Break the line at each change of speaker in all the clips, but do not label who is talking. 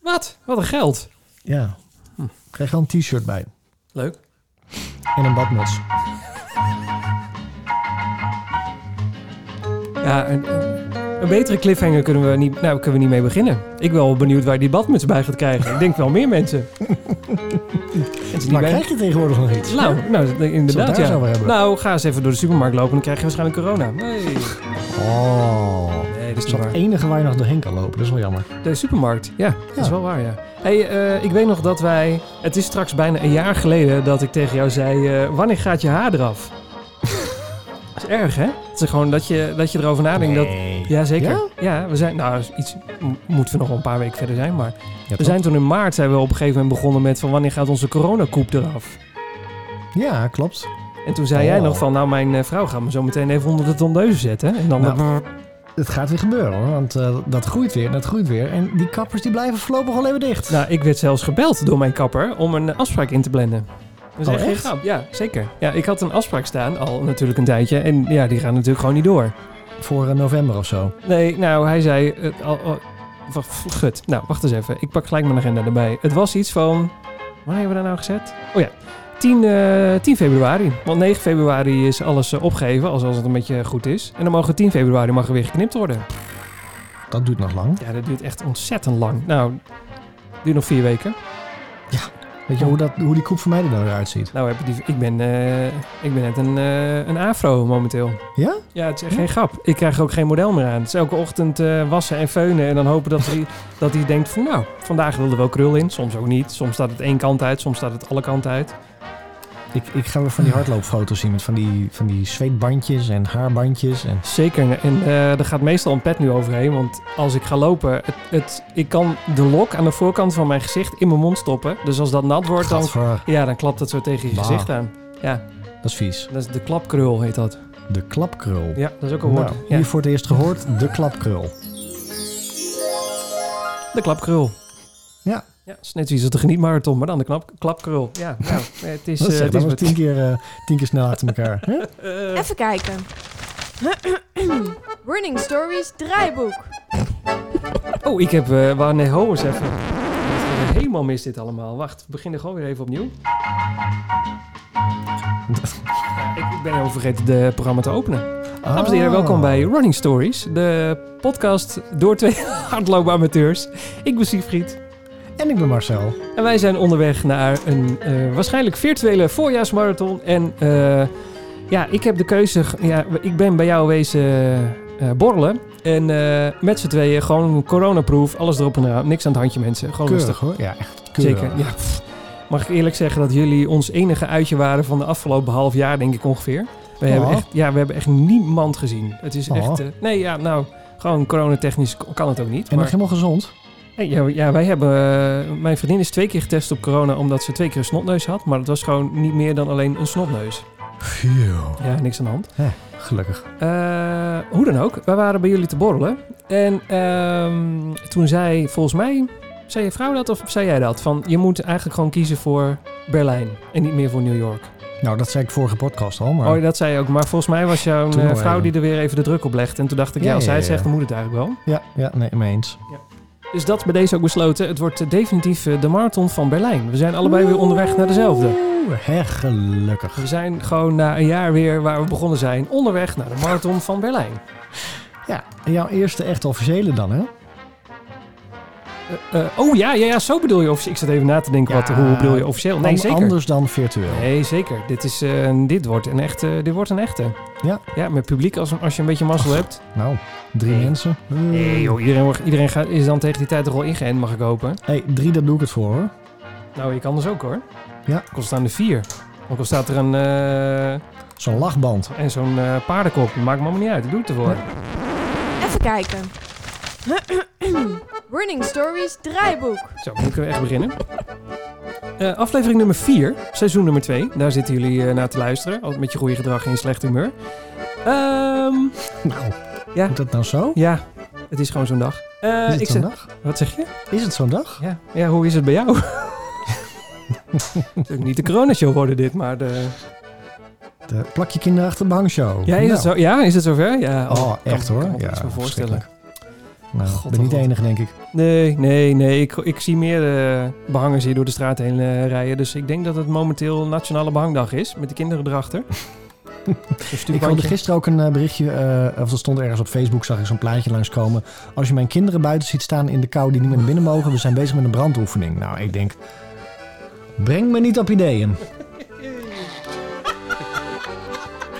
Wat? Wat een geld.
Ja. Krijg je al een t-shirt bij.
Leuk.
En een badmuts.
Ja, een, een betere cliffhanger kunnen we, niet, nou, kunnen we niet mee beginnen. Ik ben wel benieuwd waar die badmuts bij gaat krijgen. Ik denk wel meer mensen. mensen die
Maar
bij...
krijg je tegenwoordig nog iets?
Nou, nou,
Zullen we het
inderdaad
daar
ja.
zo over hebben?
Nou, ga eens even door de supermarkt lopen, dan krijg je waarschijnlijk corona. Nee,
Oh.
nee dat is
Dat is
niet waar.
het enige waar je nog doorheen kan lopen. Dat is wel jammer.
De supermarkt, ja, dat is
Ja.
wel waar, ja. hey, eh, ik weet nog dat wij... Het is straks bijna een jaar geleden dat ik tegen jou zei... eh, wanneer gaat je haar eraf? dat is erg, hè? Het is gewoon dat je, dat je erover nadenkt. Dat, ja, zeker.
Ja?
Ja? we zijn... Nou, is iets m- moeten we nog wel een paar weken verder zijn, maar...
Ja,
We
toch?
zijn toen in maart zijn we op een gegeven moment begonnen met... van wanneer gaat onze coronakoep eraf?
ja, klopt.
En toen zei jij
Oh.
nog van... nou, mijn eh, vrouw gaat me zo meteen even onder de tondeuzen zetten. En dan...
Nou, het gaat weer gebeuren hoor. Want eh, dat groeit weer, dat groeit weer. En die kappers die blijven voorlopig al even dicht.
Nou, ik werd zelfs gebeld door mijn kapper om een afspraak in te blenden. Dat is
Oh,
echt geen
echt?
grap. Ja, zeker. Ja, ik had een afspraak staan, al natuurlijk een tijdje. En ja, die gaan natuurlijk gewoon niet door.
Voor eh, november of zo.
Nee, nou, hij zei... eh, al, al- wacht, gut. Nou, wacht eens even. Ik pak gelijk mijn agenda erbij. Het was iets van... Waar hebben we dat nou gezet? Oh ja, 10, eh, 10 februari. Want 9 februari is alles eh, opgegeven, als, als het een beetje goed is. En dan mogen 10 februari mag er weer geknipt worden.
Dat duurt nog lang.
Ja, dat duurt echt ontzettend lang. Nou, duurt nog vier weken.
Weet je hoe, dat, hoe die koep voor mij er nou weer uitziet?
Nou, heb je die, ik, ben, eh, ik ben net een, eh, een afro momenteel.
Ja?
Ja, het is echt geen grap. Ik krijg er ook geen model meer aan. Het is elke ochtend eh, wassen en feunen. En dan hopen dat hij, dat hij denkt van nou, vandaag wil er wel krul in. Soms ook niet. Soms staat het één kant uit. Soms staat het alle kanten uit.
Ik, ik ga weer van die hardloopfoto's zien met van die, van die zweetbandjes en haarbandjes. En...
Zeker. En eh er gaat meestal een pet nu overheen. Want als ik ga lopen, het, het, ik kan de lok aan de voorkant van mijn gezicht in mijn mond stoppen. Dus als dat nat wordt, dan,
Gadver,
ja, dan klapt het zo tegen je
Bah.
gezicht aan.
dat is vies.
Dat is de klapkrul heet dat.
De klapkrul.
Ja, dat is ook een woord.
Nou,
ja.
hier voor het eerst gehoord, de klapkrul.
De klapkrul.
Ja.
Ja, het is net zoiets als de genietmarathon, maar dan de knap, klapkrul. Ja, nou, eh, het is...
Dat
eh,
is,
het is wat-
tien, keer, eh, tien keer snel achter elkaar. Hè?
Eh,
Even kijken. Running Stories draaiboek.
oh, ik heb... eh waar, nee, ho eens even. Het ging Helemaal mis dit allemaal. Wacht, we beginnen gewoon weer even opnieuw. Ja, ik, ik ben helemaal vergeten de programma te openen. Dames en heren,
Oh.
welkom bij Running Stories. De podcast door twee hardloopamateurs. Ik ben Siegfried.
En ik ben Marcel.
En wij zijn onderweg naar een eh, waarschijnlijk virtuele voorjaarsmarathon. En eh, ja, ik heb de keuze. ge- Ja, ik ben bij jou wezen eh, borrelen. En eh, met z'n tweeën gewoon coronaproof. Alles erop en eraan. Niks aan het handje, mensen. Gewoon
Keurig
rustig.
hoor. Ja, echt keurig.
Zeker. Ja. pff. Mag ik eerlijk zeggen dat jullie ons enige uitje waren van de afgelopen half jaar, denk ik ongeveer. We,
Oh.
hebben, echt, ja, we hebben echt niemand gezien. Het is
Oh.
echt. eh, nee, ja, nou. Gewoon coronatechnisch kan het ook niet.
En
maar-
nog helemaal gezond.
Hey, ja, ja, wij hebben. eh, mijn vriendin is twee keer getest op corona omdat ze twee keer een snotneus had. Maar het was gewoon niet meer dan alleen een snotneus.
Phew.
Ja, niks aan de hand.
Gelukkig.
Eh, hoe dan ook, wij waren bij jullie te borrelen. En ehm, toen zei, volgens mij, zei je vrouw dat of zei jij dat? Van je moet eigenlijk gewoon kiezen voor Berlijn en niet meer voor New York.
Nou, dat zei ik vorige podcast al, maar
Oh, dat zei je ook. Maar volgens mij was jouw eh,
Toen nog
vrouw
even.
die er weer even de druk op legde. En toen dacht ik, ja,
Ja,
als
ja,
hij het
ja,
zegt,
ja.
dan moet het eigenlijk wel.
ja, ja, nee, mee eens.
Dus dat is bij deze ook besloten. Het wordt eh, definitief eh, de marathon van Berlijn. We zijn allebei weer onderweg naar dezelfde.
Oeh, hè, gelukkig.
We zijn gewoon na een jaar weer waar we begonnen zijn, onderweg naar de marathon van Berlijn.
Ja, en jouw eerste echt officiële dan, hè?
Eh, eh, oh ja, ja, ja, zo bedoel je officieel. Ik zat even na te denken, wat,
Ja,
hoe bedoel je officieel? Nee,
An-
zeker.
Anders dan virtueel.
Nee, zeker. Dit, is, eh, een- dit, wordt een echte, dit wordt een echte.
Ja.
Ja, met publiek als, als je een beetje mazzel hebt.
Nou, drie
Nee.
mensen.
Nee joh, iedereen, wordt- iedereen gaat, is dan tegen die tijd toch al ingeënt, mag ik hopen.
Hey, drie, daar doe ik het voor, hoor.
Nou, ik anders ook hoor.
Ja.
Kost aan de vier. Ook al staat er een, eh,
Zo'n lachband.
en zo'n eh, paardenkop, maakt me allemaal niet uit. Ik doe het ervoor.
Even kijken. Running Stories draaiboek.
Zo, dan kunnen we echt beginnen. Eh, aflevering nummer 4, seizoen nummer 2. Daar zitten jullie eh, naar te luisteren. Altijd met je goede gedrag en je slecht humeur. Ehm,
Nou,
Ja.
moet dat nou zo?
ja, het is gewoon zo'n dag. Eh,
Is het
ik
zo'n
zeg-
dag?
Wat zeg je?
Is het zo'n dag?
Ja. ja, hoe is het bij jou? Het is ook niet de coronashow worden dit, maar de...
De Eh, plak je kinderen achter de behangshow.
Ja, is, het,
Nou.
zo, ja, is het zover? Ja,
Oh,
kan-
echt hoor.
Kan ik me
ja,
iets van voorstellen.
verschrikkelijk. Nou,
God,
ik ben niet de
oh, God.
enige, denk ik.
Nee, nee, nee. Ik, ik zie meer eh, behangers hier door de straat heen eh, rijden. Dus ik denk dat het momenteel Nationale Behangdag is. Met de kinderen erachter. Zo'n
Ik hoorde
stuurbankje.
gisteren ook een eh, berichtje, eh, of dat stond ergens op Facebook, zag ik zo'n plaatje langskomen. Als je mijn kinderen buiten ziet staan in de kou die niet meer naar binnen mogen, we zijn bezig met een brandoefening. Nou, ik denk, breng me niet op ideeën.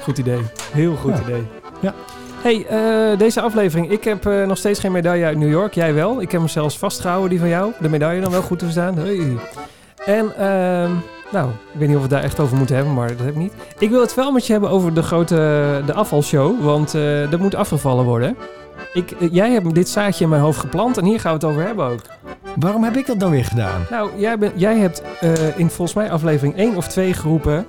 Goed idee. Heel goed
Ja.
idee.
Ja.
hey, eh, deze aflevering. Ik heb eh, nog steeds geen medaille uit New York. Jij wel. Ik heb hem zelfs vastgehouden, die van jou. De medaille dan wel goed te verstaan. Hey. En, ehm, nou, ik weet niet of we het daar echt over moeten hebben, maar dat heb ik niet. Ik wil het wel met je hebben over de grote de afvalshow. Want eh dat moet afgevallen worden. Ik, eh, jij hebt dit zaadje in mijn hoofd geplant en hier gaan we het over hebben ook.
Waarom heb ik dat dan weer gedaan?
Nou, jij, bent- jij hebt eh, in volgens mij aflevering 1 of 2 geroepen.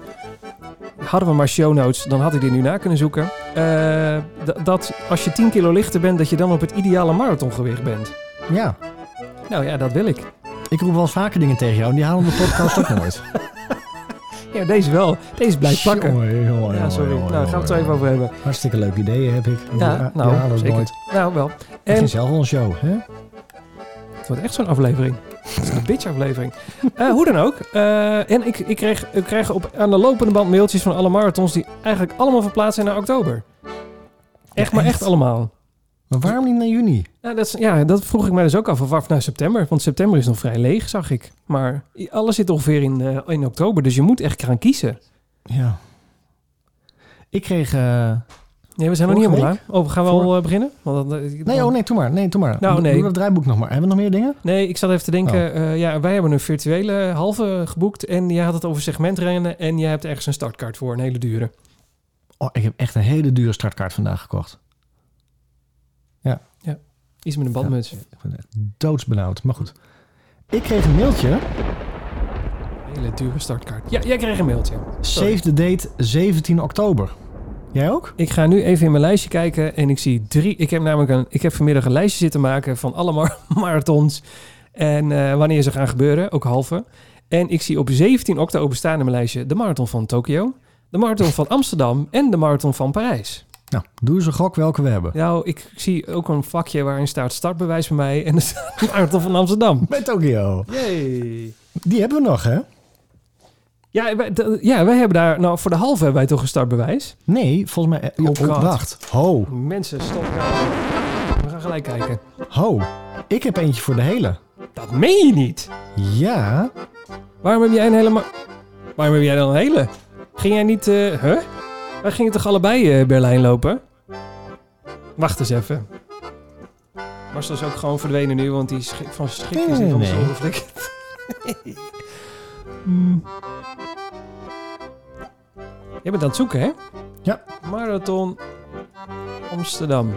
Hadden we maar show notes, dan had ik dit nu na kunnen zoeken. Eh, d- dat als je 10 kilo lichter bent, dat je dan op het ideale marathongewicht bent.
Ja,
Nou ja, dat wil ik.
ik roep wel eens vaker dingen tegen jou en die halen de podcast ook nooit.
Ja, deze wel. Deze blijft pakken.
Jongen, jongen,
Ja,
jongen,
sorry. Nou,
jongen,
daar gaan we het zo even
jongen.
over hebben.
Hartstikke leuke ideeën heb ik.
Ja,
die
nou,
halen we
zeker.
nooit.
Nou, wel.
Ik
En
vind zelf wel een show, hè?
Het wordt echt zo'n aflevering. Een bitch-aflevering. Eh, hoe dan ook. Eh, en ik, ik, kreeg, ik kreeg op, aan de lopende band mailtjes van alle marathons... die eigenlijk allemaal verplaatst zijn naar oktober. Echt, maar echt
echt?
allemaal.
Maar waarom niet naar juni?
Nou, dat, is- ja, dat vroeg ik mij dus ook af. Of af naar september. Want september is nog vrij leeg, zag ik. Maar i- alles zit ongeveer in, eh, in oktober. Dus je moet echt gaan kiezen.
Ja. Ik kreeg... eh,
Nee, we zijn nog niet
Vorige
helemaal klaar. Oh, gaan we
Voor-
al eh, beginnen? Want, dan- eh,
Nee,
dan-
oh nee, doe maar. Nee, doe maar.
Nou,
Doe-
nee.
Doe dat draaiboek nog maar. Hebben we nog meer dingen?
Nee, ik zat even te denken. eh, ja, wij hebben een virtuele halve geboekt. En jij had het over segmentrennen. En jij hebt ergens een startkaart voor. Een hele dure.
Oh, ik heb echt een hele dure startkaart vandaag gekocht.
Iets met een bandmuts.
Ik ben echt doodsbenauwd, maar goed. Ik kreeg een mailtje.
Hele dure startkaart. Ja, jij kreeg een mailtje. Sorry.
Save the date 17 oktober. Jij ook?
Ik ga nu even in mijn lijstje kijken en ik zie drie. Ik heb namelijk een, ik heb vanmiddag een lijstje zitten maken van alle mar- marathons en eh, wanneer ze gaan gebeuren, ook halve. En ik zie op 17 oktober staan in mijn lijstje de marathon van Tokio, de marathon van Amsterdam en de marathon van Parijs.
Nou, doe eens een gok welke we hebben.
Nou, ik zie ook een vakje waarin staat startbewijs bij mij en er staat de marathon van Amsterdam.
Bij Tokio.
Yay.
Die hebben we nog, hè?
Ja, wij, d- ja, wij hebben daar, nou voor de halve hebben wij toch een startbewijs.
Nee, volgens mij... eh,
Oh, God.
wacht. Ho,
Mensen, stop. We gaan gelijk kijken.
ho. Ik heb eentje voor de hele.
Dat meen je niet.
Ja.
Waarom heb jij een hele... ma- Waarom heb jij dan een hele? Ging jij niet... eh huh? Wij gingen toch allebei eh, Berlijn lopen? Wacht eens even. Marcel is ook gewoon verdwenen nu, want die schrik van schrik is niet
Nee,
van de
nee.
zolder geflikkerd. Hmm. Jij bent aan het zoeken, hè?
Ja.
Marathon Amsterdam.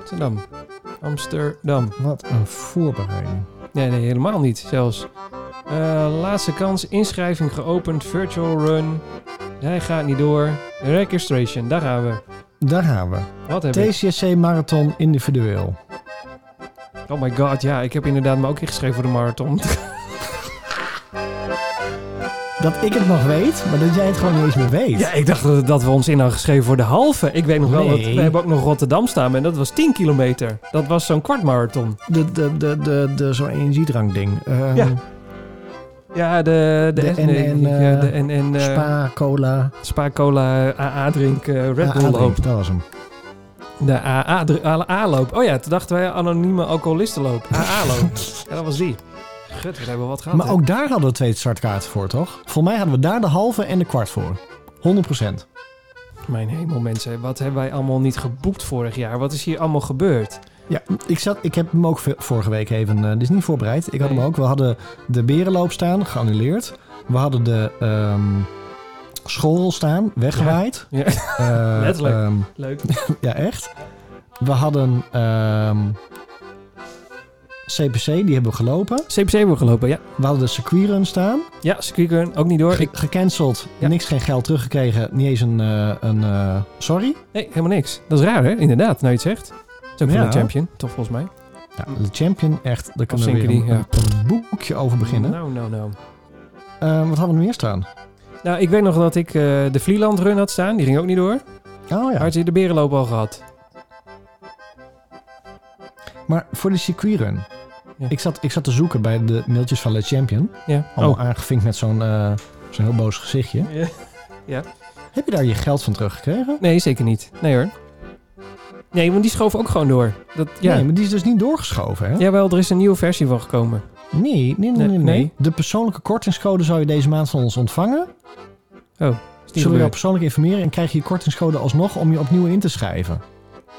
Amsterdam. Amsterdam.
Wat een voorbereiding.
Nee, nee, helemaal niet zelfs. Eh, laatste kans, inschrijving geopend, virtual run. Hij gaat niet door. Registration, daar gaan we.
Daar gaan we.
Wat heb ik?
TCSC Marathon individueel.
Oh my god, ja, ik heb inderdaad me ook ingeschreven voor de marathon.
Dat ik het nog weet, maar dat jij het gewoon niet eens meer weet.
Ja, ik dacht dat, dat we ons in hadden geschreven voor de halve. Ik weet nog wel, dat,
Nee.
we hebben ook nog Rotterdam staan en dat was 10 kilometer. Dat was zo'n kwartmarathon.
De, de, de, de, de zo'n energiedrankding. Ehm
Ja. Ja, de... De,
De
en,
NN,
ja,
eh,
de en, en, eh,
Spa, cola.
Spa Cola, eh, AA drink, eh, Red
Ah,
Bull
Adrien,
loop.
Dat was hem.
De AA dr- AA loop. Oh ja, toen dachten wij anonieme alcoholistenloop. AA loop. Ja, dat was die. Gut, we hebben wat gehad.
Maar
hè?
ook daar hadden we twee startkaarten voor, toch? Volgens mij hadden we daar de halve en de kwart voor. 100 procent.
Mijn hemel, mensen. Wat hebben wij allemaal niet geboekt vorig jaar? Wat is hier allemaal gebeurd?
Ja, ik, zat, ik heb hem ook ve- vorige week even... eh, dit is niet voorbereid. Ik had
Nee.
hem ook. We hadden de berenloop staan, geannuleerd. We hadden de ehm school staan, weggewaaid.
Ja.
Eh,
Letterlijk.
ehm,
Leuk.
Ja, echt. We hadden ehm, CPC, die hebben we gelopen.
CPC hebben we gelopen, ja.
We hadden de circuitrun staan.
Ja, circuitrun, ook niet door.
Ge-
Ik,
gecanceld,
Ja.
niks, geen geld teruggekregen. Niet eens een, eh, een eh, sorry.
nee, helemaal niks. Dat is raar, hè? Inderdaad, nou je het zegt. Het is ook van
Ja.
de champion, toch volgens mij.
Ja, de champion, echt, daar kunnen we
zinken
weer
die,
een,
Hm. ja.
een boekje over beginnen.
Nou, nou, nou.
Eh, wat hadden we nog meer staan?
Nou, ik weet nog dat ik eh, de Vlieland run had staan. Die ging ook niet door.
Oh ja,
Had je de berenloop al gehad?
Maar voor de circuitrun.
Ja.
Ik, zat, ik zat te zoeken bij de mailtjes van Le Champion.
Ja.
Allemaal
Oh.
aangevinkt met zo'n eh, zo'n heel boos gezichtje.
Ja.
Heb je daar je geld van teruggekregen?
Nee, zeker niet. Nee hoor. Nee, want die schoof ook gewoon door. Dat, ja.
Nee, maar die is dus niet doorgeschoven, hè?
Jawel, er is een nieuwe versie van gekomen.
Nee, nee, nee, nee,
Nee,
nee,
nee.
De persoonlijke kortingscode zou je deze maand van ons ontvangen.
Is die
Zullen we jou
gebeurd?
persoonlijk informeren en krijg je je kortingscode alsnog om je opnieuw in te schrijven?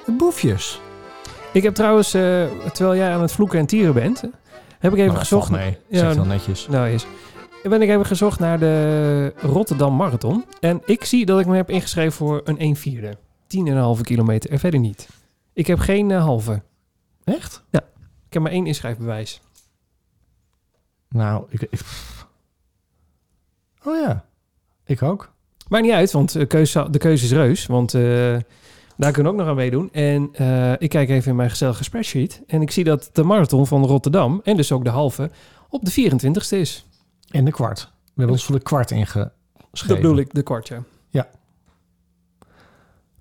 De boefjes.
Ik heb trouwens, eh, terwijl jij aan het vloeken en tieren bent, eh, heb ik even
Nou,
gezocht.
valt mee.
Ja,
Zeg wel netjes.
Nou is. Ben ik even gezocht naar de Rotterdam Marathon. En ik zie dat ik me heb ingeschreven voor een 1 vierde. 10,5 kilometer en verder niet. Ik heb geen eh, halve.
Echt?
Ik heb maar één inschrijfbewijs.
Nou, ik... ik- Oh ja. Ik ook.
Maakt niet uit, want eh, keuze, de keuze is reus. Want eh, daar kunnen we ook nog aan meedoen. En eh, ik kijk even in mijn gezellige spreadsheet. En ik zie dat de marathon van Rotterdam, en dus ook de halve, op de 24ste is.
En de kwart. We hebben ons voor de kwart ingeschreven.
Dat bedoel ik, de kwartje.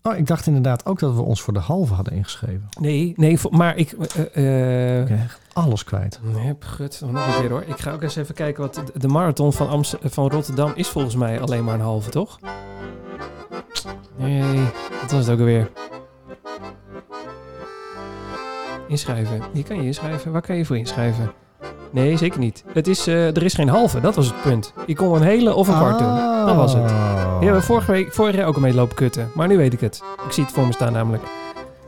Oh, ik dacht inderdaad ook dat we ons voor de halve hadden ingeschreven.
Nee, nee, vo- maar ik... eh, eh,
Ik ben echt alles kwijt.
Nee, gut, nog een keer hoor. Ik ga ook eens even kijken wat de- de marathon van, Amst- van Rotterdam is volgens mij alleen maar een halve, toch? Nee, dat was het ook alweer. Inschrijven. Je kan je inschrijven. Waar kan je voor inschrijven? Nee, zeker niet. Het is, eh, er is geen halve, dat was het punt. Je kon een hele of een kwart doen.
Oh.
Dat was het. Ja, we vorige week vorig jaar ook mee lopen kutten. Maar nu weet ik het. Ik zie het voor me staan namelijk.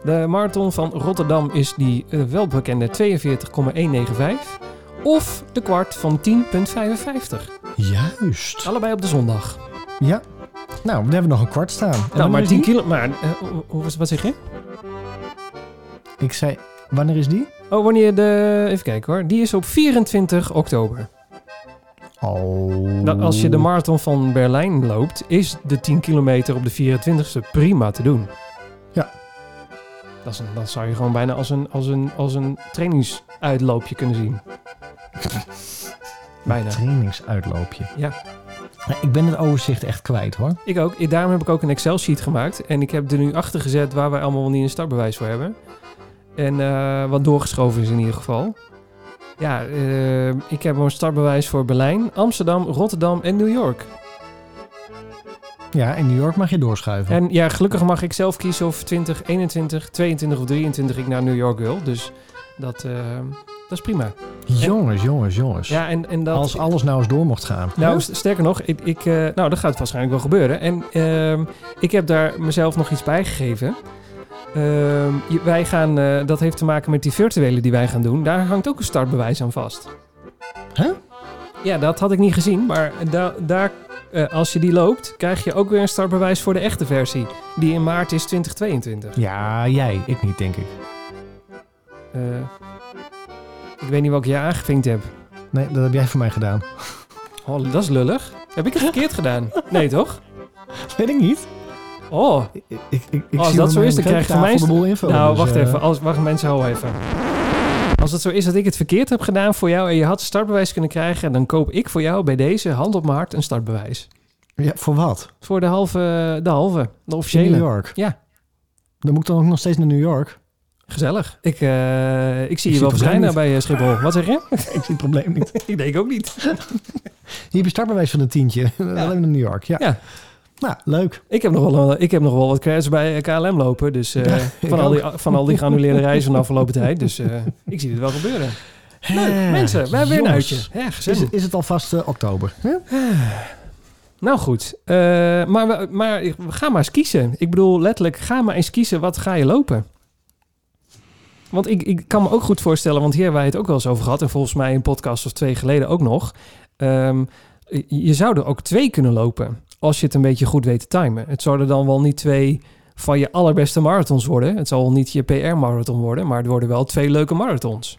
De marathon van Rotterdam is die eh, welbekende 42,195. Of de kwart van 10,55.
Juist.
Allebei op de zondag.
Ja. Nou, we hebben nog een kwart staan. En
nou,
wanneer
maar
is
10
die?
kilo... Maar, eh, hoe- hoe was wat zeg je?
Ik zei, wanneer is die?
Oh, wanneer de... Even kijken hoor. Die is op 24 oktober.
Oh.
Nou, als je de marathon van Berlijn loopt, is de 10 kilometer op de 24ste prima te doen.
Ja.
Dat, is een- dat zou je gewoon bijna als een, als een, als een trainingsuitloopje kunnen zien. bijna.
Trainingsuitloopje.
Ja.
Nou, Ik ben het overzicht echt kwijt hoor.
Ik ook. Ik- Daarom heb ik ook een Excel-sheet gemaakt. En ik heb er nu achter gezet waar wij allemaal wel niet een startbewijs voor hebben. En eh, wat doorgeschoven is in ieder geval. Ja, eh, ik heb een startbewijs voor Berlijn, Amsterdam, Rotterdam en New York.
Ja, in New York mag je doorschuiven.
En ja, gelukkig mag ik zelf kiezen of 20, 21, 22 of 23 ik naar New York wil. Dus dat, eh, dat is prima.
jongens, jongens, jongens.
Ja, en, en dat...
Als alles nou eens door mocht gaan.
nou, st- sterker nog, ik, ik, eh, nou, dat gaat waarschijnlijk wel gebeuren. En ehm, ik heb daar mezelf nog iets bij gegeven. Ehm, je- wij gaan, eh, dat heeft te maken met die virtuele die wij gaan doen. Daar hangt ook een startbewijs aan vast.
Hè?
Ja, dat had ik niet gezien. Maar da- daar, eh, als je die loopt, krijg je ook weer een startbewijs voor de echte versie. Die in maart is 2022.
ja, jij. Ik niet, denk ik.
Eh, ik weet niet welke je aangevinkt heb.
Nee, dat heb jij voor mij gedaan.
Oh, dat is lullig. Heb ik het verkeerd gedaan? Nee, toch?
Weet ik niet.
Oh,
Ik, ik, ik, ik
Als
zie
dat
op
zo
mijn
is, dan krijg je van mij
keukentafel de boel invullen.
nou,
dus,
wacht
eh,
even. Als, wacht, mensen, hou even. Als het zo is dat ik het verkeerd heb gedaan voor jou en je had startbewijs kunnen krijgen, dan koop ik voor jou bij deze, hand op mijn hart, een startbewijs.
Ja, voor wat?
Voor de halve, de halve, de
In New
officiële.
York?
Ja.
Dan moet ik dan ook nog steeds naar New York?
Gezellig. Ik, eh, ik zie je
zie
wel
het probleem
verschijnen
niet.
bij eh, Schiphol. Wat zeg je?
ik zie het probleem niet.
ik denk ook niet.
Hier heb je startbewijs van een tientje. Alleen naar New York, ja.
Ja.
Nou, leuk.
Ik heb nog wel, een- ik heb nog wel wat credits bij eh, KLM lopen. Dus eh,
ik
van, al die, van al die granuleerde reizen van de afgelopen tijd. Dus eh, ik zie dit wel gebeuren. Leuk,
Hè,
mensen, we hebben weer een
jongens.
uitje. Ja,
Is,
gezellig.
het- is het alvast eh, oktober? hè?
Nou goed, eh, maar, we, maar we gaan maar eens kiezen. Ik bedoel, letterlijk, ga maar eens kiezen wat ga je lopen. Want ik, ik kan me ook goed voorstellen, want hier hebben wij het ook wel eens over gehad. En volgens mij een podcast of twee geleden ook nog. Ehm, je zou er ook twee kunnen lopen. Als je het een beetje goed weet te timen. Het zouden dan wel niet twee van je allerbeste marathons worden. Het zal wel niet je PR-marathon worden. Maar het worden wel twee leuke marathons.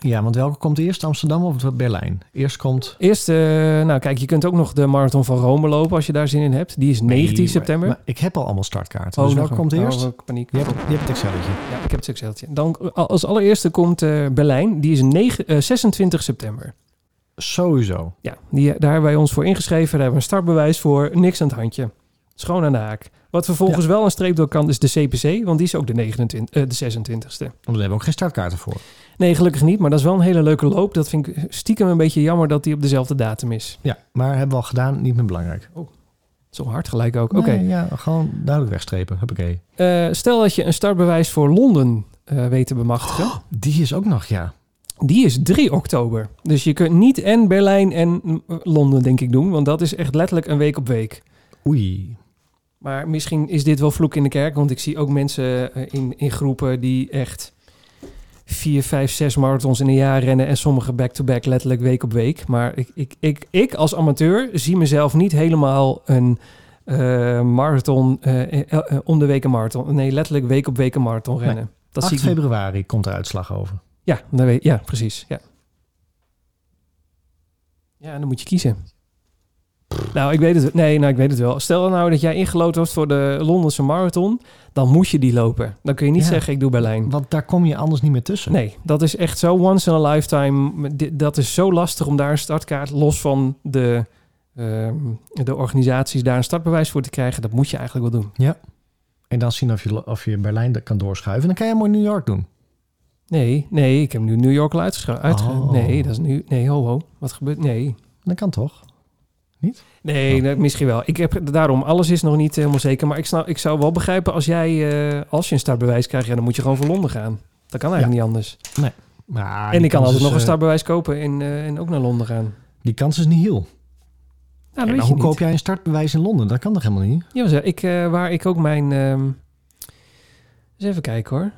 Ja, want welke komt eerst? Amsterdam of Berlijn? Eerst komt...
Eerst, eh, nou kijk, je kunt ook nog de marathon van Rome lopen als je daar zin in hebt. Die is 19
Nee,
september.
maar ik heb al allemaal startkaarten. dus welke
nog een-
komt eerst?
Oh, paniek.
Je hebt, je hebt het Excelletje.
Ja, ik heb het Exceltje. Dan als allereerste komt eh, Berlijn. Die is 9, eh, 26 september.
Sowieso.
Ja, die, daar hebben wij ons voor ingeschreven. Daar hebben we een startbewijs voor. Niks aan het handje. Schoon aan de haak. Wat vervolgens wel een streep door kan is de CPC, want die is ook de, 29, eh, de 26e.
Want daar hebben we ook geen startkaarten voor.
Nee, gelukkig niet, maar dat is wel een hele leuke loop. Dat vind ik stiekem een beetje jammer dat die op dezelfde datum is.
Ja, maar hebben we al gedaan, niet meer belangrijk.
Zo hard gelijk ook. Oké.
Nee, ja, gewoon duidelijk wegstrepen. Huppakee.
Eh, stel dat je een startbewijs voor Londen eh, weet te bemachtigen.
Die is ook nog, ja.
Die is 3 oktober. Dus je kunt niet en Berlijn en mm, Londen, denk ik, doen. Want dat is echt letterlijk een week op week.
Oei.
Maar misschien is dit wel vloek in de kerk. Want ik zie ook mensen eh, in, in groepen die echt 4, 5, 6 marathons in een jaar rennen. En sommige back-to-back letterlijk week op week. Maar ik, ik, ik, ik als amateur zie mezelf niet helemaal een eh, marathon. eh, eh, eh, om de week een marathon. Nee, letterlijk week op week een marathon rennen. Dat
8
zie ik niet.
februari komt er uitslag over.
Ja, dan weet, ja precies. Ja. ja, dan moet je kiezen. Nou, ik weet het, nee, nou, ik weet het wel. Stel nou dat jij ingelood wordt voor de Londense Marathon. Dan moet je die lopen. Dan kun je niet
Ja.
zeggen, ik doe Berlijn.
Want daar kom je anders niet meer tussen.
Nee, dat is echt zo once in a lifetime. Di- Dat is zo lastig om daar een startkaart, los van de, ehm, de organisaties, daar een startbewijs voor te krijgen. Dat moet je eigenlijk wel doen.
En dan zien of je, of je Berlijn dat kan doorschuiven. En dan kan je mooi New York doen.
Nee, nee, ik heb nu New York al uitgeschreven. Uitge-
Oh.
Nee, dat is nu... Nee, ho, ho. Wat gebeurt... Nee,
Dat kan toch?
Nee,
Ja.
nee, misschien wel. Ik heb daarom alles is nog niet helemaal zeker, maar ik, snap, ik zou wel begrijpen als jij eh, als je een startbewijs krijgt, ja, dan moet je gewoon voor Londen gaan. Dat kan eigenlijk niet anders.
Maar
en ik
die
kan
kans
altijd
is,
nog een
eh,
startbewijs kopen en, eh, en ook naar Londen gaan.
Die kans is niet heel.
Nou, dat
En
Ah, weet
hoe
je niet.
koop jij een startbewijs in Londen? Dat kan toch helemaal niet?
Ja, maar ik, eh, waar ik ook mijn. ehm, eens even kijken hoor.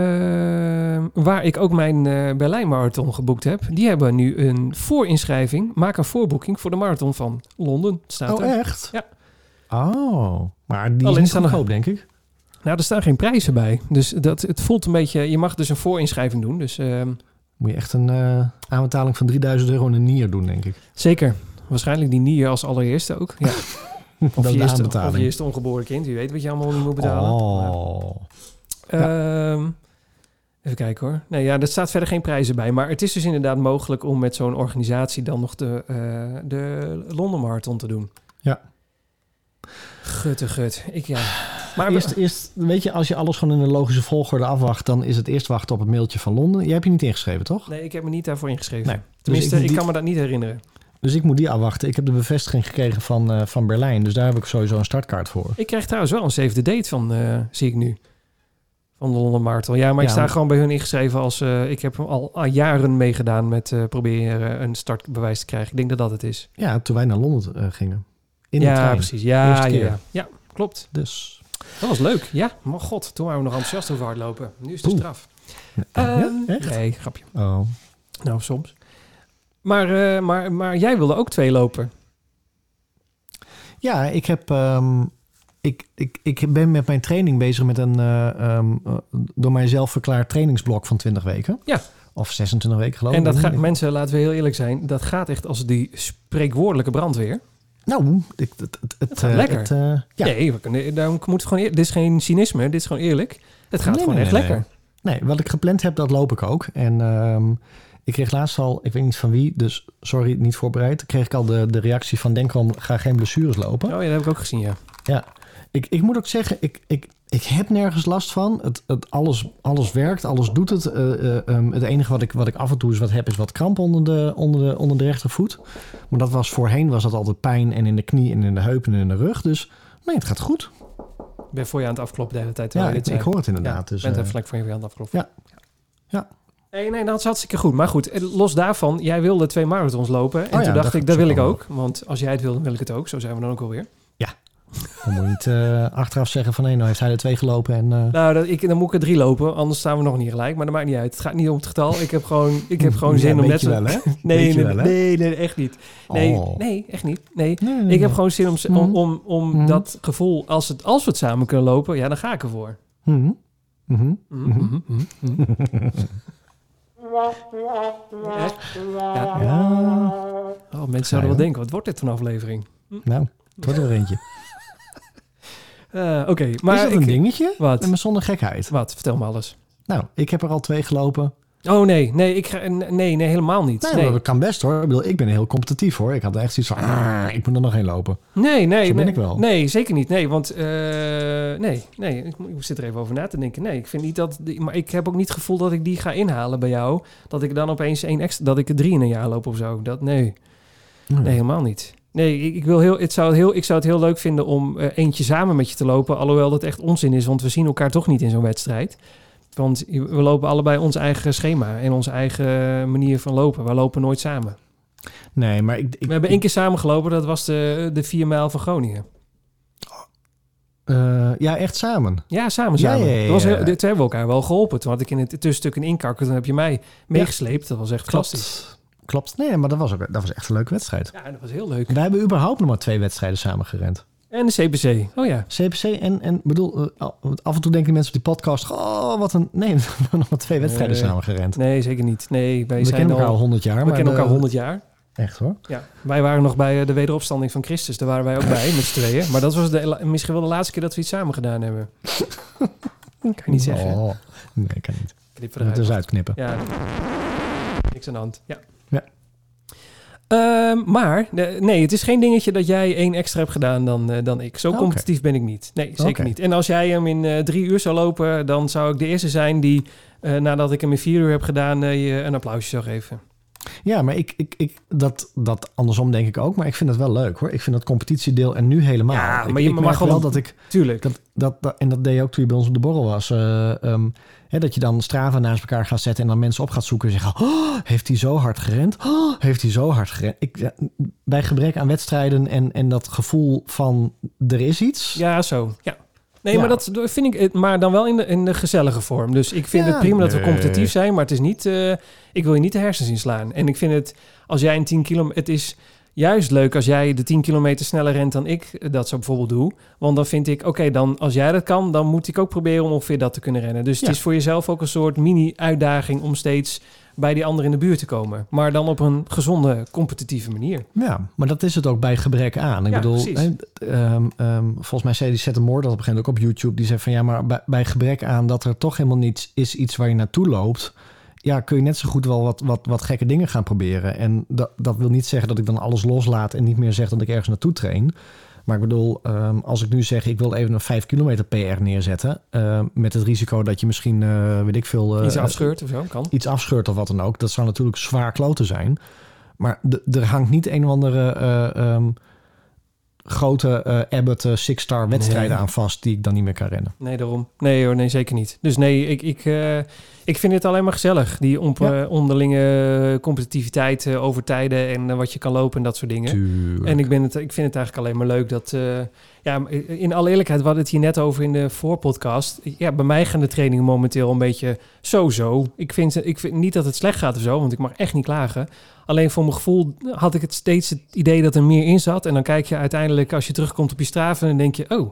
Ehm, waar ik ook mijn eh Berlijn Marathon geboekt heb. Die hebben nu een voorinschrijving. Maak een voorboeking voor de marathon van Londen. Staat er.
Oh, echt?
Ja.
Oh, maar die
Alleen
is
staan
niet
er-
goedkoop, denk ik.
Nou, er staan geen prijzen bij. Dus dat, het voelt een beetje... Je mag dus een voorinschrijving doen. Dus ehm,
Moet je echt een eh, aanbetaling van 3000 euro in een nier doen, denk ik.
zeker. Waarschijnlijk die nier als allereerste ook. Ja.
Of
Of,
dat is
je
de
eerste, of
aanbetaling.
je eerste ongeboren kind. Wie weet wat je allemaal niet moet betalen.
Oh.
Maar, ehm, even kijken hoor. Nee, ja, er staat verder geen prijzen bij. Maar het is dus inderdaad mogelijk om met zo'n organisatie... dan nog de, eh, de Londen Marathon te doen.
Ja.
Gutte gut. Ik ja. Maar
Eerst, eerst, weet je, als je alles gewoon in een logische volgorde afwacht, dan is het eerst wachten op het mailtje van Londen. Jij hebt je niet ingeschreven, toch?
nee, ik heb me niet daarvoor ingeschreven.
Nee.
Tenminste,
Dus ik-
ik kan me dat niet herinneren.
Dus ik moet die afwachten. Ik heb de bevestiging gekregen van, eh, van Berlijn, dus daar heb ik sowieso een startkaart voor.
Ik krijg trouwens wel een save the date van, eh, zie ik nu. Van de Londen Marathon. Ja, maar ik
Ja,
sta
maar-
gewoon bij hun ingeschreven als... eh, ik heb al, al jaren meegedaan met eh, proberen een startbewijs te krijgen. Ik denk dat dat het is.
Ja, toen wij naar Londen eh, gingen. In
ja,
de trein.
precies. Ja,
Eerste
ja,
keer.
ja. Ja, klopt.
Dus.
Dat was leuk. Ja, maar god, toen waren we nog enthousiast over hardlopen. Nu is de
Poeh.
straf.
Ja,
Ehm,
echt?
Nee, grapje.
Oh.
Nou, soms. Maar, eh, maar, maar jij wilde ook twee lopen.
Ja, ik heb. ehm, ik, ik, ik ben met mijn training bezig met een eh, ehm, eh, door mijzelf verklaard trainingsblok van 20 weken.
Ja.
Of 26 weken geloof
en
ik.
dat
Ik-
gaat, mensen, laten we heel eerlijk zijn, dat gaat echt als die spreekwoordelijke brandweer.
Nou, ik- het, het, het,
gaat
eh,
lekker.
het, eh, ja.
Nee, we kunnen, daarom moet het gewoon, eer- dit is geen cynisme, dit is gewoon eerlijk. Het gaat
Nee,
gewoon
nee,
echt
nee,
lekker.
Nee, wat ik gepland heb, dat loop ik ook. En ehm, ik kreeg laatst al, ik weet niet van wie, dus sorry, niet voorbereid. Kreeg ik al de, de reactie van Denkom, ga geen blessures lopen.
Oh ja, dat heb ik ook gezien, ja.
Ik, ik moet ook zeggen, ik, ik, ik heb nergens last van. Het, het, alles, alles werkt, alles doet het. Eh, eh, ehm, het enige wat ik, wat ik af en toe eens wat heb, is wat kramp onder de, onder, de, onder de rechtervoet. Maar dat was voorheen was dat altijd pijn en in de knie en in de heup en in de rug. Dus nee, het gaat goed.
Ik ben voor je aan het afkloppen de hele tijd.
Ja,
terwijl je
ik,
dit
ik
zei.
hoor het inderdaad.
Ja,
dus,
bent
eh,
even lekker voor je weer aan het afkloppen.
Ja. Ja.
Nee, nee, dat is hartstikke goed. Maar goed, eh, los daarvan, jij wilde twee marathons lopen. En
Oh ja,
toen
dat
dacht ik,
is
dat wil
ook
ik
wel.
ook. Want als jij het wil, dan wil ik het ook. Zo zijn we dan ook alweer.
dan moet je niet eh, achteraf zeggen van hé, nou heeft hij er twee gelopen. En, eh,
Nou, dat, ik, dan moet ik er drie lopen, anders staan we nog niet gelijk. Maar dat maakt niet uit. Het gaat niet om het getal. Ik heb gewoon, ik heb gewoon
Ja,
zin om
weet
net
je
zo...
wel, hè?
Nee,
Weet je
nee,
wel, hè?
nee, nee, echt niet. Nee,
Oh.
nee, echt niet. Nee,
Nee, nee, nee.
Ik heb gewoon zin om, om,
Mhm.
om, om
Mhm.
dat gevoel, als, het, als we het samen kunnen lopen, ja, dan ga ik ervoor.
Mhm. Mhm.
Mhm, mhm, mhm, mhm. Ja. Ja.
Ja,
Oh, mensen
Ja,
zouden wel
joh.
denken, wat wordt dit voor een aflevering?
nou, het wordt er weer eentje.
Eh, Oké,
Maar is
maar...
dat een
ik-
dingetje?
Wat?
Maar zonder gekheid.
Wat? Vertel me alles.
Nou, ik heb er al twee gelopen.
Oh nee, nee, ik ga, nee, nee helemaal niet.
Nee,
Nee,
maar dat kan best hoor. Ik bedoel, ik ben heel competitief hoor. Ik had echt zoiets van, "Ah, ik moet er nog heen lopen.
nee, nee.
Zo ben
nee.
ik wel.
Nee, zeker niet. Nee, want eh, nee, nee, ik, mo- ik zit er even over na te denken. Nee, ik vind niet dat, die- maar ik heb ook niet het gevoel dat ik die ga inhalen bij jou. Dat ik dan opeens één extra, dat ik er drie in een jaar loop of zo. Dat nee, nee helemaal niet. Nee, ik, ik wil heel, het zou heel, ik zou het heel leuk vinden om eh, eentje samen met je te lopen. Alhoewel dat echt onzin is, want we zien elkaar toch niet in zo'n wedstrijd. Want we lopen allebei ons eigen schema en onze eigen manier van lopen. We lopen nooit samen.
Nee, maar ik... ik
We hebben één keer samen gelopen, dat was de, de 4 mijl van Groningen.
eh, ja, echt samen.
Ja, samen,
Ja,
samen.
ja, ja,
Dat was
ja.
heel- dit hebben we elkaar wel geholpen. Toen had ik in het tussenstuk een inkakker, toen heb je mij meegesleept. Dat was echt fantastisch.
Klopt. Nee, maar dat was, ook, dat was echt een leuke wedstrijd.
Ja, dat was heel leuk.
Wij hebben überhaupt nog maar twee wedstrijden samen gerend.
En de CPC. Oh ja.
CPC en, en bedoel, eh, al- want af en toe denken de mensen op die podcast... Oh, wat een... Nee, we hebben nog maar twee wedstrijden
Nee.
samen gerend.
Nee, zeker niet. Nee, wij
we
zijn
kennen elkaar al
al...
100 jaar.
We
maar
kennen
de-
elkaar 100 jaar.
Echt hoor.
Ja. Wij waren nog bij eh, de wederopstanding van Christus. Daar waren wij ook bij, met z'n tweeën. Maar dat was de, la- misschien wel de laatste keer dat we iets samen gedaan hebben. kan je niet zeggen.
Oh, nee, kan niet.
Knip
Het
eruit.
is uitknippen.
Ja. Niks aan de hand. Ja.
Ja.
Ehm, maar, eh, nee, het is geen dingetje dat jij één extra hebt gedaan dan, eh, dan ik. Zo
Oké.
competitief ben ik niet. Nee, zeker
Oké.
niet. En als jij hem in eh, drie uur zou lopen, dan zou ik de eerste zijn die, eh, nadat ik hem in vier uur heb gedaan, eh, je een applausje zou geven.
Ja, maar ik, ik, ik, dat, dat andersom denk ik ook. Maar ik vind dat wel leuk hoor. Ik vind dat competitiedeel en nu helemaal.
Ja,
Ik-
maar je
ik
mag
merk
gewoon-
wel dat ik.
Tuurlijk.
Dat, dat, dat- en dat deed je ook toen je bij ons op de borrel was. eh, ehm, hè, dat je dan straven naast elkaar gaat zetten en dan mensen op gaat zoeken en zeggen: oh, Heeft hij zo hard gerend? Oh, heeft hij zo hard gerend? Ik, ja, bij gebrek aan wedstrijden en, en dat gevoel van er is iets.
Ja, zo. Ja. Nee,
Ja.
maar dat vind ik, het- maar dan wel in de, in de gezellige vorm. Dus ik vind
Ja.
het prima dat we
Nee.
competitief zijn, maar het is niet, eh, ik wil je niet de hersens inslaan. En ik vind het, als jij een 10 kilometer, het is juist leuk als jij de 10 kilometer sneller rent dan ik eh, dat zo bijvoorbeeld doe. Want dan vind ik, oké, dan als jij dat kan, dan moet ik ook proberen om ongeveer dat te kunnen rennen. Dus het
Ja.
is voor jezelf ook een soort mini-uitdaging om steeds bij die ander in de buurt te komen. Maar dan op een gezonde, competitieve manier.
Ja, maar dat is het ook bij gebrek aan. Ik
Ja,
bedoel,
precies.
hè, d- ehm, ehm, volgens mij zei die Seth Moore dat op een gegeven moment ook op YouTube. Die zei van ja, maar bij, bij gebrek aan dat er toch helemaal niets is iets waar je naartoe loopt. Ja, kun je net zo goed wel wat, wat, wat gekke dingen gaan proberen. En dat, dat wil niet zeggen dat ik dan alles loslaat en niet meer zeg dat ik ergens naartoe train. Maar ik bedoel, ehm, als ik nu zeg ik wil even een 5 kilometer PR neerzetten. ehm, met het risico dat je misschien, eh, weet ik veel... eh,
Iets afscheurt of zo, kan.
iets afscheurt of wat dan ook. Dat zou natuurlijk zwaar kloten zijn. Maar d- er hangt niet een of andere eh, ehm, grote eh, Abbott eh, six-star wedstrijden
Nee.
aan vast die ik dan niet meer kan rennen.
Nee, daarom. Nee hoor, nee, zeker niet. Dus nee, ik, ik, eh, ik vind het alleen maar gezellig. Die on-
Ja.
eh, onderlinge competitiviteit eh, over tijden en eh, wat je kan lopen en dat soort dingen.
Tuurlijk.
En ik, ben het, ik vind het eigenlijk alleen maar leuk dat... eh, ja, eh, in alle eerlijkheid, we hadden het hier net over in de voorpodcast. Ja, bij mij gaan de trainingen momenteel een beetje zo-zo. Ik vind, ik vind niet dat het slecht gaat of zo, want ik mag echt niet klagen. Alleen voor mijn gevoel had ik het steeds het idee dat er meer in zat. En dan kijk je uiteindelijk, als je terugkomt op je straven, dan denk je... Oh,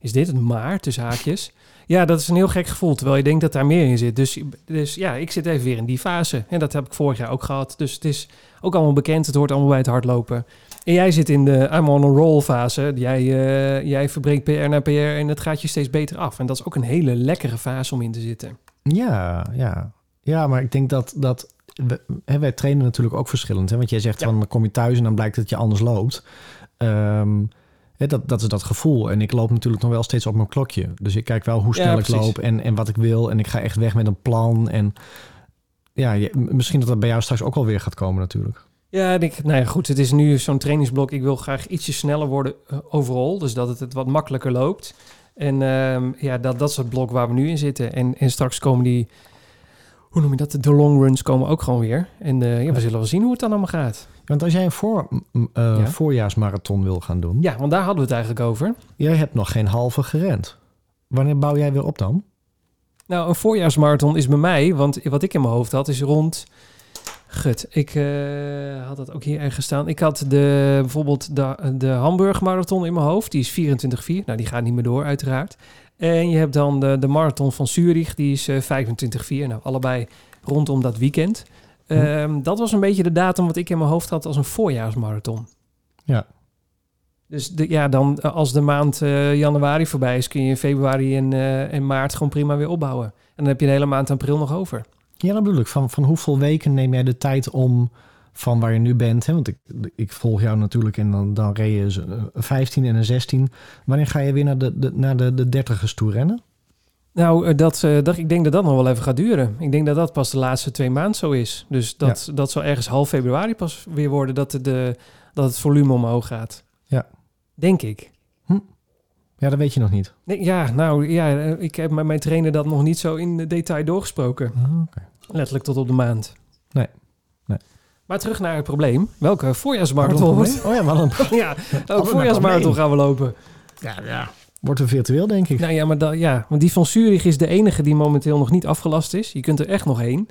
is dit het maar, tussen haakjes? Ja, dat is een heel gek gevoel, terwijl je denkt dat daar meer in zit. Dus, dus ja, ik zit even weer in die fase. En dat heb ik vorig jaar ook gehad. Dus het is ook allemaal bekend. Het hoort allemaal bij het hardlopen. En jij zit in de I'm on a roll fase. Jij, eh, jij verbreekt PR naar PR en dat gaat je steeds beter af. En dat is ook een hele lekkere fase om in te zitten.
Ja, ja. ja, maar ik denk dat... dat we, hè, wij trainen natuurlijk ook verschillend. Hè? Want jij zegt
Ja.
van dan kom je thuis en dan blijkt dat je anders loopt. Ehm, hè, dat, dat is dat gevoel. En ik loop natuurlijk nog wel steeds op mijn klokje. Dus ik kijk wel hoe
Ja,
snel ik
precies.
loop en, en wat ik wil. En ik ga echt weg met een plan. En ja, je- m- misschien dat dat bij jou straks ook alweer gaat komen natuurlijk.
Ja, en ik, nou ja, goed, het is nu zo'n trainingsblok. Ik wil graag ietsje sneller worden eh, overal. Dus dat het, het wat makkelijker loopt. En ehm, ja, dat, dat is het blok waar we nu in zitten. En, en straks komen die, hoe noem je dat? De long runs komen ook gewoon weer. En eh, ja, we zullen wel zien hoe het dan allemaal gaat.
Want als jij een voor, m- m- eh,
Ja.
voorjaarsmarathon wil gaan doen...
Ja, want daar hadden we het eigenlijk over.
jij hebt nog geen halve gerend. Wanneer bouw jij weer op dan?
Nou, een voorjaarsmarathon is bij mij, want wat ik in mijn hoofd had, is rond. Gut, ik eh, had dat ook hier ergens staan. Ik had de, bijvoorbeeld de, de Hamburg Marathon in mijn hoofd. Die is 24-4. Nou, die gaat niet meer door, uiteraard. En je hebt dan de, de Marathon van Zurich. Die is eh 25-4. Nou, allebei rondom dat weekend.
Hm.
Ehm, dat was een beetje de datum wat ik in mijn hoofd had als een voorjaarsmarathon.
Ja.
Dus de, ja, dan eh, als de maand eh, januari voorbij is, kun je in februari en, eh, en maart gewoon prima weer opbouwen. En dan heb je de hele maand april nog over.
Ja, dat bedoel ik. Van, van hoeveel weken neem jij de tijd om van waar je nu bent? Hè? Want ik, ik volg jou natuurlijk en dan, dan reed je z- een 15 en een 16. Wanneer ga je weer naar de, de, naar de, de 30 toe rennen?
Nou, eh, dat, eh, dat, ik denk dat dat nog wel even gaat duren. Ik denk dat dat pas de laatste twee maanden zo is. Dus dat, dat zal ergens half februari pas weer worden dat, de- de, dat het volume omhoog gaat.
Ja.
Denk ik.
Ja, dat weet je nog niet.
Nee, ja, nou ja, eh, ik heb met mijn trainer dat nog niet zo in detail doorgesproken. Letterlijk tot op de maand.
Nee. Nee.
Maar terug naar het probleem. Welke
Wat een
voorjaarsmarathon wordt?
probleem. Oh ja, wat een...
Ja, ook
een
voorjaarsmarathon gaan we lopen.
Ja, ja. Wordt er virtueel, denk ik.
Nou ja, maar dan- ja, want die van Zurich is de enige die momenteel nog niet afgelast is. Je kunt er echt nog heen.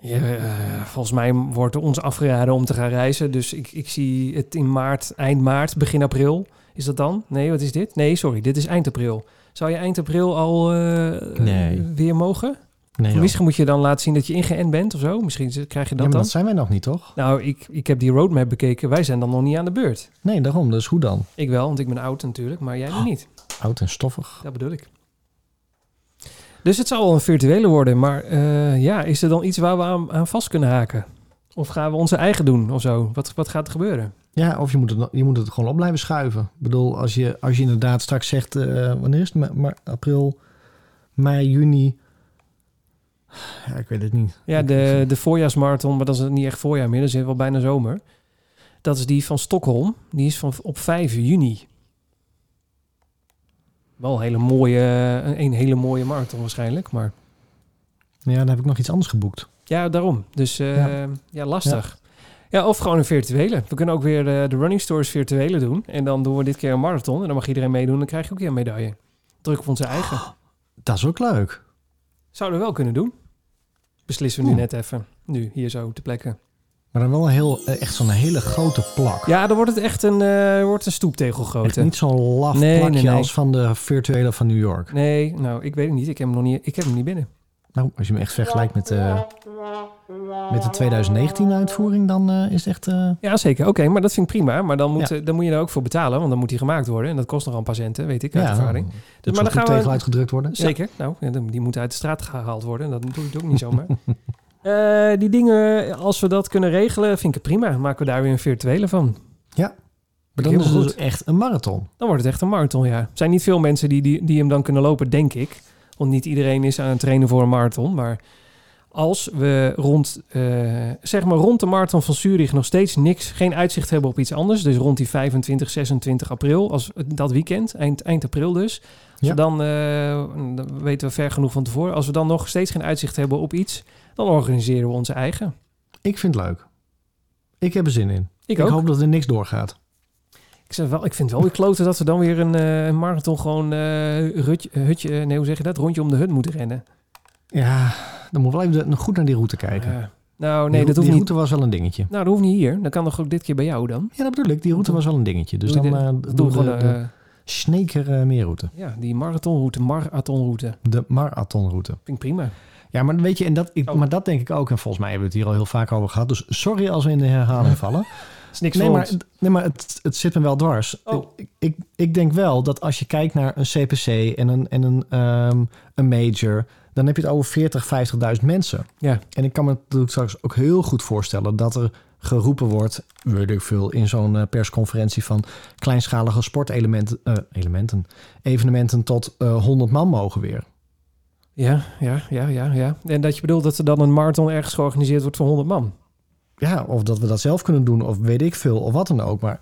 Ja, eh, volgens mij wordt ons afgeraden om te gaan reizen. Dus ik, ik zie het in maart, eind maart, begin april. Is dat dan? Nee, wat is dit? Nee, sorry, dit is eind april. Zou je eind april al eh,
Nee.
weer mogen?
nee, joh.
Misschien moet je dan laten zien dat je ingeënt bent of zo. Misschien krijg je
Ja,
dat
maar
dan.
dat zijn wij nog niet, toch?
Nou, ik, ik heb die roadmap bekeken. Wij zijn dan nog niet aan de beurt.
Nee, daarom. Dus hoe dan?
Ik wel, want ik ben oud natuurlijk, maar
Oh.
jij nog niet.
Oud en stoffig.
Dat bedoel ik. Dus het zal wel een virtuele worden, maar eh, ja, is er dan iets waar we aan, aan vast kunnen haken? Of gaan we onze eigen doen of zo? Wat, wat gaat er gebeuren?
Ja, of je moet het, no- je moet het gewoon op blijven schuiven. Ik bedoel, als je, als je inderdaad straks zegt... eh, wanneer is het? Ma- ma- april, mei, juni... Ja, ik weet het niet.
Ja,
Ik-
de, de voorjaarsmarathon, maar dat is niet echt voorjaar meer, dat is wel bijna zomer. Dat is die van Stockholm, die is van, op 5 juni. Wel een hele mooie, een hele mooie marathon waarschijnlijk, maar
Ja, dan heb ik nog iets anders geboekt.
ja, daarom. Dus eh, ja.
Ja.
lastig. Ja. of gewoon een virtuele. We kunnen ook weer de, de running stories virtuele doen. En dan doen we dit keer een marathon. En dan mag iedereen meedoen. Dan krijg je ook weer een medaille. Druk op onze eigen.
Dat is ook leuk.
Zouden we wel kunnen doen. Beslissen we nu
Oeh.
net even. Nu, hier zo, te plekken.
Maar dan wel een heel, eh, echt zo'n hele grote plak.
Ja, dan wordt het echt een, eh, wordt een stoeptegel
Echt
groter.
niet zo'n laf
Nee,
plakje
nee, nee.
als van de virtuele van New York.
Nee, nou, ik weet het niet. Ik heb hem nog niet, ik heb hem niet binnen.
Nou, als je hem echt vergelijkt met, eh, met de 2019-uitvoering, dan eh, is het echt... eh,
Ja, zeker. Oké, maar dat vind ik prima. Maar dan moet,
Ja.
eh, dan moet je er ook voor betalen. Want dan moet hij gemaakt worden. En dat kost nogal een paar centen, weet ik uit ervaring. Dus,
Dat
maar
maar
dan
dan
gaan we-
tegel uitgedrukt worden.
Zeker. Nou, ja, dan- die moeten uit de straat gehaald worden. En dat doe ik ook niet zomaar. Eh, die dingen, als we dat kunnen regelen, vind ik het prima. Dan maken we daar weer een virtuele van.
Maar dan
Heel
is het
goed.
dus echt een marathon.
Dan wordt het echt een marathon, ja. Er zijn niet veel mensen die, die, die hem dan kunnen lopen, denk ik. Want niet iedereen is aan het trainen voor een marathon. Maar als we rond, eh, zeg maar rond de marathon van Zurich nog steeds niks, geen uitzicht hebben op iets anders. Dus rond die 25, 26 april, als, dat weekend, eind, eind april dus. Als
Ja.
we dan, eh, dan weten we ver genoeg van tevoren. Als we dan nog steeds geen uitzicht hebben op iets, dan organiseren we onze eigen.
Ik vind het leuk. Ik heb er zin in.
Ik
Ik,
ook.
hoop dat er niks doorgaat.
Ik, zeg wel, ik vind het wel weer kloten dat we dan weer een eh, een marathon gewoon eh, rutje, hutje, eh, nee hoe zeg je dat, rondje om de hut moeten rennen.
Ja, dan moeten we wel even goed naar die route kijken.
Ja. nou
Die
nee,
roe-
dat hoeft
die
niet.
route was wel een dingetje.
Nou, dat hoeft niet hier. Dan kan toch ook dit keer bij jou dan.
Ja, dat bedoel ik. Die route was wel een dingetje. Dus
Doe
dan
je
eh,
Dat
doen
doen
we
we gewoon,
de, de
eh,
Sneker eh, meerroute.
ja, die marathonroute, marathonroute.
De marathonroute.
Vind ik prima.
Ja, maar weet je, en dat, ik,
Oh.
maar dat denk ik ook. En volgens mij hebben we het hier al heel vaak over gehad. Dus sorry als we in de herhaling vallen.
Is niks
Nee,
voor
maar,
ons.
nee, maar het, het zit me wel dwars.
Oh.
Ik, ik, ik denk wel dat als je kijkt naar een CPC en een, en een, ehm, een major... dan heb je het over 40, 50.000 mensen.
Ja.
En ik kan me natuurlijk straks ook heel goed voorstellen... dat er geroepen wordt, weet ik veel, in zo'n eh, persconferentie... van kleinschalige sportelementen, eh, elementen, evenementen tot eh 100 man mogen weer.
Ja, ja, ja, ja, ja. En dat je bedoelt dat er dan een marathon ergens georganiseerd wordt voor 100 man.
Ja, of dat we dat zelf kunnen doen, of weet ik veel, of wat dan ook. Maar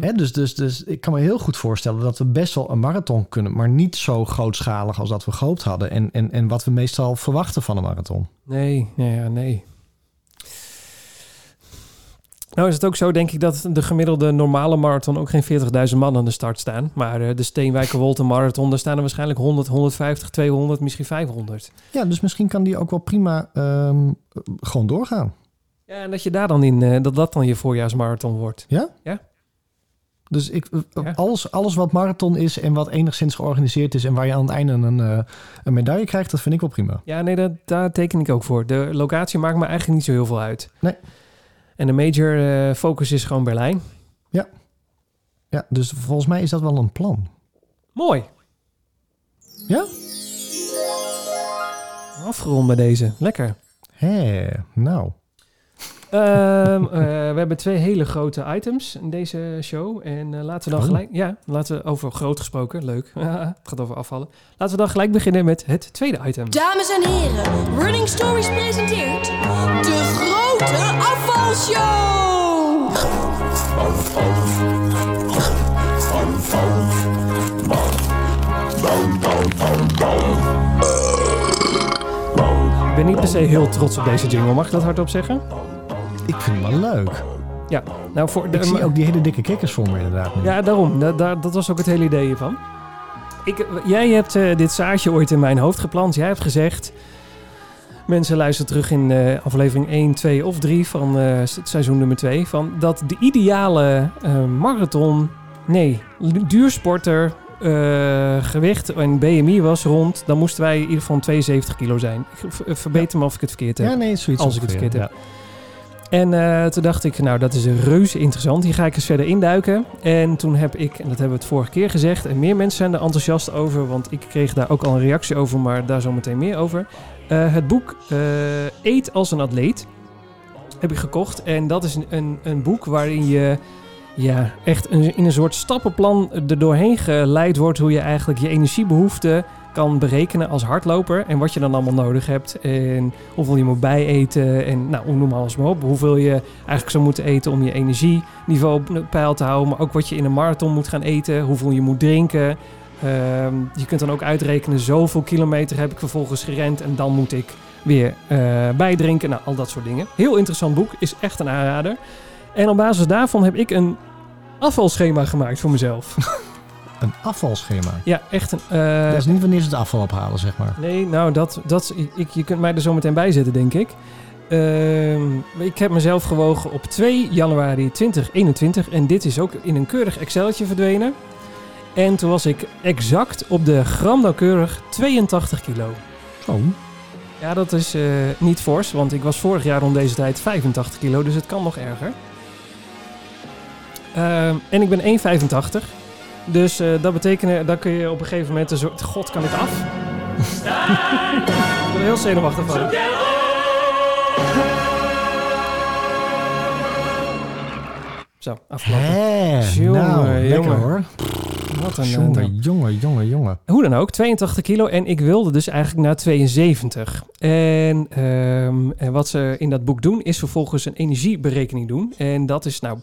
Hè, dus, dus, dus ik kan me heel goed voorstellen dat we best wel een marathon kunnen, maar niet zo grootschalig als dat we gehoopt hadden. En, en, en wat we meestal verwachten van een marathon.
Nee, nee, ja, nee. Nou is het ook zo, denk ik, dat de gemiddelde normale marathon ook geen 40.000 man aan de start staan. Maar eh, de Steenwijker Wolter Marathon, daar staan er waarschijnlijk 100, 150, 200, misschien 500.
Ja, dus misschien kan die ook wel prima ehm, gewoon doorgaan.
Ja, en dat je daar dan in, eh, dat dat dan je voorjaarsmarathon wordt.
Dus ik,
Ja.
alles, alles wat marathon is en wat enigszins georganiseerd is en waar je aan het einde een, eh, een medaille krijgt, dat vind ik wel prima.
Ja, nee, dat, daar teken ik ook voor. De locatie maakt me eigenlijk niet zo heel veel uit.
Nee.
En de major eh, focus is gewoon Berlijn.
Ja, dus volgens mij is dat wel een plan.
Mooi.
Ja?
Afgerond met deze. Lekker.
Hé, nou.
Ehm, eh, we hebben twee hele grote items in deze show. En eh, laten we dan
Oh.
gelijk... Ja, laten we over groot gesproken. Leuk. het gaat over afvallen. Laten we dan gelijk beginnen met het tweede item.
Dames en heren, Running Stories presenteert de grote afvalshow.
Ik ben niet per se heel trots op deze jingle. Mag ik dat hardop zeggen?
Ik vind hem wel leuk.
Ja. Nou, voor de,
Ik zie ook die hele dikke kikkers voor me inderdaad. nu.
Ja, daarom. Da- daar- dat was ook het hele idee hiervan. Ik, jij hebt eh, dit zaadje ooit in mijn hoofd geplant. Jij hebt gezegd... Mensen luisteren terug in eh, aflevering 1, 2 of 3 van eh, s- seizoen nummer 2. Van dat de ideale eh, marathon... Nee, l- duursporter... eh, gewicht en BMI was rond. Dan moesten wij in ieder geval 72 kilo zijn. Ik ver- verbeter me of ik het verkeerd heb.
Ja, nee, zoiets.
Als ik het
ongeveer,
verkeerd heb. En eh, toen dacht ik, nou dat is reuze interessant. Hier ga ik eens verder induiken. En toen heb ik, en dat hebben we het vorige keer gezegd, en meer mensen zijn er enthousiast over, want ik kreeg daar ook al een reactie over, maar daar zo meteen meer over. Eh, het boek eh, Eet als een atleet heb ik gekocht. En dat is een, een, een boek waarin je ja, echt een, in een soort stappenplan er doorheen geleid wordt hoe je eigenlijk je energiebehoeften kan berekenen als hardloper en wat je dan allemaal nodig hebt en hoeveel je moet bijeten en nou, noem maar alles maar op. Hoeveel je eigenlijk zou moeten eten om je energieniveau op peil te houden, maar ook wat je in een marathon moet gaan eten, hoeveel je moet drinken. Ehm, je kunt dan ook uitrekenen, zoveel kilometer heb ik vervolgens gerend en dan moet ik weer eh, bijdrinken. Nou, al dat soort dingen. Heel interessant boek, is echt een aanrader. En op basis daarvan heb ik een afvalschema gemaakt voor mezelf.
ja. Een afvalschema.
ja, echt een... eh,
dat is niet wanneer ze het afval ophalen, zeg maar.
Nee, nou, dat, dat, ik, je kunt mij er zo meteen bij zetten, denk ik. Ehm, ik heb mezelf gewogen op 2 januari 2021. En dit is ook in een keurig Exceltje verdwenen. En toen was ik exact op de gram nauwkeurig 82 kilo.
Oh,
Ja, dat is eh, niet fors, want ik was vorig jaar om deze tijd 85 kilo, dus het kan nog erger. Ehm, en ik ben 1,85. Dus eh, dat betekent, dan kun je op een gegeven moment een soort... God, kan ik af? ik ben er heel zenuwachtig van. Zo, afgelopen.
hè?
Jongen,
nou,
jongen.
lekker hoor.
Wat een-
Jongen, jongen, jongen, jongen.
Hoe dan ook, 82 kilo en ik wilde dus eigenlijk naar 72. En, ehm, en wat ze in dat boek doen, is vervolgens een energieberekening doen. En dat is nou,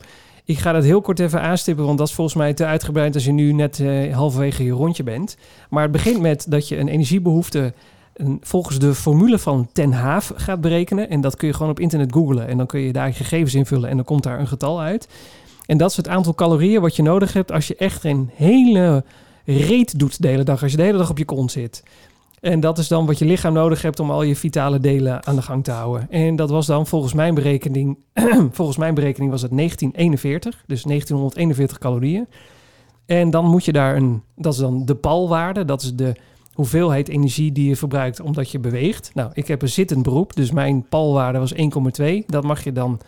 ik ga dat heel kort even aanstippen, want dat is volgens mij te uitgebreid als je nu net eh, halverwege je rondje bent. Maar het begint met dat je een energiebehoefte een- volgens de formule van Ten Haaf gaat berekenen. En dat kun je gewoon op internet googlen en dan kun je daar je gegevens invullen en dan komt daar een getal uit. En dat is het aantal calorieën wat je nodig hebt als je echt een hele reet doet de hele dag. Als je de hele dag op je kont zit. En dat is dan wat je lichaam nodig hebt om al je vitale delen aan de gang te houden. En dat was dan volgens mijn berekening, volgens mijn berekening was het 1941. Dus 1941 calorieën. En dan moet je daar een, dat is dan de palwaarde. Dat is de hoeveelheid energie die je verbruikt omdat je beweegt. Nou, ik heb een zittend beroep, dus mijn palwaarde was 1,2. Dat mag je dan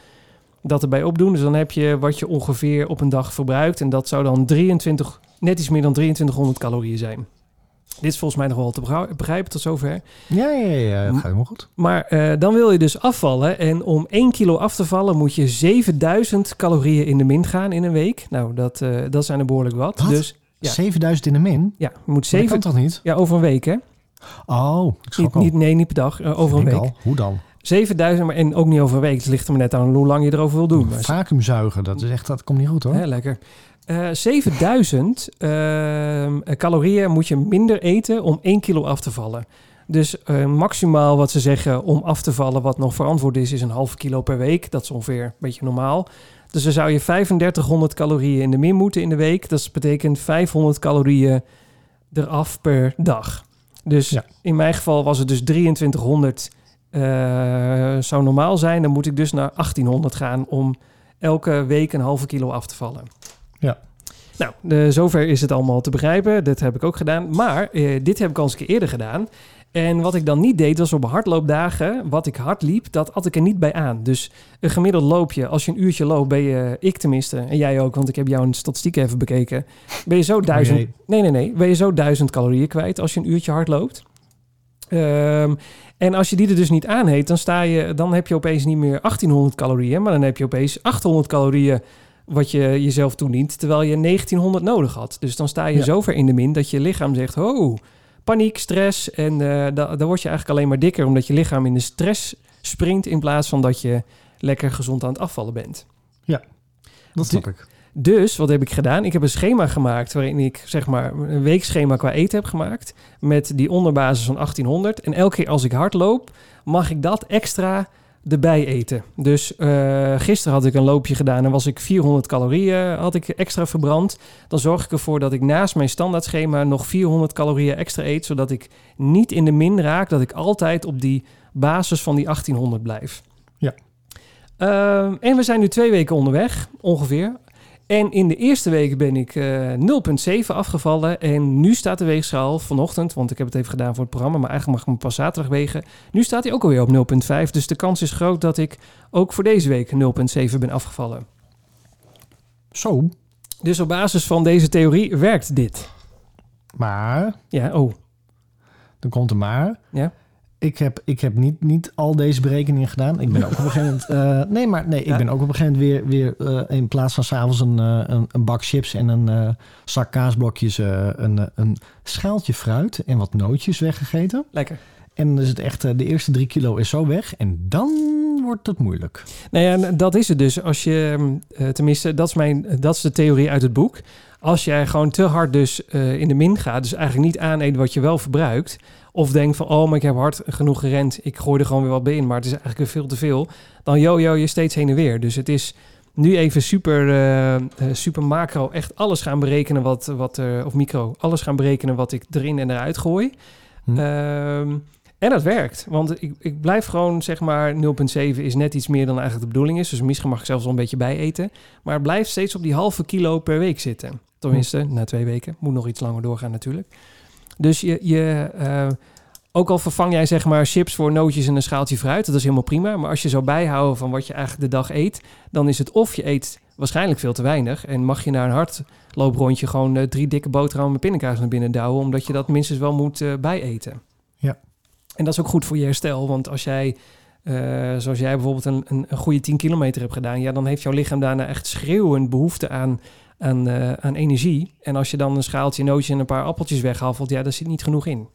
dat erbij opdoen. Dus dan heb je wat je ongeveer op een dag verbruikt. En dat zou dan 23 net iets meer dan 2300 calorieën zijn. Dit is volgens mij nog wel te begru- begrijpen tot zover.
Ja, ja, ja, ja, dat gaat helemaal goed.
Maar eh, dan wil je dus afvallen. En om 1 kilo af te vallen moet je 7000 calorieën in de min gaan in een week. Nou, dat, eh, dat zijn er behoorlijk wat.
Wat?
Dus Ja.
7000 in de min?
ja, je moet
Dat kan
7...
toch niet?
Ja, over een week hè?
Oh, ik schrok
Niet,
al.
niet, nee, niet per dag. eh, over een
Ik denk
week.
al, Hoe dan?
7000 maar- en ook niet over een week. Het ligt er maar net aan hoe lang je erover wil doen. Maar
Vacuumzuigen, dat is echt, dat komt niet goed hoor.
Hè, lekker. Eh, 7000 ehm, calorieën moet je minder eten om 1 kilo af te vallen. Dus eh, maximaal wat ze zeggen om af te vallen, wat nog verantwoord is, is een half kilo per week. Dat is ongeveer een beetje normaal. Dus dan zou je 3500 calorieën in de min moeten in de week. Dat betekent 500 calorieën eraf per dag. Dus
Ja.
in mijn geval was het dus 2300 eh, zou normaal zijn. Dan moet ik dus naar 1800 gaan om elke week een halve kilo af te vallen.
Ja.
Nou, de, zover is het allemaal te begrijpen. Dat heb ik ook gedaan. Maar eh, dit heb ik al eens een keer eerder gedaan. En wat ik dan niet deed, was op hardloopdagen, wat ik hard liep, dat had ik er niet bij aan. Dus een gemiddeld loopje, als je een uurtje loopt, ben je, ik tenminste, en jij ook, want ik heb jouw statistiek even bekeken, ben je zo duizend,
jee.
nee, nee, nee, ben je zo duizend calorieën kwijt als je een uurtje hard loopt. Ehm, en als je die er dus niet aan eet, dan, sta je, dan heb je opeens niet meer 1800 calorieën, maar dan heb je opeens 800 calorieën wat je jezelf toedient, terwijl je 1900 nodig had. Dus dan sta je
Ja.
zover in de min dat je lichaam zegt, ho, paniek, stress. En eh da- dan word je eigenlijk alleen maar dikker, omdat je lichaam in de stress springt in plaats van dat je lekker gezond aan het afvallen bent.
Dat snap ik.
Dus wat heb ik gedaan? Ik heb een schema gemaakt waarin ik zeg maar een weekschema qua eten heb gemaakt. Met die onderbasis van 1800. En elke keer als ik hardloop, mag ik dat extra erbij eten. Dus eh, gisteren had ik een loopje gedaan en was ik 400 calorieën had ik extra verbrand. Dan zorg ik ervoor dat ik naast mijn standaardschema nog 400 calorieën extra eet. Zodat ik niet in de min raak, dat ik altijd op die basis van die 1800 blijf.
Ja.
Ehm, en we zijn nu twee weken onderweg, ongeveer. En in de eerste week ben ik eh, 0,7 afgevallen. En nu staat de weegschaal vanochtend, want ik heb het even gedaan voor het programma, maar eigenlijk mag ik hem pas zaterdag wegen. Nu staat hij ook alweer op 0,5. Dus de kans is groot dat ik ook voor deze week 0,7 ben afgevallen.
Zo,
Dus op basis van deze theorie werkt dit.
maar,
Ja, oh.
dan komt er maar.
Ja.
Ik heb, ik heb niet, niet al deze berekeningen gedaan. Ik ben ook op een gegeven moment... eh, nee, maar nee,
Ja.
ik ben ook op een gegeven moment weer, weer eh, in plaats van s'avonds een, eh, een, een bak chips en een eh, zak kaasblokjes... eh, een, eh, een schaaltje fruit en wat nootjes weggegeten.
Lekker.
En dan is het echt, eh, de eerste drie kilo is zo weg. En dan wordt het moeilijk.
Nou ja, en dat is het dus. Als je, eh, tenminste, dat is, mijn, dat is de theorie uit het boek. Als jij gewoon te hard dus eh, in de min gaat, dus eigenlijk niet aaneet wat je wel verbruikt. Of denkt van, oh, maar ik heb hard genoeg gerend. Ik gooi er gewoon weer wat bij in, maar het is eigenlijk weer veel te veel. Dan yo-yo je steeds heen en weer. Dus het is nu even super, eh, eh, super macro. Echt alles gaan berekenen wat, wat er, of micro, alles gaan berekenen wat ik erin en eruit gooi.
Hm.
Ehm, en dat werkt, want ik, ik blijf gewoon zeg maar 0,7 is net iets meer dan eigenlijk de bedoeling is. Dus misschien mag ik zelfs wel een beetje bijeten. Maar het blijft steeds op die halve kilo per week zitten. Tenminste, na twee weken. Moet nog iets langer doorgaan natuurlijk. Dus je, je eh, ook al vervang jij zeg maar chips voor nootjes en een schaaltje fruit. Dat is helemaal prima. Maar als je zou bijhouden van wat je eigenlijk de dag eet. Dan is het of je eet waarschijnlijk veel te weinig. En mag je naar een hardlooprondje gewoon eh, drie dikke boterhammen met pindakaas naar binnen douwen. Omdat je dat minstens wel moet eh, bijeten. En dat is ook goed voor je herstel. Want als jij, eh, zoals jij bijvoorbeeld, een, een, een goede 10 kilometer hebt gedaan, ja, dan heeft jouw lichaam daarna echt schreeuwend behoefte aan, aan, eh, aan energie. En als je dan een schaaltje nootje en een paar appeltjes weghaffelt, ja, daar zit niet genoeg in.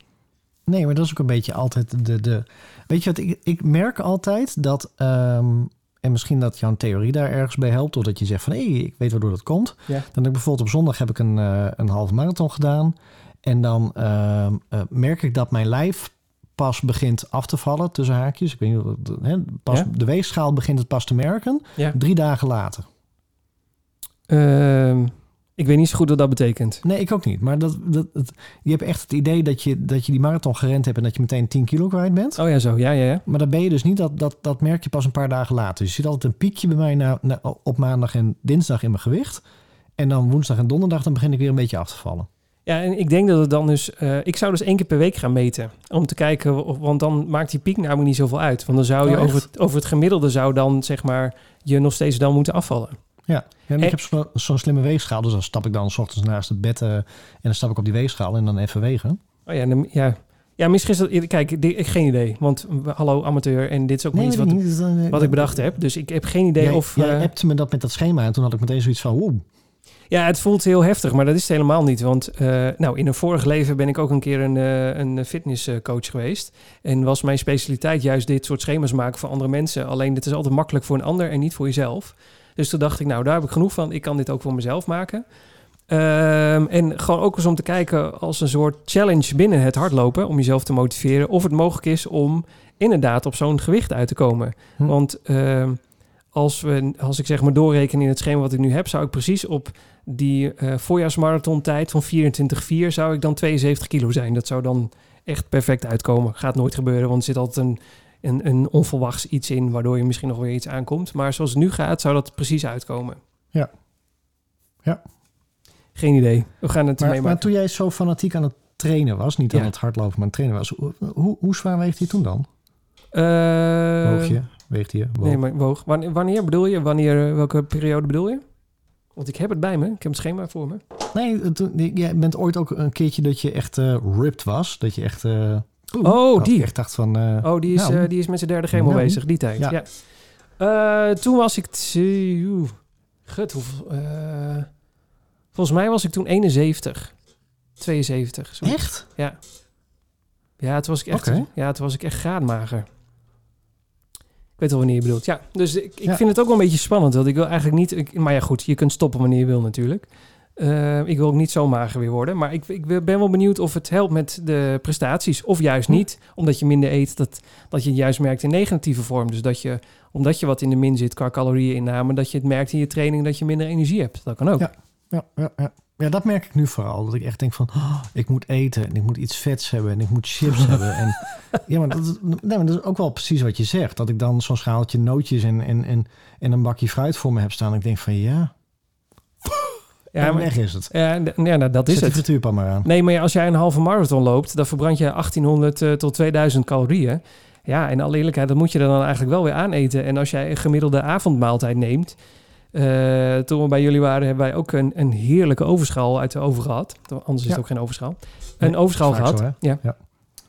Nee, maar dat is ook een beetje altijd de... de weet je wat, ik, ik merk altijd dat... ehm, en misschien dat jouw theorie daar ergens bij helpt... doordat je zegt van, hé, ik weet waardoor dat komt.
Ja.
Dan heb ik bijvoorbeeld op zondag heb ik een, eh, een halve marathon gedaan. En dan ehm, eh, merk ik dat mijn lijf pas begint af te vallen, tussen haakjes. Ik weet niet, of dat- hè, pas,
Ja.
De weegschaal begint het pas te merken.
Ja.
Drie dagen later.
Ehm, ik weet niet zo goed wat dat betekent.
Nee, ik ook niet. Maar dat, dat, het- je hebt echt het idee dat je, dat je die marathon gerend hebt... en dat je meteen 10 kilo kwijt bent.
Oh ja, zo. Ja, ja, ja.
Maar dat ben je dus niet, dat, dat, dat merk je pas een paar dagen later. Dus je ziet altijd een piekje bij mij na, na- op maandag en dinsdag in mijn gewicht. En dan woensdag en donderdag, dan begin ik weer een beetje af te vallen.
Ja, en ik denk dat het dan dus... eh, ik zou dus één keer per week gaan meten. Om te kijken, of- want dan maakt die piek namelijk niet zoveel uit. Want dan zou je
Oh, echt?
over het, over het gemiddelde zou dan, zeg maar, je nog steeds dan moeten afvallen.
Ja, ja en
En-
ik heb zo- zo'n slimme weegschaal. Dus dan stap ik dan s ochtends naast het bed eh, en dan stap ik op die weegschaal en dan even wegen.
Oh ja, dan- ja. ja misschien is dat... Kijk, di- ik geen idee. Want we- hallo amateur, en dit is ook maar iets
weet
wat,
ik niet. Dat-
wat ik bedacht heb. Dus ik heb geen idee
Jij,
of...
jij
eh,
appte me dat met dat schema en toen had ik meteen zoiets van... Oeh,
ja, het voelt heel heftig, maar dat is het helemaal niet. Want eh, nou, in een vorig leven ben ik ook een keer een, eh, een fitnesscoach geweest. En was mijn specialiteit juist dit soort schema's maken voor andere mensen. Alleen het is altijd makkelijk voor een ander en niet voor jezelf. Dus toen dacht ik, nou, daar heb ik genoeg van. Ik kan dit ook voor mezelf maken. Ehm, en gewoon ook eens om te kijken als een soort challenge binnen het hardlopen. Om jezelf te motiveren. Of het mogelijk is om inderdaad op zo'n gewicht uit te komen.
Hm.
Want ehm, als, we, als ik zeg maar doorreken in het schema wat ik nu heb. Zou ik precies op die eh voorjaarsmarathon tijd van 24,4 zou ik dan 72 kilo zijn. Dat zou dan echt perfect uitkomen. Gaat nooit gebeuren, want er zit altijd een, een, een onverwachts iets in... waardoor je misschien nog weer iets aankomt. Maar zoals het nu gaat, zou dat precies uitkomen.
Ja. Ja.
Geen idee. We gaan het
maar,
meemaken.
maar toen jij zo fanatiek aan het trainen was... niet
Ja.
aan het hardlopen, maar aan het trainen was... Hoe, hoe, hoe zwaar weegt hij toen dan?
Eh,
Woog je? Weegt hij? je? Woog.
Nee, maar woog. Wanneer, wanneer bedoel je? Wanneer, eh, welke periode bedoel je? Want ik heb het bij me. Ik heb het schema voor me.
Nee, toen- jij bent ooit ook een keertje dat je echt eh, ripped was. Dat je echt eh, Oeh,
Oh,
dat
die.
Ik echt dacht van... eh,
Oh, die is,
Nou.
eh, die is met zijn derde chemo
Nou.
bezig, die tijd. Ja.
Ja.
Eh, toen was ik... t- oeh, Gut, hoeveel... eh, volgens mij was ik toen 71. 72. zoiets.
echt?
Ja, toen was ik echt,
Oké.
ja, toen was ik echt graadmager. Ik weet wel wanneer je bedoelt. Ja, dus ik, ik
Ja.
vind het ook wel een beetje spannend. Want ik wil eigenlijk niet... Ik, maar ja, goed, je kunt stoppen wanneer je wil natuurlijk. Eh, ik wil ook niet zo mager weer worden. Maar ik, ik ben wel benieuwd of het helpt met de prestaties. Of juist niet, omdat je minder eet. Dat, dat je het juist merkt in negatieve vorm. Dus dat je, omdat je wat in de min zit qua calorieën inname... dat je het merkt in je training dat je minder energie hebt. Dat kan ook.
Ja. Ja, ja, ja. ja, dat merk ik nu vooral. Dat ik echt denk van, oh, ik moet eten en ik moet iets vets hebben en ik moet chips hebben. En, ja, maar dat, is- nee, maar dat is ook wel precies wat je zegt. Dat ik dan zo'n schaaltje nootjes en, en, en, en een bakje fruit voor me heb staan. En ik denk van, ja,
Ja,
en
maar-
weg is het.
ja, d- ja, nou, dat is
Zet die
het.
frituurpan maar aan.
Nee, maar ja, als jij een halve marathon loopt, dan verbrand je 1800 eh, tot 2000 calorieën. Ja, in alle eerlijkheid, dat moet je er dan eigenlijk wel weer aaneten. En als jij een gemiddelde avondmaaltijd neemt. eh, toen we bij jullie waren, hebben wij ook een, een heerlijke overschaal uit de oven gehad. Anders is
Ja.
het ook geen overschaal.
Nee,
Een overschaal
vaak
gehad.
zo, hè?
ja.
Ja.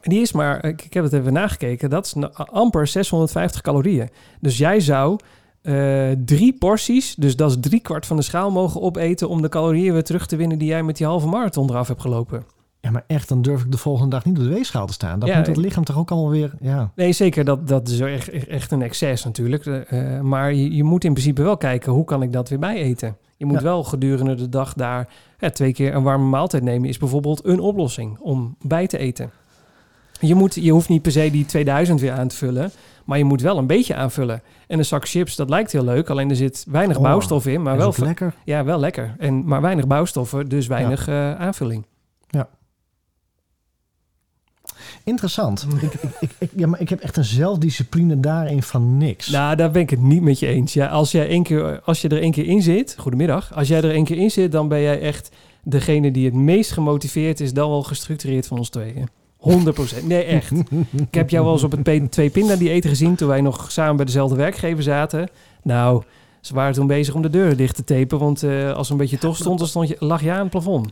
En die is maar, ik, ik heb het even nagekeken, dat is na- amper 650 calorieën. Dus jij zou eh, drie porties, dus dat is drie kwart van de schaal, mogen opeten om de calorieën weer terug te winnen die jij met die halve marathon eraf hebt gelopen.
Ja, maar echt, dan durf ik de volgende dag niet op de weegschaal te staan. Dan
Ja,
moet dat
ik-
lichaam toch ook allemaal weer... Ja,
Nee, zeker. Dat, dat is echt, echt- echt een excess natuurlijk. Eh, eh, maar je, je moet in principe wel kijken, hoe kan ik dat weer bijeten? Je moet
Ja.
wel gedurende de dag daar hè, twee keer een warme maaltijd nemen. Is bijvoorbeeld een oplossing om bij te eten. Je, moet, je hoeft niet per se die 2000 weer aan te vullen. Maar je moet wel een beetje aanvullen. En een zak chips, dat lijkt heel leuk. Alleen er zit weinig
Oh,
bouwstof in. Maar
dat is
wel,
ook lekker.
ve- ja, wel lekker. En, maar weinig bouwstoffen, dus weinig eh, aanvulling.
Interessant. ik, ik, ik, ik- ja, maar ik heb echt een zelfdiscipline daarin van niks.
Nou, daar ben ik het niet met je eens. Ja, als, jij één keer, als je er één keer in zit, goedemiddag. Als jij er één keer in zit, dan ben jij echt degene die het meest gemotiveerd is, dan wel gestructureerd van ons tweeën. 100%. Nee, echt. Ik heb jou wel eens op het P- twee pinda dieet gezien toen wij nog samen bij dezelfde werkgever zaten. Nou, ze waren toen bezig om de deuren dicht te tapen, want eh, als er een beetje tof stond, dan stond je, lag je aan het plafond.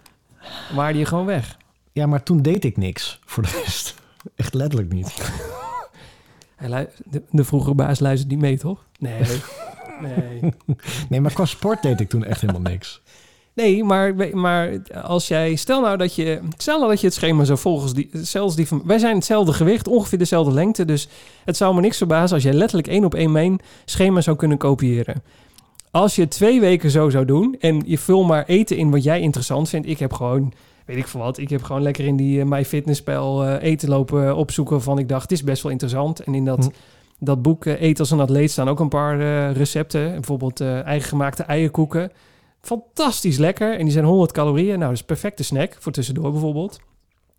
Dan Waarde je gewoon weg.
Ja, maar toen deed ik niks voor de rest. Echt letterlijk niet.
Hij lu- De, de vroegere baas luistert niet mee, toch? Nee. Nee.
Nee, maar qua sport deed ik toen echt helemaal niks.
Nee, maar, maar als jij. Stel nou dat je. Stel nou dat je het schema zou volgens die. Zelfs die van, wij zijn hetzelfde gewicht, ongeveer dezelfde lengte. Dus het zou me niks verbazen als jij letterlijk één op één mijn schema zou kunnen kopiëren. Als je twee weken zo zou doen en je vul maar eten in wat jij interessant vindt. Ik heb gewoon. Weet ik veel wat. Ik heb gewoon lekker in die My MyFitnessPal eh, eten lopen opzoeken. Van ik dacht, dit is best wel interessant. En in dat,
Hm.
dat boek eh, Eet als een atleet staan ook een paar eh, recepten. Bijvoorbeeld eh eigen gemaakte eierkoeken. Fantastisch lekker. En die zijn 100 calorieën. Nou, dat is een perfecte snack voor tussendoor bijvoorbeeld.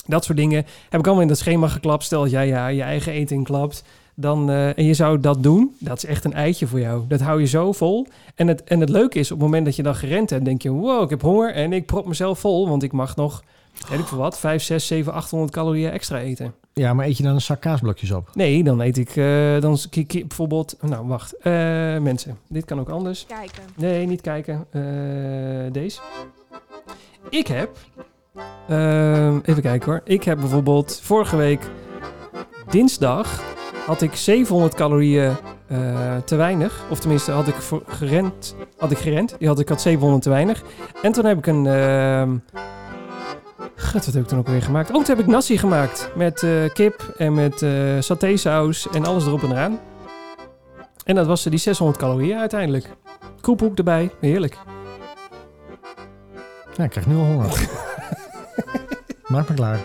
Dat soort dingen heb ik allemaal in dat schema geklapt. Stel dat jij ja, je eigen eten inklapt. Dan, eh, en je zou dat doen. Dat is echt een eitje voor jou. Dat hou je zo vol. En het, en het leuke is, op het moment dat je dan gerend hebt, denk je... wow, ik heb honger en ik prop mezelf vol. Want ik mag nog, weet ik veel wat, 5, 6, 7, 800 calorieën extra eten.
Ja, maar eet je dan een zak kaasblokjes op?
Nee, dan eet ik eh, dan ki- ki- bijvoorbeeld... Nou, wacht. Eh, mensen, dit kan ook anders.
Kijken.
Nee, niet kijken. Eh, deze. Ik heb... ehm, even kijken hoor. Ik heb bijvoorbeeld vorige week dinsdag had ik 700 calorieën eh, te weinig. Of tenminste had ik voor- gerend. Had ik gerend. Die had ik had 700 te weinig. En toen heb ik een... ehm God, wat heb ik toen ook weer gemaakt? Oh, toen heb ik nasi gemaakt. Met eh, kip en met eh satésaus en alles erop en eraan. En dat was er die 600 calorieën uiteindelijk. Koephoek erbij, heerlijk.
Ja, ik krijg nu al honger. Maak me klaar.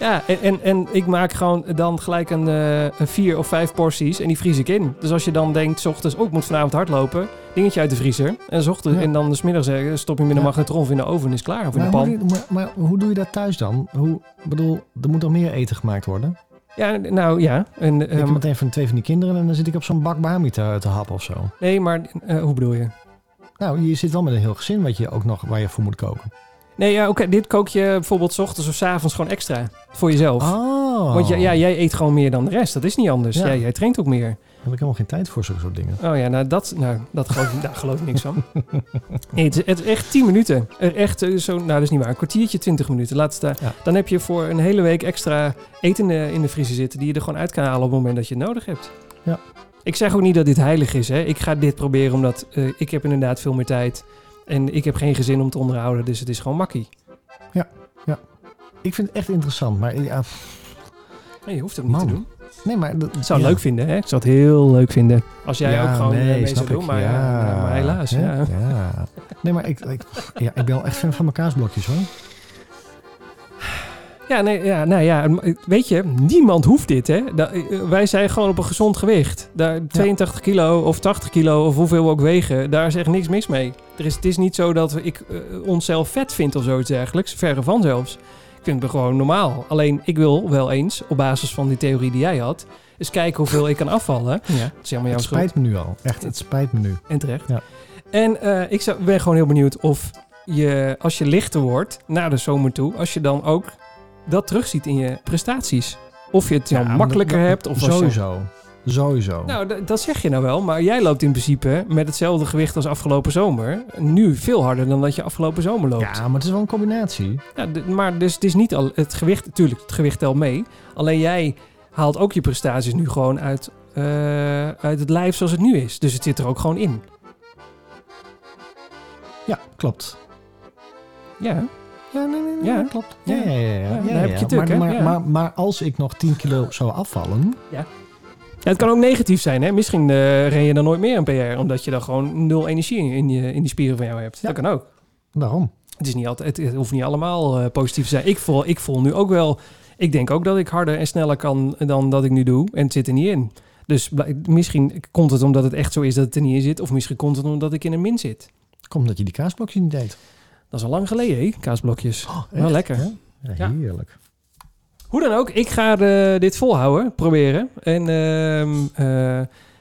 Ja, en, en, en ik maak gewoon dan gelijk een, eh, een vier of vijf porties en die vries ik in. Dus als je dan denkt, 's ochtends, oh, ik moet vanavond hardlopen, dingetje uit de vriezer. En, 's ochtends,
Ja.
en dan s middags eh, stop je hem in de
Ja.
magnetron of in de oven en is klaar. Of in de
Maar
pan.
hoe, doe je- maar, maar hoe doe je dat thuis dan? Hoe, ik bedoel, er moet toch meer eten gemaakt worden?
Ja, nou ja. En,
ik heb
ehm,
meteen van twee van die kinderen en dan zit ik op zo'n bak Bahami te, te happen of zo.
nee, maar eh, hoe bedoel je?
Nou, je zit wel met een heel gezin wat je ook nog, waar je voor moet koken.
Nee, ja, oké, dit kook je bijvoorbeeld 's ochtends of 's avonds gewoon extra voor jezelf.
Oh.
Want ja, ja, jij eet gewoon meer dan de rest. Dat is niet anders.
Ja.
Jij, jij traint ook meer.
heb ik helemaal geen tijd voor zulke soort dingen.
Oh ja, nou dat, nou, dat geloof, ik- daar geloof ik niks van. Nee, het, is, het is echt 10 minuten. Er Echt eh, zo, nou dat is niet waar, een kwartiertje, 20 minuten. Laat staan.
Ja.
Dan heb je voor een hele week extra eten eh, in de vriezer zitten... die je er gewoon uit kan halen op het moment dat je het nodig hebt.
Ja.
Ik zeg ook niet dat dit heilig is. Hè. Ik ga dit proberen omdat eh, ik heb inderdaad veel meer tijd... en ik heb geen gezin om te onderhouden, dus het is gewoon makkie.
Ik vind het echt interessant, maar ja,
Nee, je hoeft het niet
Man.
te doen.
nee, maar... dat-
Ik zou het
ja.
leuk vinden, hè? Ik zou het heel leuk vinden. Als jij
Ja,
ook gewoon eh, mee
snap
zou doen,
ik.
maar, eh, maar helaas.
Hè?
Ja.
Ja. Nee, maar ik, ik, ja, ik ben wel echt fan van mijn kaasblokjes, hoor.
Ja, nee, ja, nou ja, weet je, niemand hoeft dit, hè? Da- eh, wij zijn gewoon op een gezond gewicht. Daar 82 kilo of 80 kilo of hoeveel we ook wegen, daar is echt niks mis mee. Er is, het is niet zo dat ik eh, onszelf vet vind of zoiets dergelijks, verre van zelfs. Ik vind het gewoon normaal. Alleen ik wil wel eens, op basis van die theorie die jij had, eens kijken hoeveel ik kan afvallen.
Ja.
Dat is helemaal jouw
Het
schuld.
spijt me nu al. Echt, het spijt me nu.
En terecht.
Ja.
En eh, ik zou, ben gewoon heel benieuwd of je, als je lichter wordt naar de zomer toe, als je dan ook dat terugziet in je prestaties. Of je het
Ja,
dan
maar
makkelijker
dat-
hebt. Of als je-
Sowieso. Sowieso.
nou, d- dat zeg je nou wel, maar jij loopt in principe met hetzelfde gewicht als afgelopen zomer. Nu veel harder dan dat je afgelopen zomer loopt.
ja, maar het is wel een combinatie.
Ja, d- maar dus het is niet al het gewicht, natuurlijk, het gewicht telt mee. Alleen jij haalt ook je prestaties nu gewoon uit, eh, uit het lijf zoals het nu is. Dus het zit er ook gewoon in.
Ja, klopt.
Ja.
Ja, nee, nee, nee,
Ja.
klopt. Ja, ja,
Ja.
ja. ja,
Ja,
ja,
dan
ja,
heb je
ja.
het druk,
maar,
hè?
maar,
Ja.
maar, maar als ik nog 10 kilo zou afvallen...
Ja, het kan ook negatief zijn, hè? Misschien eh ren je dan nooit meer een PR, omdat je dan gewoon nul energie in, in, je, in die spieren van jou hebt.
Ja.
Dat kan ook.
Daarom.
Het, is niet altijd, het hoeft niet allemaal eh, positief te zijn. Ik voel, ik voel nu ook wel, ik denk ook dat ik harder en sneller kan dan dat ik nu doe. En het zit er niet in. Dus bl- misschien komt het omdat het echt zo is dat het er niet in zit. Of misschien komt het omdat ik in een min zit.
Komt dat je die kaasblokjes niet deed.
Dat is al lang geleden, hè? Kaasblokjes.
Oh,
Wel lekker.
hè? Ja,
Ja.
heerlijk.
Hoe dan ook, ik ga eh, dit volhouden, proberen. En ehm, eh,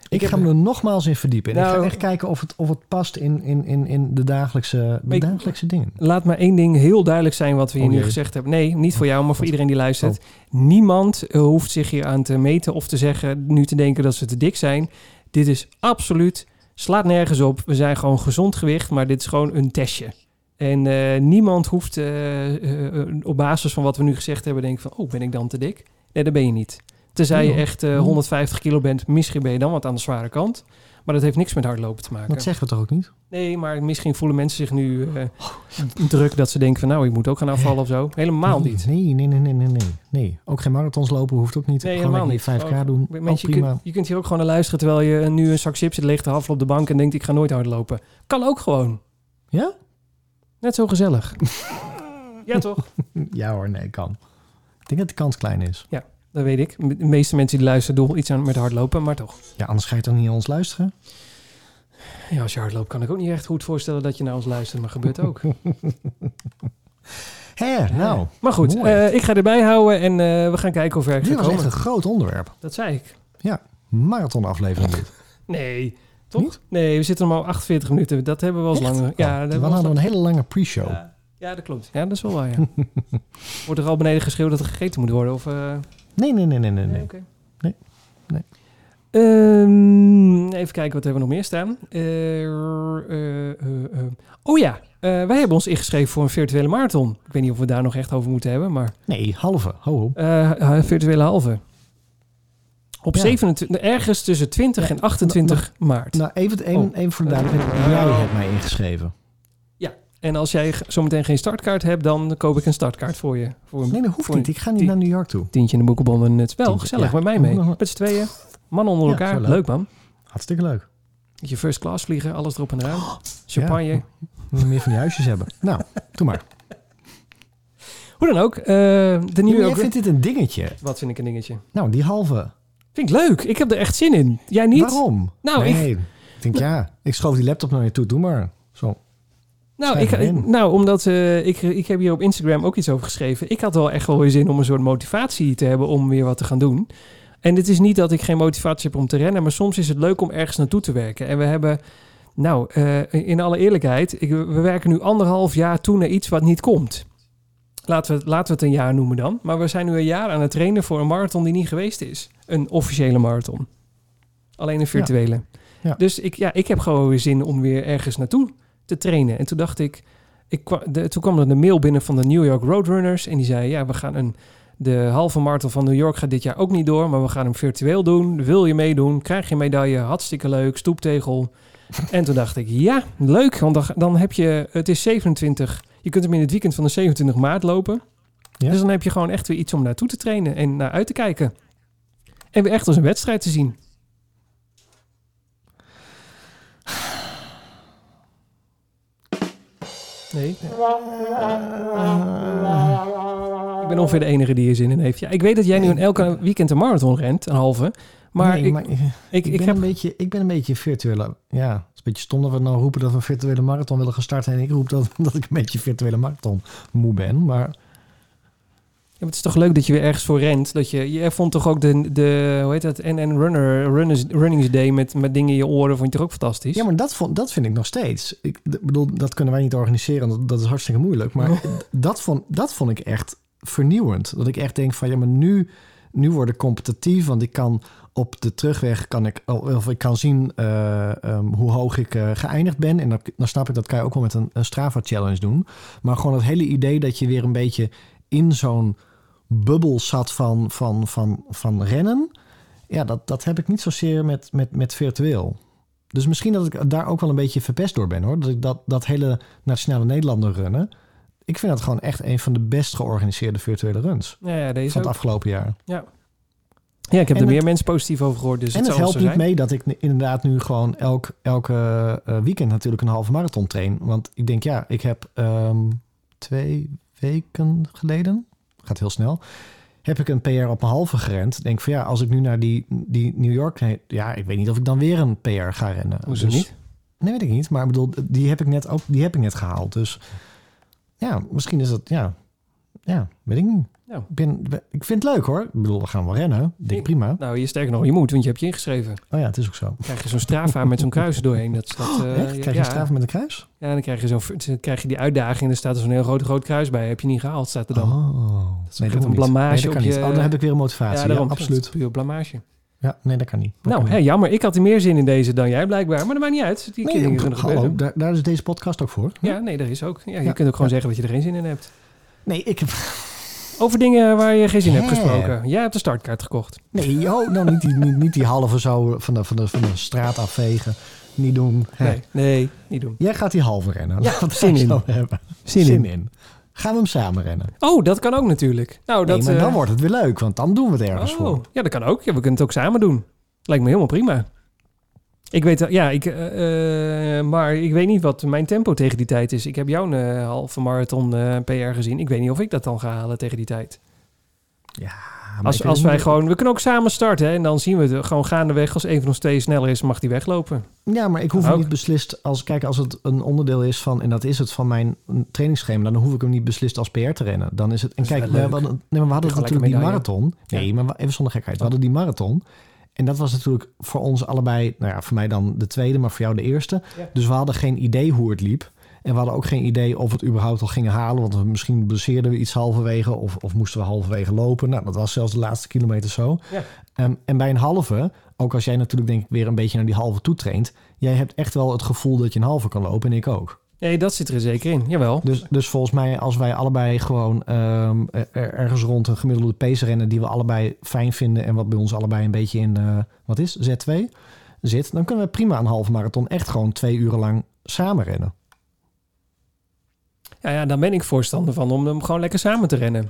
Ik,
heb-
ga me er nogmaals in verdiepen. En ik
Nou-
ga echt kijken of het, of het past in, in, in, in de dagelijkse, de
Ik-
dagelijkse dingen.
Laat maar één ding heel duidelijk zijn wat we hier
Oh
nu
jee. Oh,
gezegd hebben. Nee, niet voor jou, maar voor iedereen die luistert. Niemand eh, hoeft zich hier aan te meten of te zeggen, nu te denken dat ze te dik zijn. Dit is absoluut, slaat nergens op. We zijn gewoon gezond gewicht, maar dit is gewoon een testje. En eh, niemand hoeft eh, eh, eh, op basis van wat we nu gezegd hebben, denken van, oh, ben ik dan te dik? Nee, dat ben je niet. Tenzij je
Nee, hoor.
echt eh, 150 kilo bent, misschien ben je dan wat aan de zware kant. Maar dat heeft niks met hardlopen te maken.
Dat zeggen we toch ook niet?
Nee, maar misschien voelen mensen zich nu eh, druk dat ze denken van nou, ik moet ook gaan afvallen of zo. Helemaal
nee,
niet.
Nee, nee, nee, nee, nee, nee. Nee, ook geen marathons lopen hoeft ook niet.
Nee,
Gewoon
helemaal
lekker die
niet.
5K doen. Oh,
Mensen, je,
prima.
kunt, je kunt hier ook gewoon naar luisteren terwijl je nu een zak chips zit leeg te haffelen op de bank en denkt ik ga nooit hardlopen. Kan ook gewoon.
Ja?
Net zo gezellig. ja toch?
Ja hoor, nee, kan. Ik denk dat de kans klein is.
Dat weet ik. De meeste mensen die luisteren doen wel iets aan met hardlopen, maar toch.
Ja, anders ga je toch niet naar ons luisteren?
Ja, als je hardloopt kan ik ook niet echt goed voorstellen dat je naar ons luistert, maar gebeurt ook.
Hé, nou.
Maar goed,
Mooi.
eh, ik ga erbij houden en eh, we gaan kijken hoe ver ik
Dit
ga
was echt
komen.
een groot onderwerp.
Dat zei ik.
Marathon aflevering dit.
Nee, toch?
Niet?
Nee, we zitten maar al 48 minuten. Dat hebben we wel eens
Echt?
langer. Ja, dat
Oh, we
hebben we
hadden
wel
een hele lange pre-show.
eens- ja, ja, dat klopt. Ja, dat is wel waar, ja. Wordt er al beneden geschreeuwd dat er gegeten moet worden? Of, eh,
Nee, nee, nee, nee, nee. nee.
oké.
Nee, nee.
Ehm, even kijken, wat hebben we nog meer staan? Eh, eh, eh, eh. Oh ja, eh, wij hebben ons ingeschreven voor een virtuele marathon. Ik weet niet of we daar nog echt over moeten hebben, maar...
Nee, halve. Ho, ho.
eh, eh, virtuele halve. Op
Ja.
27, ergens tussen 20
Ja,
en 28 maart.
Nou, even,
Oh.
even, even voor de duidelijkheid. Jij hebt mij ingeschreven.
En als jij g- zometeen geen startkaart hebt, dan koop ik een startkaart voor je. Voor een
Nee, dat hoeft
voor
niet.
een
Ik ga niet
die-
naar New York toe.
tientje in de boekenbon en het wel
Tientje,
gezellig
ja.
met mij mee.
Nog wel.
Met z'n tweeën, mannen onder
Ja,
elkaar.
zo
leuk.
leuk.
man.
Hartstikke leuk.
Met je first class vliegen, alles erop en eraan. Champagne.
Oh, Ja. We moeten meer van die huisjes hebben. Nou, doe maar.
Hoe dan ook, eh, de New
Jij
York...
vindt dit een dingetje.
Wat vind ik een dingetje?
Nou, die halve.
Vind ik leuk. Ik heb er echt zin in. Jij niet?
Waarom?
Nou, ik-
nee. ik... denk, ja, ik schoof die laptop naar je toe. Doe maar. Zo.
Nou, ik,
Schrijf erin.
ik- nou omdat eh, ik, ik heb hier op Instagram ook iets over geschreven. Ik had wel echt wel weer zin om een soort motivatie te hebben om weer wat te gaan doen. En het is niet dat ik geen motivatie heb om te rennen, maar soms is het leuk om ergens naartoe te werken. En we hebben, nou, eh, in alle eerlijkheid, ik, we werken nu anderhalf jaar toe naar iets wat niet komt. Laten we, het- laten we het een jaar noemen dan. Maar we zijn nu een jaar aan het trainen voor een marathon die niet geweest is. Een officiële marathon. Alleen een virtuele.
Ja.
Dus ik, ja, ik heb gewoon weer zin om weer ergens naartoe te trainen. En toen dacht ik, ik kwa- de, toen kwam er een mail binnen van de New York Roadrunners. En die zei, ja, we gaan een, de halve marathon van New York gaat dit jaar ook niet door. Maar we gaan hem virtueel doen. Wil je meedoen? Krijg je een medaille? Hartstikke leuk. Stoeptegel. En toen dacht ik, ja, leuk. Want dan, dan heb je, het is 27. Je kunt hem in het weekend van de 27 maart lopen.
Ja.
Dus dan heb je gewoon echt weer iets om naartoe te trainen en naar uit te kijken. En weer echt als een wedstrijd te zien. Nee. Ik ben ongeveer de enige die hier zin in heeft. Ja, ik weet dat jij nu een elke weekend een marathon rent, een halve. Maar,
Nee,
ik,
maar ik,
ik, ik,
ben
heb...
een beetje, ik ben een beetje virtuele. Ja, het is een beetje stom dat we nou roepen dat we een virtuele marathon willen gaan starten. En ik roep dat, dat ik een beetje virtuele marathon moe ben. Maar
Ja, maar het is toch leuk dat je weer ergens voor rent. Dat je, je vond toch ook de, de hoe heet dat, NN Runner, Runners, Runnings Day met, met dingen in je oren, vond je toch ook fantastisch?
Ja, maar dat, vond, dat vind ik nog steeds. Ik d- bedoel, dat kunnen wij niet organiseren, dat, dat is hartstikke moeilijk. Maar d- dat, vond, dat vond ik echt vernieuwend. Dat ik echt denk van, ja, maar nu, nu word ik competitief. Want ik kan op de terugweg, kan ik, oh, of ik kan zien eh, ehm, hoe hoog ik eh, geëindigd ben. En dan, dan snap ik, dat kan je ook wel met een, een Strava-challenge doen. Maar gewoon het hele idee dat je weer een beetje in zo'n bubbel zat van, van, van, van rennen. Ja, dat, dat heb ik niet zozeer met, met, met virtueel. Dus misschien dat ik daar ook wel een beetje verpest door ben hoor. Dat, ik dat, dat hele nationale Nederlander runnen. Ik vind dat gewoon echt een van de best georganiseerde virtuele runs
ja, ja,
van
deze
het
ook.
afgelopen jaar.
ja ik heb
En
er meer
het-
mensen positief over gehoord, dus
en
het
het
zal wel
helpt
zo
niet
zijn.
mee dat ik n- inderdaad nu gewoon elk, elke eh, weekend natuurlijk een halve marathon train. Want ik denk ja, ik heb ehm, twee weken geleden, gaat heel snel, heb ik een PR op een halve gerend. Denk van ja, als ik nu naar die, die New York, ja, ik weet niet of ik dan weer een PR ga rennen.
Hoezo
Dus-
niet?
Nee, weet ik niet. Maar ik bedoel, die heb ik net ook, die heb ik net gehaald. Dus ja, misschien is dat, ja, ja, weet ik niet.
Nou.
Ik, ben, ik vind het leuk hoor. Ik bedoel, we gaan wel rennen. Ik Denk prima.
Nou, je sterker nog, je moet, want je hebt je ingeschreven.
Oh ja, het is ook zo.
krijg je zo'n Strava met zo'n kruis er doorheen. Dat, dat, eh,
Oh, Echt? Krijg je
ja,
straf met een kruis?
Ja, dan krijg je, zo'n, dan krijg je die uitdaging en er staat er zo'n heel groot, groot kruis bij. Heb je niet gehaald, staat er dan.
Oh,
is een
kan niet.
blamage
Nee, dat kan
op je-
niet. Oh, dan heb ik weer een motivatie. Ja,
daarom. Dat
absoluut.
is Puur blamage.
Ja, nee, dat kan niet. Dat
nou,
kan
hè,
niet.
jammer. Ik had er meer zin in deze dan jij blijkbaar. Maar dat maakt niet uit. Die
Nee,
kinderen kunnen
hallo,
gebeuren.
daar, daar is deze podcast ook voor.
Ja, nee, daar is ook. Ja, je
Ja.
kunt ook gewoon zeggen dat je er geen zin in hebt.
Nee, ik heb...
Over dingen waar je geen zin in hebt
Hè?
gesproken. Jij hebt de startkaart gekocht.
Nee, oh, nou niet die, niet, niet die halve zo van de, van, de, van de straat afvegen. Niet doen. Hè.
Nee, nee niet doen.
Jij gaat die halve rennen.
Ja,
Laten we
zin
dat
in.
zo hebben.
Zin,
zin
in.
in. Gaan we hem samen rennen?
Oh, dat kan ook natuurlijk. Nou,
Nee,
dat,
maar dan
eh,
wordt het weer leuk, want dan doen we het ergens
Oh,
voor.
ja, dat kan ook. Ja, we kunnen het ook samen doen. Lijkt me helemaal prima. Ik weet, wel- ja, ik, eh, eh, maar ik weet niet wat mijn tempo tegen die tijd is. Ik heb jouw eh, halve marathon eh, PR gezien. Ik weet niet of ik dat dan ga halen tegen die tijd.
Ja, maar ik
Als,
weet
als
niet-
wij gewoon, we kunnen ook samen starten hè, en dan zien we het gewoon gaandeweg. Als een van ons twee sneller is, mag die weglopen.
Ja, maar ik hoef
Kan ook.
hem niet beslist als... Kijk, als het een onderdeel is van... En dat is het van mijn trainingsschema. Dan hoef ik hem niet beslist als PR te rennen. Dan is het... En
Dat is wel
kijk, we
leuk.
hadden, nee, maar we hadden
Gewoon
natuurlijk die
lekker
marathon.
Ja.
Nee, maar wa- even zonder gekheid. We hadden die marathon. En dat was natuurlijk voor ons allebei... Nou ja, voor mij dan de tweede, maar voor jou de eerste.
Ja.
Dus we hadden geen idee hoe het liep. En we hadden ook geen idee of we het überhaupt al gingen halen. Want we- misschien blesseerden we iets halverwege. Of, of moesten we halverwege lopen. Nou, dat was zelfs de laatste kilometer zo.
Ja.
Ehm, en bij een halve, ook als jij natuurlijk denk ik weer een beetje naar die halve toe traint. Jij hebt echt wel het gevoel dat je een halve kan lopen. En ik ook.
Nee, dat zit er zeker in. Jawel.
Dus, dus volgens mij als wij allebei gewoon ehm, er- er- ergens rond een gemiddelde pace rennen. Die we allebei fijn vinden. En wat bij ons allebei een beetje in, eh, wat is, Z2 zit. Dan kunnen we prima een halve marathon echt gewoon twee uren lang samen rennen.
Ja, ja, dan ben ik voorstander van om hem gewoon lekker samen te rennen.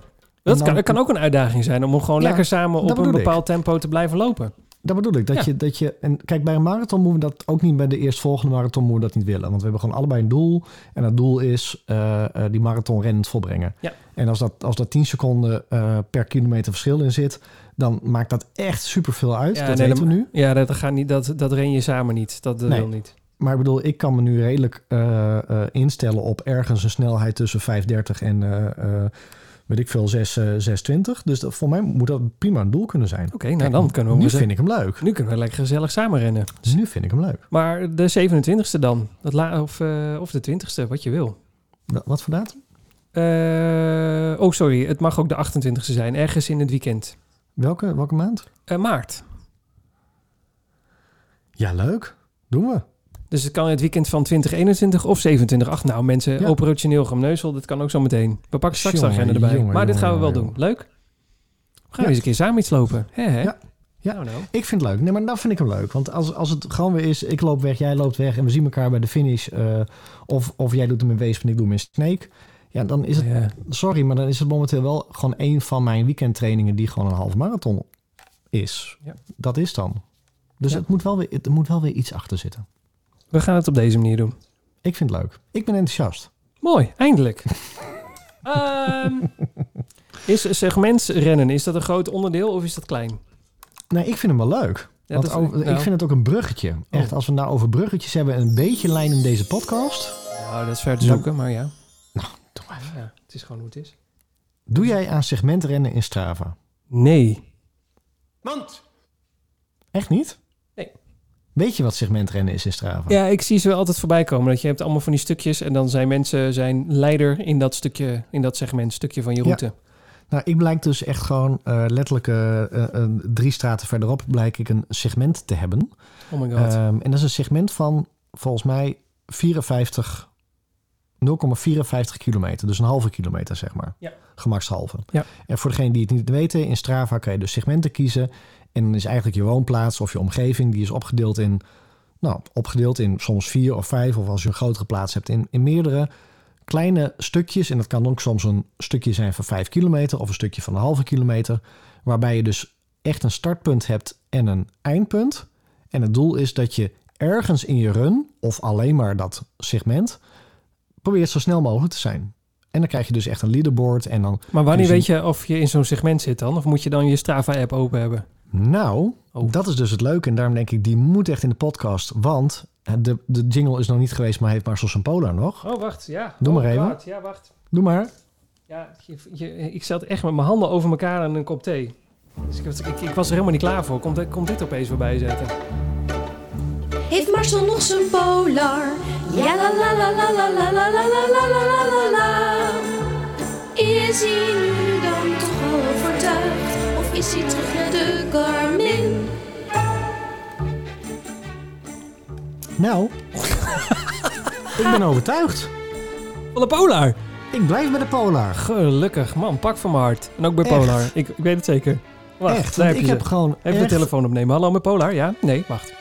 Dat
dan-
kan, dat kan ook een uitdaging zijn om hem gewoon
Ja,
lekker samen
dat
op een
bedoel ik.
bepaald tempo te blijven lopen.
Dat bedoel ik. Dat,
Ja.
je, dat je. En kijk, bij een marathon moeten we dat ook niet. Bij de eerstvolgende marathon moeten we dat niet willen. Want we hebben gewoon allebei een doel. En dat doel is eh, eh, die marathon rennend volbrengen.
Ja.
En als dat, als dat 10 seconden eh, per kilometer verschil in zit. dan maakt dat echt superveel uit.
Ja,
dat
nee,
weten
dat-
we nu.
Ja, dat, gaat niet, dat, dat ren je samen niet. Dat, dat
Nee.
wil niet.
Maar ik bedoel, ik kan me nu redelijk eh, eh, instellen op ergens een snelheid tussen 5,30 en. eh, eh, weet ik veel, 6, eh, 6,20. Dus dat, voor mij moet dat prima een doel kunnen zijn.
Oké, nou dan kunnen we,
nu
hem eens-
vind ik hem leuk.
nu kunnen we lekker gezellig samen rennen.
Nu vind ik hem leuk.
Maar de 27e dan? Dat la, of, eh, of de 20e, wat je wil.
Wa- Wat voor datum?
Eh, oh, sorry. Het mag ook de 28e zijn. Ergens in het weekend.
Welke, welke maand?
Eh, maart.
Ja, leuk. Doen we.
Dus het kan in het weekend van 2021 of 27. Ach, nou mensen,
Ja.
operationeel gemneusel, dat kan ook zo meteen. We pakken straks de
Jongen,
agenda erbij.
jongen,
maar dit gaan we wel
jongen,
doen. Leuk? We gaan
Ja.
eens een keer samen iets lopen. Hè, hè?
Ja. Ja.
Nou, nou.
Ik vind het leuk. Nee, maar dan vind ik hem leuk. Want als, als het gewoon weer is, ik loop weg, jij loopt weg en we zien elkaar bij de finish. eh, of, of jij doet hem in Weesp en ik doe hem in Snake. Ja, dan is het,
Ja.
sorry, maar dan is het momenteel wel gewoon een van mijn weekendtrainingen die gewoon een half marathon is.
Ja.
Dat is dan. Dus
Ja.
het moet wel weer, het moet wel weer iets achter zitten.
We gaan het op deze manier doen.
Ik vind het leuk. Ik ben enthousiast.
Mooi, eindelijk. Ehm, is segmentsrennen, is dat een groot onderdeel of is dat klein?
Nee, ik vind hem wel leuk.
Ja,
Want
dat-
over-
nou. Oh.
Ik vind het ook een bruggetje. Echt, als we het nou over bruggetjes hebben en een beetje lijn in deze podcast.
Nou, dat is ver te
Dan-
zoeken, maar ja.
Nou, Doe, maar even.
ja. Het is gewoon hoe het is.
Doe jij aan segmentrennen in Strava?
Nee.
Echt niet?
Nee.
Weet je wat segmentrennen is in Strava?
Ja, ik zie ze wel altijd voorbij komen. Dat je hebt allemaal van die stukjes en dan zijn mensen zijn leider in dat stukje, in dat segment, stukje van je route.
Nou, ik blijk dus echt gewoon eh, letterlijk eh, eh, eh, drie straten verderop... blijk ik een segment te hebben.
Oh my god.
Ehm, en dat is een segment van volgens mij 54... 0,54 kilometer, dus een halve kilometer zeg maar.
Ja.
Gemakshalve.
Ja.
En voor degenen die het niet weten, in Strava kan je dus segmenten kiezen. En dan is eigenlijk je woonplaats of je omgeving, die is opgedeeld in, nou, opgedeeld in soms vier of vijf, of als je een grotere plaats hebt, in, in meerdere kleine stukjes. En dat kan ook soms een stukje zijn van vijf kilometer of een stukje van een halve kilometer. Waarbij je dus echt een startpunt hebt en een eindpunt. En het doel is dat je ergens in je run, of alleen maar dat segment, probeert zo snel mogelijk te zijn. En dan krijg je dus echt een leaderboard en dan,
maar
kun
wanneer
je
weet je of je in zo'n segment zit dan? Of moet je dan je Strava-app open hebben?
nou,
Oh.
dat is dus het leuke. En daarom denk ik, die moet echt in de podcast, want de, de jingle is nog niet geweest, maar heeft Marcel Sampola nog.
Oh, wacht. Ja.
Doe maar even.
Ja, wacht.
Doe maar.
Ja, je- je- ik zat echt met mijn handen over elkaar aan een kop thee. Dus ik, was- ik, ik was er helemaal niet klaar voor. Komt komt dit opeens voorbij zetten?
Heeft Marcel nog zijn polar? Ja la la la la la la la la la la la la la la. Is hij nu dan toch al overtuigd? Of is hij terug naar de Garmin?
Nou, ik ben overtuigd.
Van de Polar!
Ik blijf bij de Polar.
Gelukkig, man. Pak van mijn hart. En ook bij
Echt?
Polar. Ik, ik weet het zeker. Wacht,
echt,
daar
want
heb je
ik
ze.
heb gewoon
Even
echt-
de telefoon opnemen. Hallo, met Polar? Ja? Nee, wacht.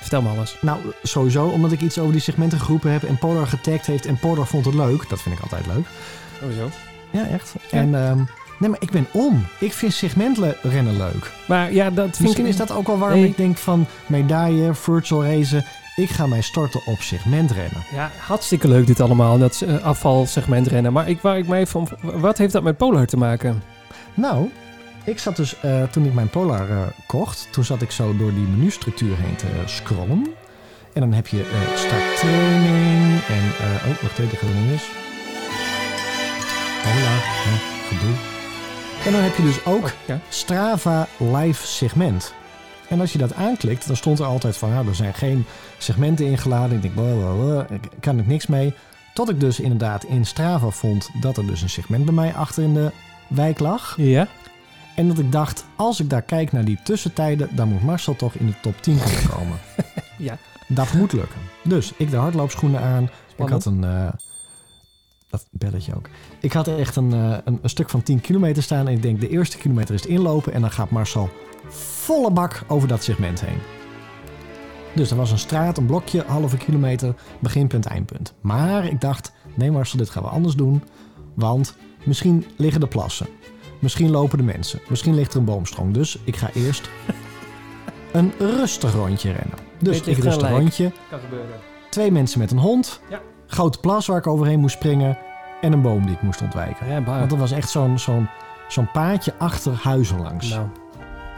Vertel me alles.
Nou, sowieso, omdat ik iets over die segmenten geroepen heb en Polar getagd heeft en Polar vond het leuk. Dat vind ik altijd leuk.
Sowieso.
Ja, echt. En, ehm, nee, maar ik ben om. Ik vind segmentrennen leuk.
Maar ja, dat vind
Misschien
ik...
is dat ook wel waarom
Nee.
ik denk van medaille, virtual racen. Ik ga mij starten op segmentrennen.
Ja, hartstikke leuk dit allemaal. Dat is, eh, afvalsegment rennen. Maar ik, waar ik mij van... Wat heeft dat met Polar te maken?
Nou, ik zat dus eh, toen ik mijn Polar eh, kocht, toen zat ik zo door die menustructuur heen te scrollen. En dan heb je eh starttraining en... eh oh, wacht even, die gaat er niet mis. Hola, hè, gedoe. En dan heb je dus ook
ja.
Strava Live segment. En als je dat aanklikt, dan stond er altijd van... Nou, er zijn geen segmenten ingeladen. Ik denk, blablabla, ik kan ik niks mee. Tot ik dus inderdaad in Strava vond dat er dus een segment bij mij achter in de wijk lag.
Ja?
En dat ik dacht, als ik daar kijk naar die tussentijden, dan moet Marcel toch in de top 10 kunnen komen.
Ja.
Dat moet lukken. Dus ik de hardloopschoenen aan. Ik
Spannend.
had een. eh, dat belletje ook. Ik had echt een, eh, een, een stuk van 10 kilometer staan. En ik denk, de eerste kilometer is het inlopen. En dan gaat Marcel volle bak over dat segment heen. Dus er was een straat, een blokje, halve kilometer, beginpunt, eindpunt. Maar ik dacht, nee Marcel, dit gaan we anders doen. Want misschien liggen de plassen. Misschien lopen de mensen. Misschien ligt er een boomstroom. Dus ik ga eerst een rustig rondje rennen. Dus
Dit ligt
ik
een
rustig
lijk.
rondje.
Kan gebeuren.
Twee mensen met een hond.
Ja.
Grote plas waar ik overheen moest springen. En een boom die ik moest ontwijken.
Ja, maar...
Want er was echt zo'n zo'n zo'n paadje achter huizen langs.
Nou.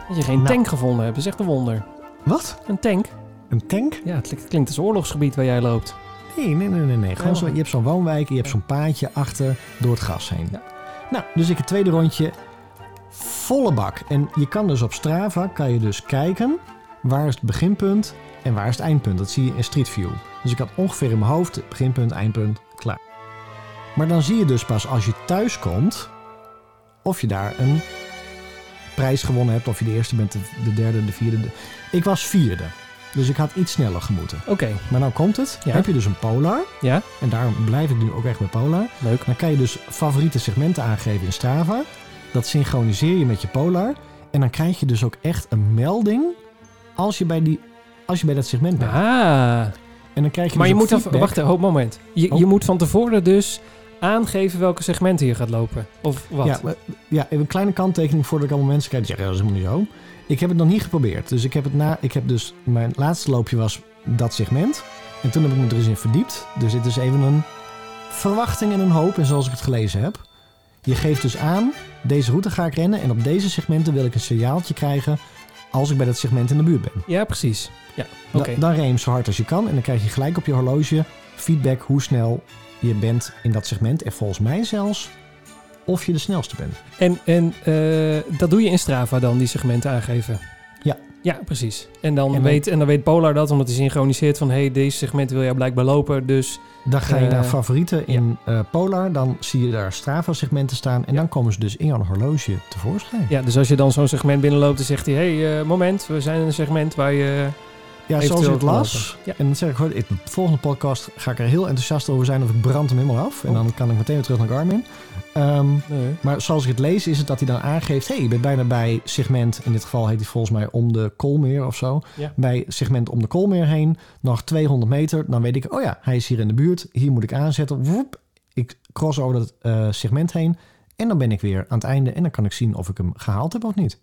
Dat je geen
Nou.
tank gevonden hebt, is echt een wonder.
Wat?
Een tank?
Een tank?
Ja, het klinkt- klinkt als oorlogsgebied waar jij loopt.
Nee, nee, nee, nee. nee. Gewoon
Ja.
zo, je hebt zo'n woonwijk en je hebt zo'n paadje achter door het gras heen.
Ja.
Nou, dus ik het tweede rondje. Volle bak. En je kan dus op Strava kan je dus kijken waar is het beginpunt en waar is het eindpunt. Dat zie je in Street View. Dus ik had ongeveer in mijn hoofd het beginpunt, eindpunt, klaar. Maar dan zie je dus pas als je thuis komt of je daar een prijs gewonnen hebt. Of je de eerste bent, de, de derde, de vierde. de- Ik was vierde. Dus ik had iets sneller gemoeten.
Oké,
Maar nou komt het.
Ja.
Heb je dus een polar.
ja,
En daarom blijf ik nu ook echt bij polar.
leuk.
Dan kan je dus favoriete segmenten aangeven in Strava. Dat synchroniseer je met je polar. En dan krijg je dus ook echt een melding als je bij, die, als je bij dat segment bent.
Ah,
En dan krijg je
maar je
dus
moet
ook
dan...
feedback.
Wacht, hoop moment. Je,
Oh.
je moet van tevoren dus aangeven welke segmenten je gaat lopen. Of wat?
Ja, maar- ja, even een kleine kanttekening voordat ik allemaal mensen krijg die zeggen, "Ja, dat is helemaal niet zo. Ik heb het nog niet geprobeerd. Dus ik heb het na, ik heb dus, mijn laatste loopje was dat segment. En toen heb ik me er eens in verdiept. Dus dit is even een verwachting en een hoop. En zoals ik het gelezen heb. Je geeft dus aan, deze route ga ik rennen. En op deze segmenten wil ik een signaaltje krijgen als ik bij dat segment in de buurt ben.
Ja, precies. Ja, oké.
Da- Dan ren je hem zo hard als je kan. En dan krijg je gelijk op je horloge feedback hoe snel je bent in dat segment. En volgens mij zelfs of je de snelste bent.
En, en eh, dat doe je in Strava dan, die segmenten aangeven?
Ja.
Ja, precies. En dan,
En dan-
weet, en dan weet Polar dat, omdat hij synchroniseert van... hé, hey, deze segmenten wil jij blijkbaar lopen, dus...
Dan ga je
Eh,
naar favorieten in eh, Polar. Dan zie je daar Strava-segmenten staan. En dan komen ze dus in jouw horloge tevoorschijn. Ja,
Ja, dus als je dan zo'n segment binnenloopt, dan zegt hij... hé, hey, eh, moment, we zijn in een segment waar je... eh,
zoals ik
eventueel
het las.
gelopen. Ja.
En dan zeg ik, hoor, in de volgende podcast ga ik er heel enthousiast over zijn. Of ik brand hem helemaal af. En
Oh.
dan kan ik meteen weer terug naar Garmin. Ehm,
Nee.
maar zoals ik het lees, is het dat hij dan aangeeft... hé, hey, je bent bijna bij segment... in dit geval heet hij volgens mij om de Koolmeer of zo.
Ja.
Bij segment om de Koolmeer heen. Nog 200 meter. Dan weet ik, oh ja, hij is hier in de buurt. Hier moet ik aanzetten. Woep, ik cross over dat eh, segment heen. En dan ben ik weer aan het einde. En dan kan ik zien of ik hem gehaald heb of niet.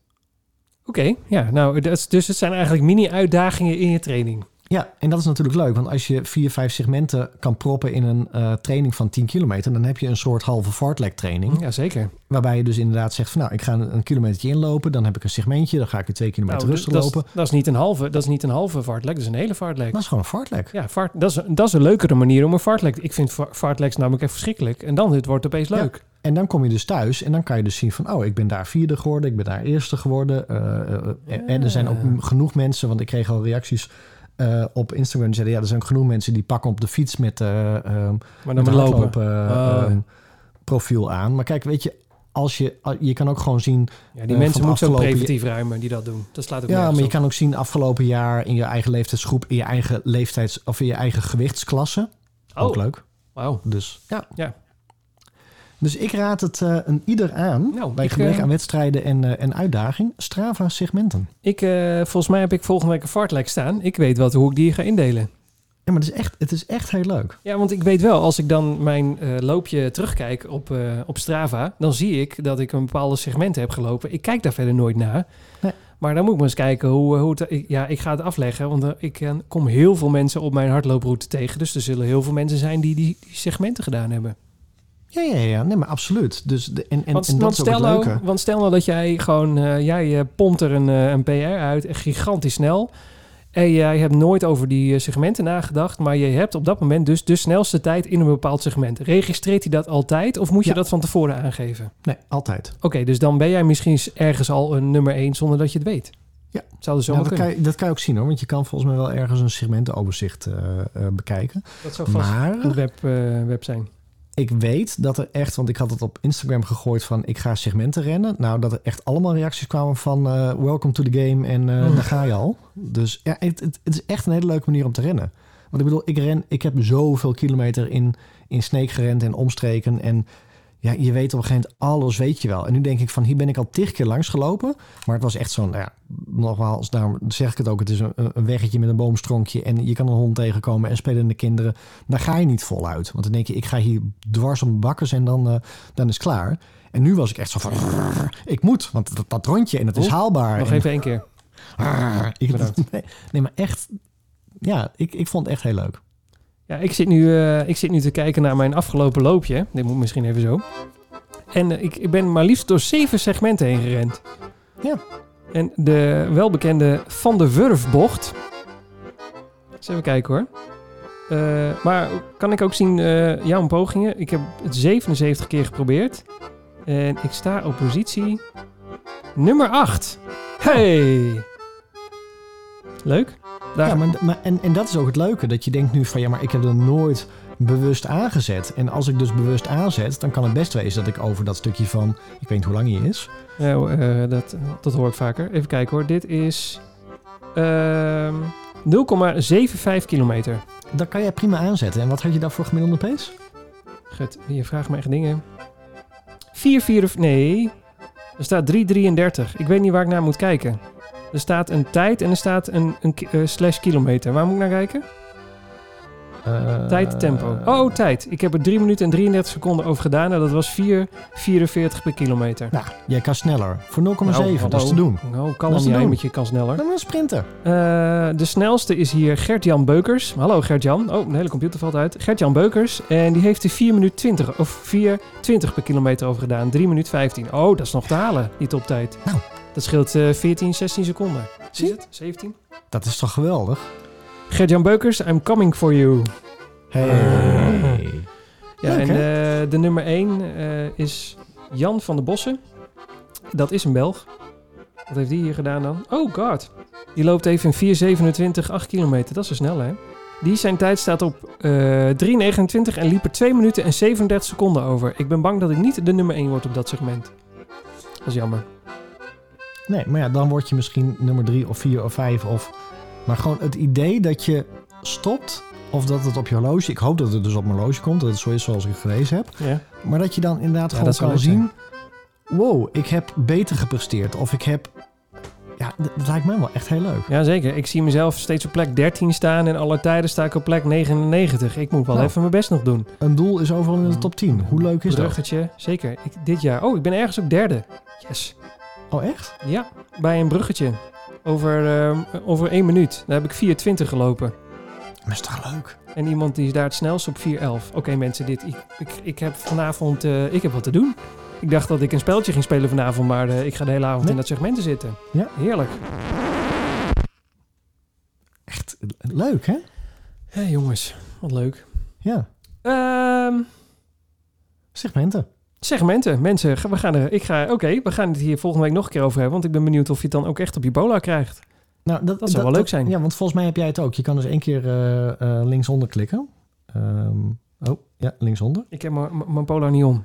Oké, ja, nou, dat is- dus het zijn eigenlijk mini-uitdagingen in je training.
Ja, en dat is natuurlijk leuk. Want als je vier, vijf segmenten kan proppen in een eh, training van 10 kilometer... dan heb je een soort halve fartlek training.
Ja, zeker.
Waarbij je dus inderdaad zegt van nou, ik ga een, een kilometertje inlopen, dan heb ik een segmentje, dan ga ik weer twee kilometer
Nou,
rustig
dat, is-
lopen. Ah.
Dat is niet een halve, dat is niet een halve fartlek, dat is een hele fartlek.
Dat is gewoon een fartlek.
Ja, vart, dat, is, dat is een leukere manier om een fartlek... Ik vind va- fartleks namelijk echt verschrikkelijk. En dan dit wordt het opeens
Ja.
leuk.
En dan kom je dus thuis en dan kan je dus zien van oh, ik ben daar vierde geworden, ik ben daar eerste geworden. Eh, eh, eh, en- En er zijn ook
Ja.
genoeg mensen, want ik kreeg al reacties eh, op Instagram die zeiden ja, er zijn ook genoeg mensen die pakken op de fiets met, eh, ehm,
Maar dan
met
moet
een
lopen. Oh.
hardloop, eh,
ja.
ehm, profiel aan. Maar kijk, weet je, als je, al- je kan ook gewoon zien
Ja, die
Eh,
mensen
van
moeten zo
afgelopen-
preventief ruimen die dat doen. Dat slaat ook
Ja,
nergens
maar je
op.
kan ook zien afgelopen jaar in je eigen leeftijdsgroep, in je eigen leeftijds of in je eigen gewichtsklasse.
Oh,
Ook leuk.
wauw.
Dus ja.
Ja.
Dus ik raad het eh, een ieder aan
Nou,
bij
ik,
gebrek
eh,
aan wedstrijden en, eh, en uitdaging. Strava segmenten.
Ik, eh, volgens mij heb ik volgende week een fartlek staan. Ik weet wat, hoe ik die ga indelen.
Ja, maar het is echt, het is echt heel leuk.
Ja, want ik weet wel, als ik dan mijn eh, loopje terugkijk op, eh, op Strava... dan zie ik dat ik een bepaalde segment heb gelopen. Ik kijk daar verder nooit naar.
Nee.
Maar dan moet ik maar eens kijken hoe... eh, hoe het, ik- ja, ik ga het afleggen, want eh, ik eh, kom heel veel mensen op mijn hardlooproute tegen. Dus er zullen heel veel mensen zijn die die, die segmenten gedaan hebben.
Ja, ja, ja. Nee, maar absoluut. Dus de, en, en,
want,
en dat
want
is ook het
stel nou,
leuke.
want stel nou dat jij gewoon, eh, jij eh, pompt er een, eh, een PR uit, echt gigantisch snel. En jij hebt nooit over die eh, segmenten nagedacht, maar je hebt op dat moment dus de snelste tijd in een bepaald segment. Registreert hij dat altijd of moet je
Ja.
dat van tevoren aangeven?
Nee, altijd.
Oké, dus dan ben jij misschien ergens al een nummer 1 zonder dat je het weet.
Ja.
Zou er zo wel
Nou, dat,
kunnen.
kan je, dat kan je ook zien hoor. Want je kan volgens mij wel ergens een segmentenoverzicht eh, eh, bekijken.
Dat zou vast
Maar
een web, eh, web zijn.
Ik weet dat er echt, want ik had het op Instagram gegooid van ik ga segmenten rennen. Nou, dat er echt allemaal reacties kwamen van eh, welcome to the game en eh,
Mm.
daar ga je al. Dus ja, het, het, het is echt een hele leuke manier om te rennen. Want ik bedoel, ik ren, ik heb zoveel kilometer in, in Sneek gerend en omstreken. En ja, je weet op een gegeven moment alles weet je wel. En nu denk ik van, hier ben ik al tig keer langs gelopen. Maar het was echt zo'n, nou ja, nogmaals, daarom zeg ik het ook. Het is een, een weggetje met een boomstronkje en je kan een hond tegenkomen en spelende kinderen. Daar ga je niet voluit. Want dan denk je, ik ga hier dwars om bakkers en dan, eh, dan is het klaar. En nu was ik echt zo van, ik moet, want dat, dat rondje en het is
Oh,
haalbaar.
Nog
En-
even één keer.
ik,
Bedankt.
nee, nee, maar echt, ja, ik, ik vond het echt heel leuk.
Ja, ik zit, nu, eh, ik zit nu te kijken naar mijn afgelopen loopje. Dit moet misschien even zo. En eh, ik, ik ben maar liefst door zeven segmenten heen gerend.
Ja.
En de welbekende Van de Wurfbocht. Eens even kijken hoor. Eh, maar kan ik ook zien eh, jouw pogingen? Ik heb het 77 keer geprobeerd. En ik sta op positie nummer 8. Hey! Leuk. Daar,
Ja, maar, maar, en, en dat is ook het leuke, dat je denkt nu van ja, maar ik heb er nooit bewust aangezet. En als ik dus bewust aanzet, dan kan het best wezen dat ik over dat stukje van, ik weet niet hoe lang hij is.
eh, Nou, eh, dat, dat hoor ik vaker. Even kijken hoor. Dit is ehm, 0,75 kilometer.
Dat kan jij prima aanzetten. En wat had je daarvoor gemiddelde pace?
Gut, je vraagt me echt dingen. 4, 4 of... Nee. Er staat 3,33. Ik weet niet waar ik naar moet kijken. Er staat een tijd en er staat een, een ki- eh, slash kilometer. Waar moet ik naar kijken?
Eh,
Tijd, tempo. Oh, tijd. Ik heb er 3 minuten en 33 seconden over gedaan. Nou, dat was 4,44 per kilometer.
Nou, jij kan sneller. Voor 0,7.
Nou,
dat is
hallo.
te doen.
Nou, kalm
Dat is te
jij
doen.
met je kan sneller.
Dan een sprinter.
Eh, de snelste is hier Gert-Jan Beukers. Hallo Gert-Jan. Oh, de hele computer valt uit. Gert-Jan Beukers. En die heeft er 4 minuten 20 of 4,20 per kilometer over gedaan. 3 minuten 15. Oh, dat is nog te halen, die toptijd.
Nou.
Dat scheelt eh 14, 16 seconden.
Zie
Is
je?
het? 17.
Dat is toch geweldig?
Gert-Jan Beukers, I'm coming for you.
Hey.
Ja, en
Leuk,
eh, de nummer 1 is Jan van der Bossen. Dat is een Belg. Wat heeft die hier gedaan dan? Oh god. Die loopt even in 4,27, 8 kilometer. Dat is zo snel, hè? Die zijn tijd staat op eh 3,29 en liep er 2 minuten en 37 seconden over. Ik ben bang dat ik niet de nummer 1 word op dat segment. Dat is jammer.
Nee, maar ja, dan word je misschien nummer drie of vier of vijf. Of... Maar gewoon het idee dat je stopt. Of dat het op je horloge... Ik hoop dat het dus op mijn horloge komt. Dat het zo is zoals ik gelezen heb.
Ja.
Maar dat je dan inderdaad
Ja,
gewoon
dat zou
kan
leuk
zien... Wow, ik heb beter gepresteerd. Of ik heb... Ja, d- dat lijkt mij wel echt heel leuk.
Jazeker. Ik zie mezelf steeds op plek 13 staan en alle tijden sta ik op plek 99. Ik moet wel
Nou.
even mijn best nog doen.
Een doel is overal in de top 10. Hoe leuk is dat?
Bruggetje, zeker. Ik, dit jaar. Oh, ik ben ergens ook derde. Yes.
Oh, echt?
Ja, bij een bruggetje. Over, ehm, over één minuut. Daar heb ik 4.20 gelopen.
Maar is toch leuk?
En iemand die is daar het snelst op 4.11. Oké mensen, dit, ik, ik, ik heb vanavond eh, ik heb wat te doen. Ik dacht dat ik een spelletje ging spelen vanavond, maar eh, ik ga de hele avond
Nee.
in dat segment zitten.
Ja.
Heerlijk.
Echt leuk, hè?
Hé jongens, wat leuk.
Ja.
Ehm,
Segmenten.
segmenten, mensen. ga- We gaan er, ik ga, oké, we gaan het hier volgende week nog een keer over hebben. Want ik ben benieuwd of je het dan ook echt op je bola krijgt.
Nou, dat,
zou wel leuk zijn.
Ja, want volgens mij heb jij het ook. Je kan dus één keer eh, eh, linksonder klikken. Ehm, oh, ja, linksonder.
Ik heb mijn- mijn mijn bola niet om.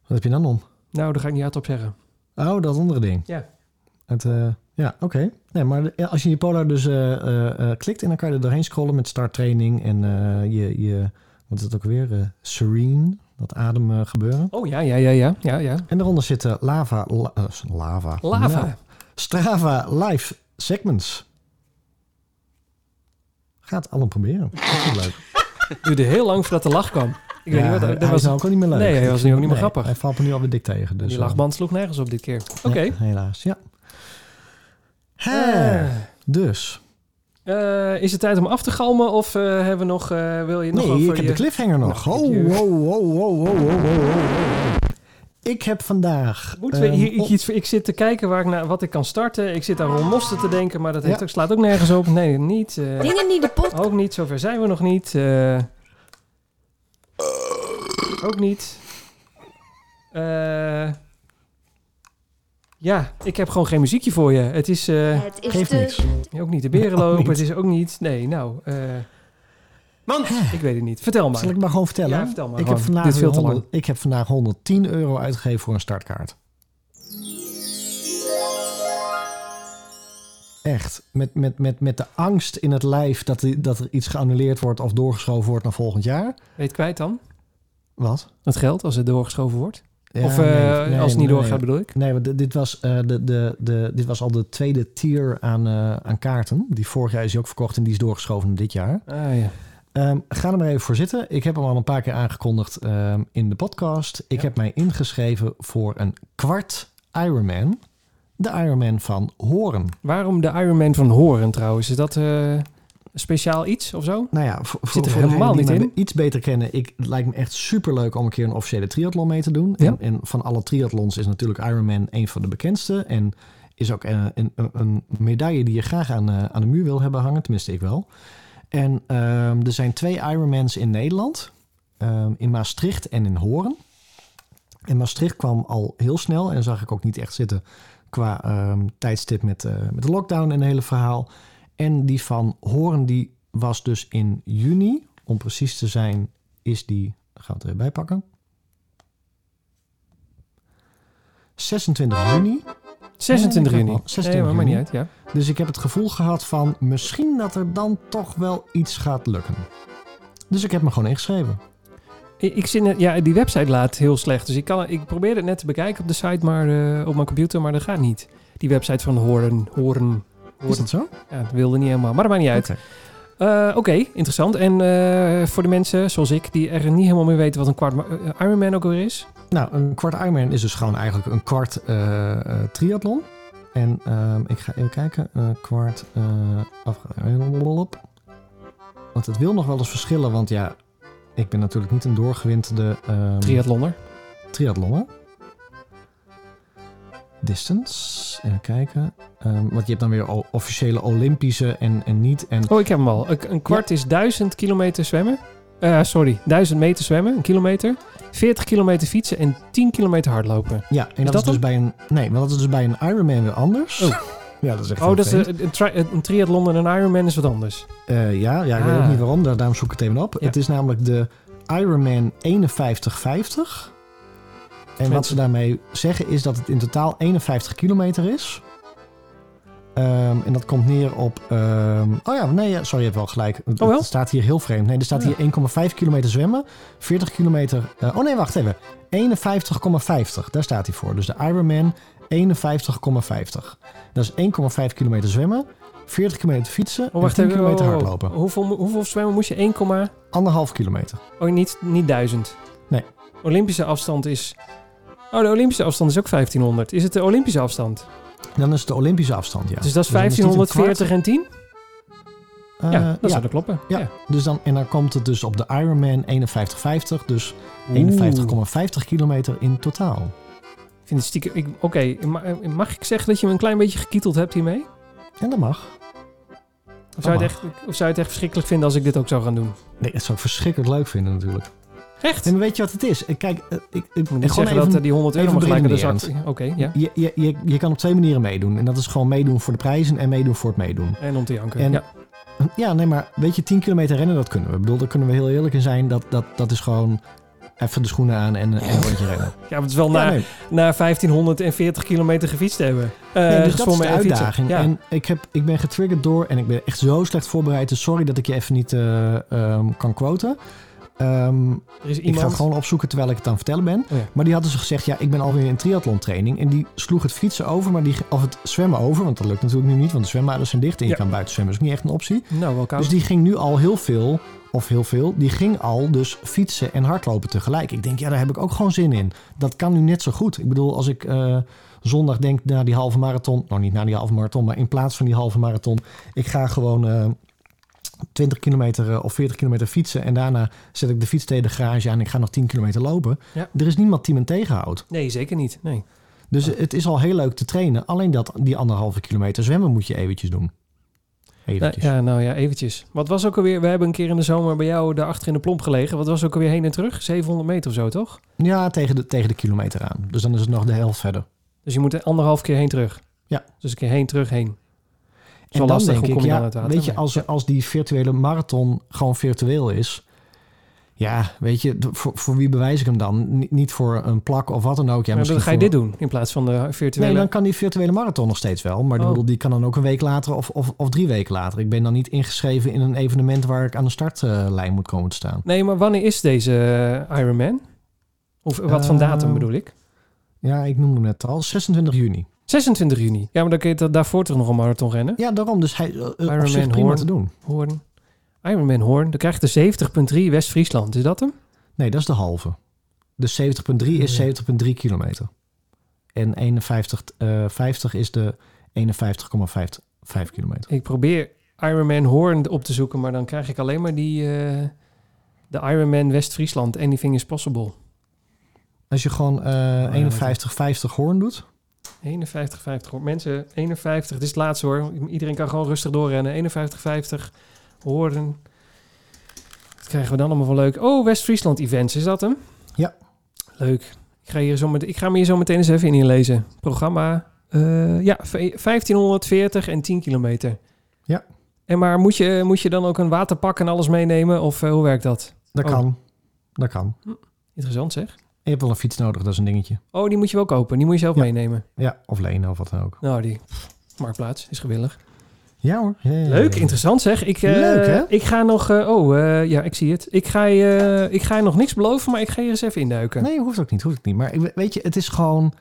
Wat heb je dan om?
Nou, daar ga ik niet hardop zeggen.
Oh, dat andere ding.
Ja.
Het, eh, ja, oké. Nee, maar de- als je je polar dus eh, eh, eh, klikt en dan kan je er doorheen scrollen met starttraining en eh, je, je, wat is het ook weer? Eh, serene, dat ademen gebeuren.
Oh ja, ja, ja, ja, ja, ja.
En daaronder zitten lava, la- eh, lava.
Lava.
Nou, Strava live segments. Gaat allemaal proberen. Dat is leuk.
duurde heel lang voordat de lach kwam. Ik
Ja,
weet niet
hij-
wat.
hij
Dat
was
was,
nou ook al niet meer leuk.
Nee, hij was nu ook niet meer grappig.
Hij valt me nu alweer dik tegen. Dus,
die
eh,
lachband sloeg nergens op dit keer. Oké.
nee, helaas, ja. Hè,
Eh,
dus.
eh, is het tijd om af te galmen of eh, hebben we nog, eh, wil je nog
nee,
over
ik heb
je...
de cliffhanger nog.
Nou,
oh,
ik-
wow, wow, wow, wow, wow, wow, wow. Ik heb vandaag...
Moeten we
ehm,
hier, ik,
op-
iets, ik zit te kijken waar ik naar, wat ik kan starten. Ik zit aan Ron Moster te denken, maar dat heeft
Ja.
ook, slaat ook nergens op. Nee, niet. eh,
Dingen die de pot.
ook niet. Zover zijn we nog niet. eh. ook niet. Eh, ja, ik heb gewoon geen muziekje voor je. Het is... eh,
Het is
oh, Geeft
de
niks.
Ook niet de beren
Ook
lopen,
niet.
het is ook niet... Nee, nou... eh, ik weet het niet. Vertel maar.
Zal ik maar gewoon vertellen?
Ja, vertel maar
ik, heb
gewoon.
vandaag
Dit is veel te
100 ik heb vandaag 110 euro uitgegeven voor een startkaart. Echt, met, met, met, met de angst in het lijf dat, die- dat er iets geannuleerd wordt of doorgeschoven wordt naar volgend jaar.
Weet kwijt dan?
Wat?
Het geld, als het doorgeschoven wordt.
Ja,
of eh,
nee, nee,
als het niet
nee,
doorgaat,
nee.
bedoel ik.
Nee, want dit- dit was, eh, de, de, de, dit was al de tweede tier aan, eh, aan kaarten. Die vorig jaar is die ook verkocht en die is doorgeschoven naar dit jaar.
Ah, ja.
Ehm, ga er maar even voor zitten. Ik heb hem al een paar keer aangekondigd ehm, in de podcast. Ik
Ja.
heb mij ingeschreven voor een kwart Ironman. De Ironman van Horen.
Waarom de Iron Man van Horen trouwens? Is dat eh, een speciaal iets of zo?
Nou ja, voor,
Zit er
voor
helemaal
degenen die
niet
mij iets beter kennen. Ik, het lijkt me echt superleuk om een keer een officiële triathlon mee te doen.
Ja.
En, en van alle triathlons is natuurlijk Ironman een van de bekendste. En is ook eh, een, een, een medaille die je graag aan, eh, aan de muur wil hebben hangen. Tenminste, ik wel. En ehm, er zijn twee Ironmans in Nederland. Ehm, in Maastricht en in Hoorn. En Maastricht kwam al heel snel en zag ik ook niet echt zitten qua ehm, tijdstip met, eh, met de lockdown en het hele verhaal. En die van Hoorn die was dus in juni. Om precies te zijn is die, gaan we het er bij pakken. 26 juni
26
Nee,
juni.
dat wel. 26
nee, maar maakt niet
juni.
uit, ja.
Dus ik heb het gevoel gehad van misschien dat er dan toch wel iets gaat lukken. Dus ik heb me gewoon ingeschreven.
Ik, ik zit net- ja, die website laat heel slecht. Dus ik, kan, ik probeer het net te bekijken op de site, maar eh, op mijn computer, maar dat gaat niet. Die website van Horen. Horen.
Is
Horen.
dat zo?
Ja, dat wilde niet helemaal, maar dat maakt niet uit.
Oké.
Eh, Oké, interessant. En eh, voor de mensen zoals ik, die er niet helemaal meer weten wat een kwart ma- eh, Ironman ook weer is.
Nou, een kwart Ironman is dus gewoon eigenlijk een kwart eh, eh, triathlon. En ehm, ik ga even kijken. eh, kwart eh afge- Want het wil nog wel eens verschillen. Want ja, ik ben natuurlijk niet een doorgewinterde ehm,
Triathlonner.
triathlonner. Distance. Even kijken. Ehm, want je hebt dan weer o- officiële Olympische en, en niet. En
Oh, ik heb hem al. Een, een kwart is 1000 kilometer zwemmen. Eh, sorry, 1000 meter zwemmen, een kilometer. 40 kilometer fietsen en 10 kilometer hardlopen.
Ja, en dat,
dat
is dus
hem?
bij een. Nee, maar dat is dus bij een Ironman weer anders.
Oh.
Ja, dat is echt
Oh,
heel
dat is
vreemd.
een, een, tri- een triathlon en een Ironman is wat anders.
Eh, ja, ja, ik weet
Ah.
ook niet waarom. daar- Daarom zoek ik het even op.
Ja.
Het is namelijk de Ironman 5150. En wat ze daarmee zeggen is dat het in totaal 51 kilometer is. Ehm, en dat komt neer op... ehm, oh ja, nee, ja, sorry, je hebt wel gelijk. Het-
Oh, wel? Ah.
Het staat hier heel vreemd. Nee, er staat
Ja.
hier 1,5 kilometer zwemmen, 40 kilometer... eh, oh nee, wacht even. 51,50. Daar staat hij voor. Dus de Ironman 51,50. Dat is 1,5 kilometer zwemmen, 40 kilometer fietsen
Oh, wacht
en 10
even.
kilometer
oh, oh, oh.
hardlopen.
Hoeveel, mo- hoeveel zwemmen moest je? 1, komma-
Anderhalf kilometer.
oh, niet, niet 1000.
Nee.
Olympische afstand is... Oh, de Olympische afstand is ook 1500. Is het de Olympische afstand?
Dan is het de Olympische afstand, ja.
Dus dat is
dan het niet een
1540 en 10?
kwart.
ja,
Eh,
dat zou dat kloppen.
ja. Dus dan, en dan komt het dus op de Ironman 51,50. Dus 51,50 kilometer in totaal.
Ik vind het stiekem... ik- Oké, ma- eh, mag ik zeggen dat je me een klein beetje gekieteld hebt hiermee?
En dat mag.
Of zou, je het
mag.
echt, of zou je het echt verschrikkelijk vinden als ik dit ook zou gaan doen?
Nee, dat zou ik verschrikkelijk leuk vinden natuurlijk.
Echt?
En
Ik
weet je wat het is? Eh, Kijk, eh, ik,
moet
ik
niet
gewoon
zeggen
even-
dat eh, die 100 euro
even
maar gelijk in de zak...
beredenerend.
Oké, ja.
je, je, je, je kan op twee manieren meedoen. En dat is gewoon meedoen voor de prijzen en meedoen voor het meedoen.
En om te janken.
En-
ja.
Ja, nee, maar weet je, 10 kilometer rennen, dat kunnen we. Ik bedoel, daar kunnen we heel eerlijk in zijn. Dat, dat, dat is gewoon even de schoenen aan en, en een rondje rennen.
ja, maar het is wel
Ja,
na,
nee.
na 1540 kilometer gefietst hebben. Eh
Nee, dus dat is
gezwommen
de
en fietsen.
uitdaging.
Ja.
En ik, heb, ik ben getriggerd door, en ik ben echt zo slecht voorbereid. Dus sorry dat ik je even niet eh, ehm, kan quoten. Ehm,
er is
ik ga
iemand... Oh
het gewoon opzoeken terwijl ik het aan het vertellen ben.
ja.
Maar die hadden ze gezegd, ja, ik ben alweer in triathlon training. En die sloeg het fietsen over, maar die, of het zwemmen over. Want dat lukt natuurlijk nu niet, want de zwembaden zijn dicht. En je
Ja.
kan buiten zwemmen, is ook niet echt een optie.
Nou, wel koud.
Dus die ging nu al heel veel, of heel veel, die ging al dus fietsen en hardlopen tegelijk. Ik denk, ja, daar heb ik ook gewoon zin in. Dat kan nu net zo goed. Ik bedoel, als ik eh, zondag denk naar die halve marathon, nou niet naar die halve marathon, maar in plaats van die halve marathon, ik ga gewoon eh, 20 kilometer eh, of 40 kilometer fietsen en daarna zet ik de fiets tegen de garage aan en ik ga nog 10 kilometer lopen.
Ja.
Er is niemand die me tegenhoudt.
Nee, zeker niet. Nee.
Dus het is al heel leuk te trainen, alleen dat, die anderhalve kilometer zwemmen moet je eventjes doen.
Nou,
Eventjes.
ja, nou ja, eventjes. Wat was ook alweer... We hebben een keer in de zomer bij jou daarachter in de plomp gelegen. Wat was ook alweer heen en terug? 700 meter of zo, toch?
Ja, tegen de, tegen de kilometer aan. Dus dan is het nog de helft verder.
Dus je moet er anderhalf keer heen terug.
Ja.
Dus een keer heen, terug, heen. Is wel
en dan
lastig,
denk
hoe
ik,
kom je
ja,
dan uit het water?
weet je,
Maar-
als, als die virtuele marathon gewoon virtueel is... Ja, weet je, d- voor, voor wie bewijs ik hem dan? Ni- niet voor een plak of wat dan ook. Ja,
maar
misschien
dan ga je
voor-
dit doen in plaats van de virtuele...
Nee, dan kan die virtuele marathon nog steeds wel. Maar ik
Oh.
bedoel, die kan dan ook een week later of, of, of drie weken later. Ik ben dan niet ingeschreven in een evenement waar ik aan de startlijn moet komen te staan.
Nee, maar wanneer is deze eh, Ironman? Of eh, wat van
Eh,
datum bedoel ik?
Ja, ik noemde hem net al, 26 juni.
26 juni. Ja, maar dan kun je dat daarvoor toch nog een marathon rennen?
Ja, daarom. Dus hij eh, eh, op
Ironman
zich prima
Hoorn.
te doen.
Hoorn. Ironman Hoorn. Dan krijg je de 70.3 West-Friesland. Is dat hem?
Nee, dat is de halve. Dus 70,3 is 70,3 kilometer. En 51, eh, 50 is de 51,5 kilometer.
Ik probeer Ironman Hoorn op te zoeken, maar dan krijg ik alleen maar die... eh, de Ironman West-Friesland. Anything is possible.
Als je gewoon eh
dat-
51, 50 hoorn doet.
51, 50. hoor. Mensen, 51. Dit is het laatste hoor. Iedereen kan gewoon rustig doorrennen. 51, 50. Horen. Wat krijgen we dan allemaal van leuk? Oh, West-Friesland Events. Is dat hem?
Ja.
Leuk. Ik ga, hier zo met, ik ga me hier zo meteen eens even in inlezen. Programma. eh, ja, v- 1540 en 10 kilometer.
Ja.
En maar moet je, moet je dan ook een waterpak en alles meenemen? Of eh, hoe werkt dat?
Dat
Oh.
kan. Dat kan.
Interessant zeg.
je hebt wel een fiets nodig, dat is een dingetje.
Oh, die moet je wel kopen. Die moet je zelf
Ja.
meenemen.
Ja, of lenen of wat dan ook.
Nou, die pff, marktplaats is gewillig.
Ja hoor. Ja, ja, ja,
Leuk,
ja.
interessant zeg. Ik, eh,
Leuk, hè?
Ik ga nog... eh, oh, eh, ja, ik zie het. Ik ga, je, ik ga je nog niks beloven, maar ik ga je eens even induiken.
Nee, hoeft ook niet, hoeft ook niet. Maar ik- weet je, het is gewoon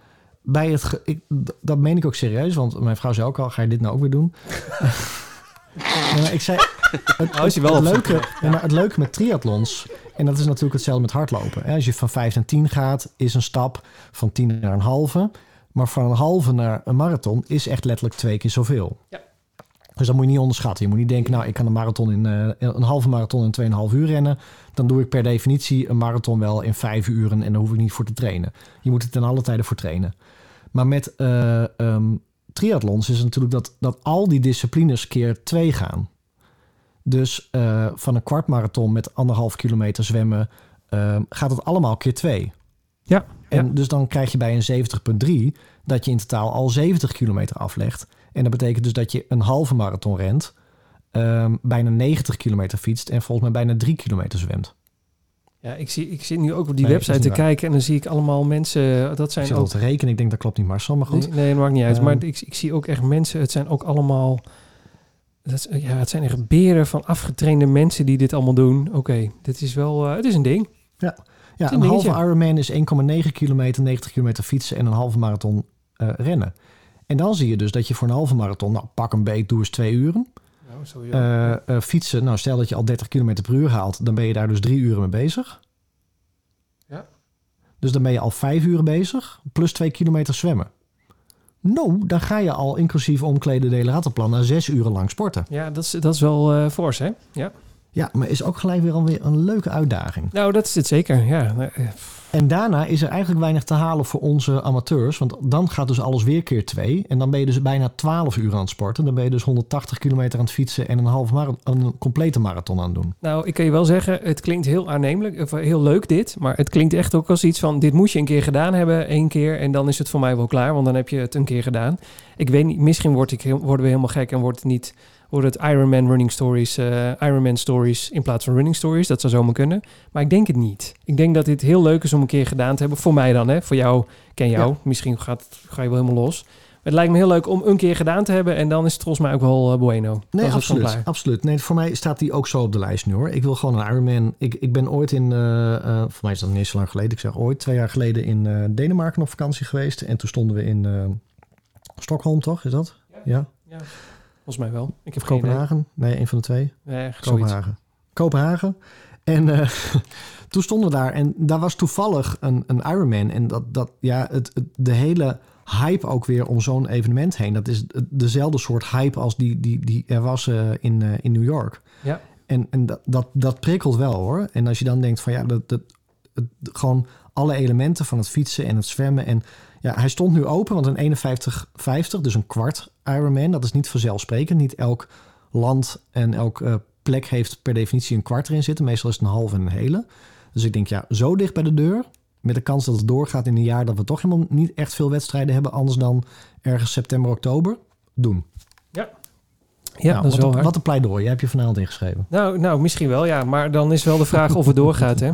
bij het... ge- ik, d- dat meen ik ook serieus, want mijn vrouw zei ook al, ga je dit nou ook weer doen? Ja, maar ik zei... Het,
Nou is hij wel
het
op
leuke, ja, maar het leuke met triathlons, en dat is natuurlijk hetzelfde met hardlopen. hè. Als je van 5 naar 10 gaat, is een stap van 10 naar een halve. Maar van een halve naar een marathon is echt letterlijk twee keer zoveel.
Ja.
Dus dat moet je niet onderschatten. Je moet niet denken, nou, ik kan een, marathon in, eh, een halve marathon in 2,5 uur rennen. Dan doe ik per definitie een marathon wel in 5 uren en daar hoef ik niet voor te trainen. Je moet er ten alle tijden voor trainen. Maar met eh, ehm, triathlons is het natuurlijk dat, dat al die disciplines keer 2 gaan. Dus eh, van een kwartmarathon met anderhalf kilometer zwemmen ehm, gaat het allemaal keer 2.
Ja,
En dus dan krijg je bij een 70.3 dat je in totaal al 70 kilometer aflegt. En dat betekent dus dat je een halve marathon rent, ehm, bijna 90 kilometer fietst en volgens mij bijna 3 kilometer zwemt.
Ja, ik, zie, ik zit nu ook op die
Nee, dat is
website te
niet waar.
kijken en dan zie ik allemaal mensen... Dat
Ik
zijn
zit al
ook...
te rekenen, ik denk dat klopt niet Marcel, maar goed.
Nee, nee, dat maakt niet uit.
Ehm.
maar ik, ik zie ook echt mensen... Het zijn ook allemaal... Dat, is- ja, het zijn echt beren van afgetrainde mensen die dit allemaal doen. Oké, dit is wel... eh, het is een ding.
Ja,
is
een
een
halve
dingetje.
Ironman is 1,9 kilometer, 90 kilometer fietsen en een halve marathon eh, rennen. En dan zie je dus dat je voor een halve marathon, nou pak een beet, doe eens twee uren.
Nou,
Eh, eh, fietsen, nou stel dat je al 30 kilometer per uur haalt, dan ben je daar dus drie uren mee bezig.
Ja.
Dus dan ben je al vijf uur bezig, plus twee kilometer zwemmen. Nou, dan ga je al inclusief omkleden, delen, rattenplan, na zes uren lang sporten.
Ja, dat is, dat is wel eh fors, hè? Ja.
Ja, maar is ook gelijk weer alweer een leuke uitdaging.
Nou, dat is het zeker. Ja, nou, eh,
En daarna is er eigenlijk weinig te halen voor onze amateurs. Want dan gaat dus alles weer keer twee. En dan ben je dus bijna 12 uur aan het sporten. Dan ben je dus 180 kilometer aan het fietsen en een, half mara- een complete marathon aan het doen.
nou, ik kan je wel zeggen, het klinkt heel aannemelijk, of eh, heel leuk dit, maar het klinkt echt ook als iets van, dit moet je een keer gedaan hebben, één keer, en dan is het voor mij wel klaar, want dan heb je het een keer gedaan. Ik weet niet, misschien word ik, heel- worden we helemaal gek en wordt het niet, worden het Ironman running stories, eh Ironman stories in plaats van running stories, dat zou zomaar kunnen, maar ik denk het niet. Ik denk dat dit heel leuk is om een keer gedaan te hebben, voor mij dan, hè? voor jou, ken jou, misschien gaat, ga je wel helemaal los. Maar Het lijkt me heel leuk om een keer gedaan te hebben en dan is het volgens mij ook wel eh, bueno. Dan is
Nee,
het gewoon
absoluut.
klaar.
absoluut. Nee, voor mij staat die ook zo op de lijst nu hoor. Ik wil gewoon een Ironman. Ik, ik ben ooit in, eh, eh, voor mij is dat niet eens zo lang geleden. Ik zeg ooit, twee jaar geleden in eh, Denemarken op vakantie geweest. En toen stonden we in eh, Stockholm toch, is dat? Ja,
Ja, volgens mij wel. Ik heb
of
geen idee.
Kopenhagen? Nee, een van de twee.
Nee, echt Eh, zoiets.
Kopenhagen. Kopenhagen. En eh, toen stonden we daar en daar was toevallig een, een Ironman. En dat, dat ja, het, het- de hele hype ook weer om zo'n evenement heen. Dat is het- dezelfde soort hype als die, die, die er was eh, in, eh, in New York.
Ja.
En, en dat, dat, dat prikkelt wel hoor. En als je dan denkt van ja, dat, dat, het, gewoon alle elementen van het fietsen en het zwemmen. En ja, hij stond nu open, want een 51,50, dus een kwart Ironman, dat is niet vanzelfsprekend. Niet elk land en elk eh, plek heeft per definitie een kwart erin zitten. Meestal is het een halve en een hele. Dus ik denk, ja, zo dicht bij de deur. Met de kans dat het doorgaat in een jaar dat we toch helemaal niet echt veel wedstrijden hebben. Anders dan ergens september, oktober. Doen.
Ja,
Nou,
dat is
wat,
wel
een,
waar.
wat een pleidooi. Jij hebt je vanavond ingeschreven.
Nou, nou, misschien wel, ja. Maar dan is wel de vraag of het doorgaat, hè?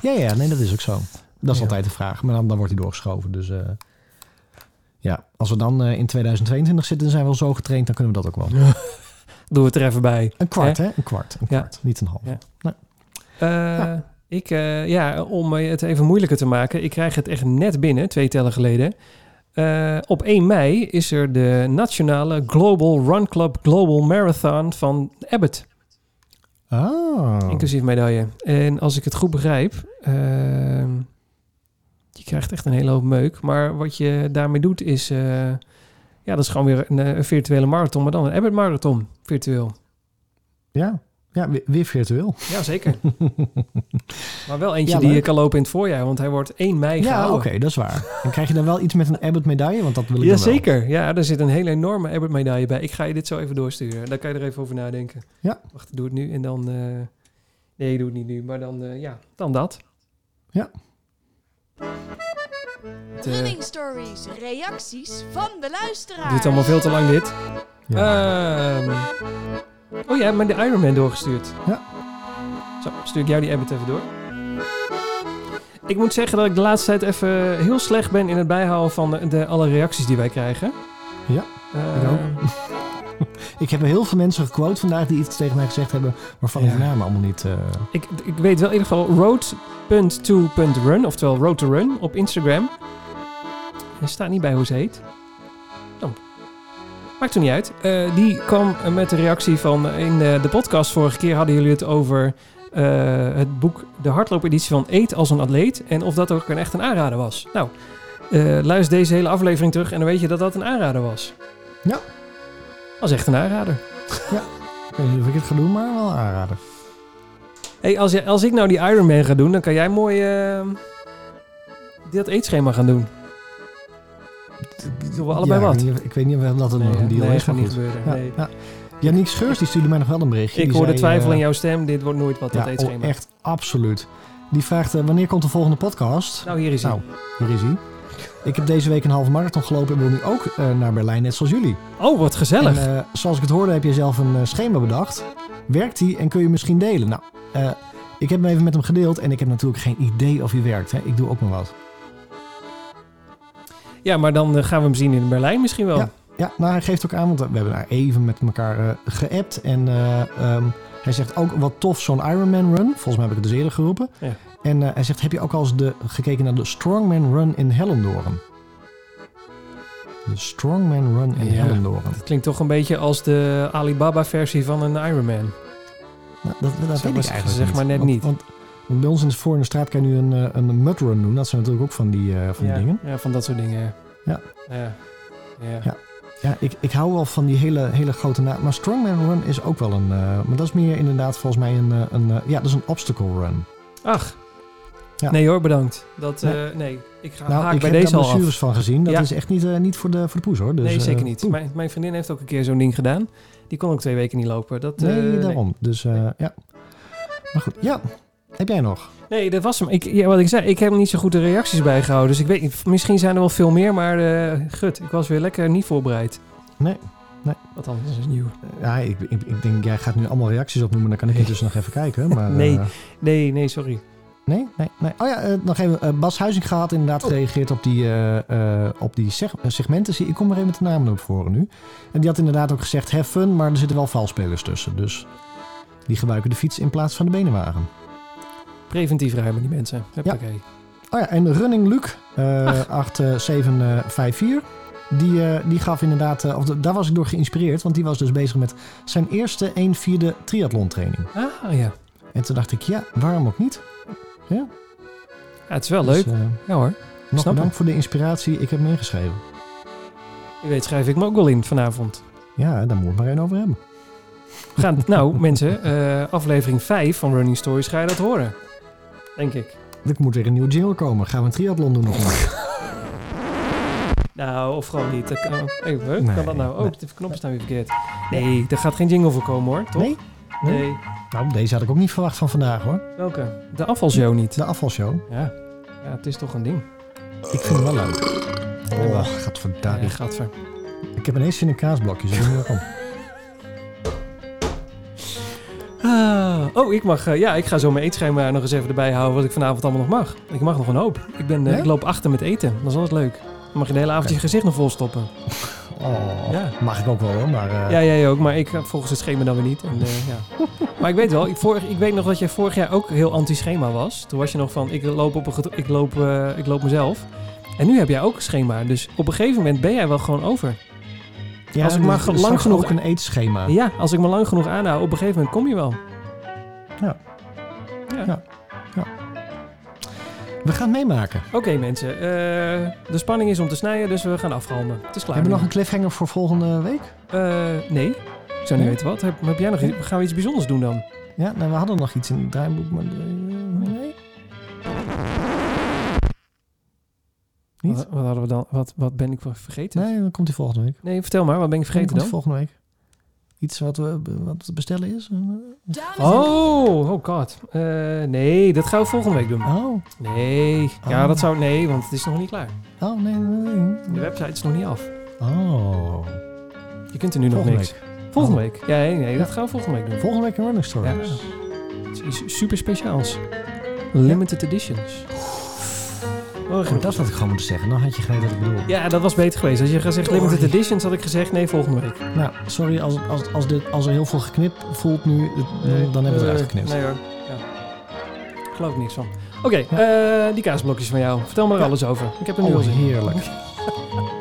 Ja, ja, nee, dat is ook zo. Dat is
Ja.
altijd de vraag. Maar dan, dan wordt hij doorgeschoven. Dus eh, ja, als we dan eh, in 2022 zitten, dan zijn we al zo getraind. Dan kunnen we dat ook wel.
Doe het er even bij.
Een kwart, hè? Een kwart. Een
Ja.
kwart. Niet een half.
Ja. Eh, Ik, eh, ja, om eh, het even moeilijker te maken. Ik krijg het echt net binnen, twee tellen geleden. Eh, op 1 mei is er de nationale Global Run Club Global Marathon van Abbott.
Ah.
Inclusief medaille. En als ik het goed begrijp, ehm, je krijgt echt een hele hoop meuk. Maar wat je daarmee doet is, eh, ja, dat is gewoon weer een, eh, een virtuele marathon, maar dan een Abbott marathon, virtueel.
Ja. ja, weer- weer virtueel.
Ja, zeker. maar wel eentje
Ja,
die je
leuk.
kan lopen in het voorjaar, want hij wordt 1 mei
Ja, oké,
gehouden.
dat is waar. En krijg je dan wel iets met een Abbott medaille? Want dat wil ik dan wel.
Jazeker. Ja, er zit een hele enorme Abbott medaille bij. Ik ga je dit zo even doorsturen. Daar kan je er even over nadenken.
Ja.
Wacht, doe het nu en dan... eh, Nee, doe het niet nu, maar dan, eh, ja, dan dat.
Ja.
Het, eh,
Running stories. Reacties van de luisteraar.
Duurt allemaal veel te lang dit.
Ja.
Ehm, oh, jij hebt me de Ironman doorgestuurd.
Ja.
Zo, stuur ik jou die Abbott even door. Ik moet zeggen dat ik de laatste tijd even heel slecht ben in het bijhouden van de, de- alle reacties die wij krijgen.
Ja,
Eh,
ik ook. Ik heb heel veel mensen gequote vandaag die iets tegen mij gezegd hebben waarvan ik
Ja.
de namen allemaal niet... eh,
ik, ik weet wel in ieder geval road.to.run, oftewel road to run op Instagram. Er staat niet bij hoe ze heet. Oh. Maakt er niet uit. Eh, die kwam eh, met de reactie van eh, in eh, de podcast vorige keer hadden jullie het over eh, het boek de hardloopeditie van Eet als een atleet en of dat ook een echt een aanrader was. Nou, eh, luister deze hele aflevering terug en dan weet je dat dat een aanrader was.
Ja.
Dat is echt een aanrader.
ik weet niet of ik het ga doen, maar wel aanraden.
Hey, als, jij- als ik nou die Iron Man ga doen, dan kan jij mooi eh, dat eetschema gaan doen. Doen we allebei
Ja,
wat?
Ik weet, niet of- ik weet niet of dat een, een deal
nee,
is,
gaat
maar
niet
goed.
gebeuren.
Ja,
nee.
ja. Yannick Scheurs die stuurde mij nog wel een berichtje.
Ik
Die
hoor de
zei,
twijfel
eh,
in jouw stem. Dit wordt nooit wat, dat
Ja,
eetschema.
oh, echt absoluut. Die vraagt, eh, wanneer komt de volgende podcast?
Nou, hier is hij.
Nou, hier is hij. Ik heb deze week een halve marathon gelopen en wil nu ook eh, naar Berlijn, net zoals jullie.
Oh, wat
En,
gezellig.
eh, zoals ik het hoorde heb je zelf een eh, schema bedacht. Werkt die en kun je misschien delen? Nou, eh, ik heb hem even met hem gedeeld en ik heb natuurlijk geen idee of hij werkt. Hè. Ik doe ook maar wat.
ja, maar dan eh, gaan we hem zien in Berlijn misschien wel.
Ja, nou hij geeft ook aan, want we hebben daar even met elkaar eh, geappt. En eh, ehm, hij zegt ook wat tof zo'n Ironman run. Volgens mij heb ik het dus eerder geroepen.
Ja.
En eh, hij zegt, heb je ook al eens de, gekeken naar de Strongman run in Hellendoorn? De Strongman run in
Ja.
Hellendoorn.
Het klinkt toch een beetje als de Alibaba-versie van een Iron Man.
Nou, dat dat,
Zo
weet
was-
ik eigenlijk
zeg maar net
Want-
niet.
Want, want bij ons in de voor in de straat kan je nu een, eh, een mudrun doen. Dat zijn natuurlijk ook van die, eh, van die
ja,
dingen.
ja, van dat soort dingen.
Ja.
Ja. Ja.
Ja. Ja, ik, ik hou wel van die hele, hele grote naam. Maar Strongman Run is ook wel een... eh, maar dat is meer inderdaad volgens mij een... eh, een eh, ja, dat is een obstacle run.
Ach.
Ja.
Nee hoor, bedankt. Dat, eh,
Nee.
nee, ik ga
nou,
haak
ik
bij
heb
deze
daar
al af.
blessures van gezien. Dat
Ja.
is echt niet, eh, niet voor de, voor de poes hoor. Dus,
nee, zeker
eh,
niet.
poeh.
Mijn, mijn vriendin heeft ook een keer zo'n ding gedaan. Die kon ook twee weken niet lopen. Dat, eh,
nee, daarom. Dus eh, ja. Maar goed, ja. Heb jij nog?
Nee. Nee, dat was hem. Ik, ja, wat ik zei, ik heb niet zo goed de reacties bijgehouden. Dus ik weet niet, misschien zijn er wel veel meer. Maar eh, gut, ik was weer lekker niet voorbereid.
Nee, nee.
Wat anders is nieuw.
Eh, ja, ik, ik, ik denk, jij gaat nu allemaal reacties opnoemen. Dan kan ik intussen nog even kijken. Maar, eh,
Nee. Nee, nee, sorry.
Nee, nee, nee. Oh ja, eh, nog even. eh, Bas Huizing had inderdaad
Oh.
gereageerd op die, eh, eh, op die seg- eh, segmenten. Zie- Ik kom maar even met de namen naar voren nu. En die had inderdaad ook gezegd have fun, maar er zitten wel valspelers tussen. Dus die gebruiken de fiets in plaats van de benenwagen.
Preventief ruimen die mensen. Ja.
Oh ja, en Running Luc, eh 8754. Die, eh, die gaf inderdaad, eh, of da- daar was ik door geïnspireerd, want die was dus bezig met zijn eerste 1 vierde triathlon training.
Ah, ja.
En toen dacht ik, ja, waarom ook niet?
Ja, Het is wel
Dus,
leuk.
eh,
Ja hoor.
nog
Snap ik.
bedankt voor de inspiratie, ik heb me ingeschreven.
Wie weet schrijf ik me ook wel in vanavond.
Ja, daar moet ik maar één over hebben.
We gaan, nou mensen, eh, aflevering 5 van Running Stories ga je dat horen. Denk ik.
Er moet weer een nieuwe jingle komen. Gaan we een triathlon doen of niet?
Nou, of gewoon niet. Dat kan, hey, huh?
Nee,
kan dat nou? Oh,
nee.
de knoppen staan weer verkeerd. Nee, daar gaat geen jingle voor komen hoor, toch?
Nee? Nee?
Nee.
Nou, deze had ik ook niet verwacht van vandaag hoor.
Welke? De afvalshow niet.
De afvalshow.
Ja. ja, het is toch een ding.
Ik vind hem wel leuk. Oh, gadverdarie.
Ja, gadver.
Ik heb ineens zin in kaasblokjes. Ik weet niet waarom.
Ah, oh, ik mag... eh, ja, ik ga zo mijn eetschema nog eens even erbij houden wat ik vanavond allemaal nog mag. Ik mag nog een hoop. Ik, ben, eh,
Ja?
ik loop achter met eten. Dat is altijd leuk. Dan mag je de hele avond je gezicht nog vol stoppen.
Oh,
Ja.
mag ik ook wel hoor, maar... eh,
Ja, jij ook. Maar ik eh, volgens het schema dan weer niet. En, eh, ja. Maar ik weet wel, ik, vorig, ik weet nog dat jij vorig jaar ook heel anti-schema was. Toen was je nog van, ik loop, op een gedro- ik, loop, eh, ik loop mezelf. En nu heb jij ook een schema. Dus op een gegeven moment ben jij wel gewoon over.
ja,
als ik maar
er
lang
is straks
genoeg-
ook een eetschema.
Ja, als ik me lang genoeg aanhoud, op een gegeven moment kom je wel.
Ja.
Ja.
Ja. We gaan het meemaken.
Oké mensen, eh, de spanning is om te snijden, dus we gaan afronden. Het is klaar.
Hebben we
nu.
nog een cliffhanger voor volgende week?
Eh, nee, ik zou niet
Nee?
weten wat. Heb, heb jij nog iets? Gaan we iets bijzonders doen dan?
Ja, nou, we hadden nog iets in het draaiboek, maar... eh, nee? Niet?
Wat, wat hadden we dan? Wat, wat ben ik vergeten?
Nee, dan komt die volgende week.
Nee, vertel maar, wat ben ik vergeten
Komt
dan?
volgende week. Iets wat, we, wat te bestellen is?
Dames en
Oh, oh god. Eh, nee, dat gaan we volgende week doen.
Oh,
Nee, ja,
Ah.
dat zou... Nee, want het is nog niet klaar.
oh nee, nee,
De
nee.
website is nog niet af.
Oh.
Je kunt er nu nog
Volgende Oh.
niks. Volgende week? Ja, nee, nee, dat
Ja.
gaan we volgende week doen.
Volgende week een running story.
Ja. Het is iets super speciaals. Limited editions. Oh,
Oh, dat is wat ik gewoon moet zeggen. Dan had je geweten wat ik bedoel.
Ja, dat was beter geweest. Als je gaat
Oh,
zeggen limited editions, had ik gezegd nee, volgende week.
Nou, sorry als, als, als, dit, als er heel veel geknipt voelt nu, het- dan hebben we het eruit geknipt.
Eh, Nee hoor. Ja. Ik geloof er niks van. Oké,
Ja.
eh, die kaasblokjes van jou. Vertel me er
Ja.
alles over. Ik heb er nu
Oh,
al zin in.
heerlijk.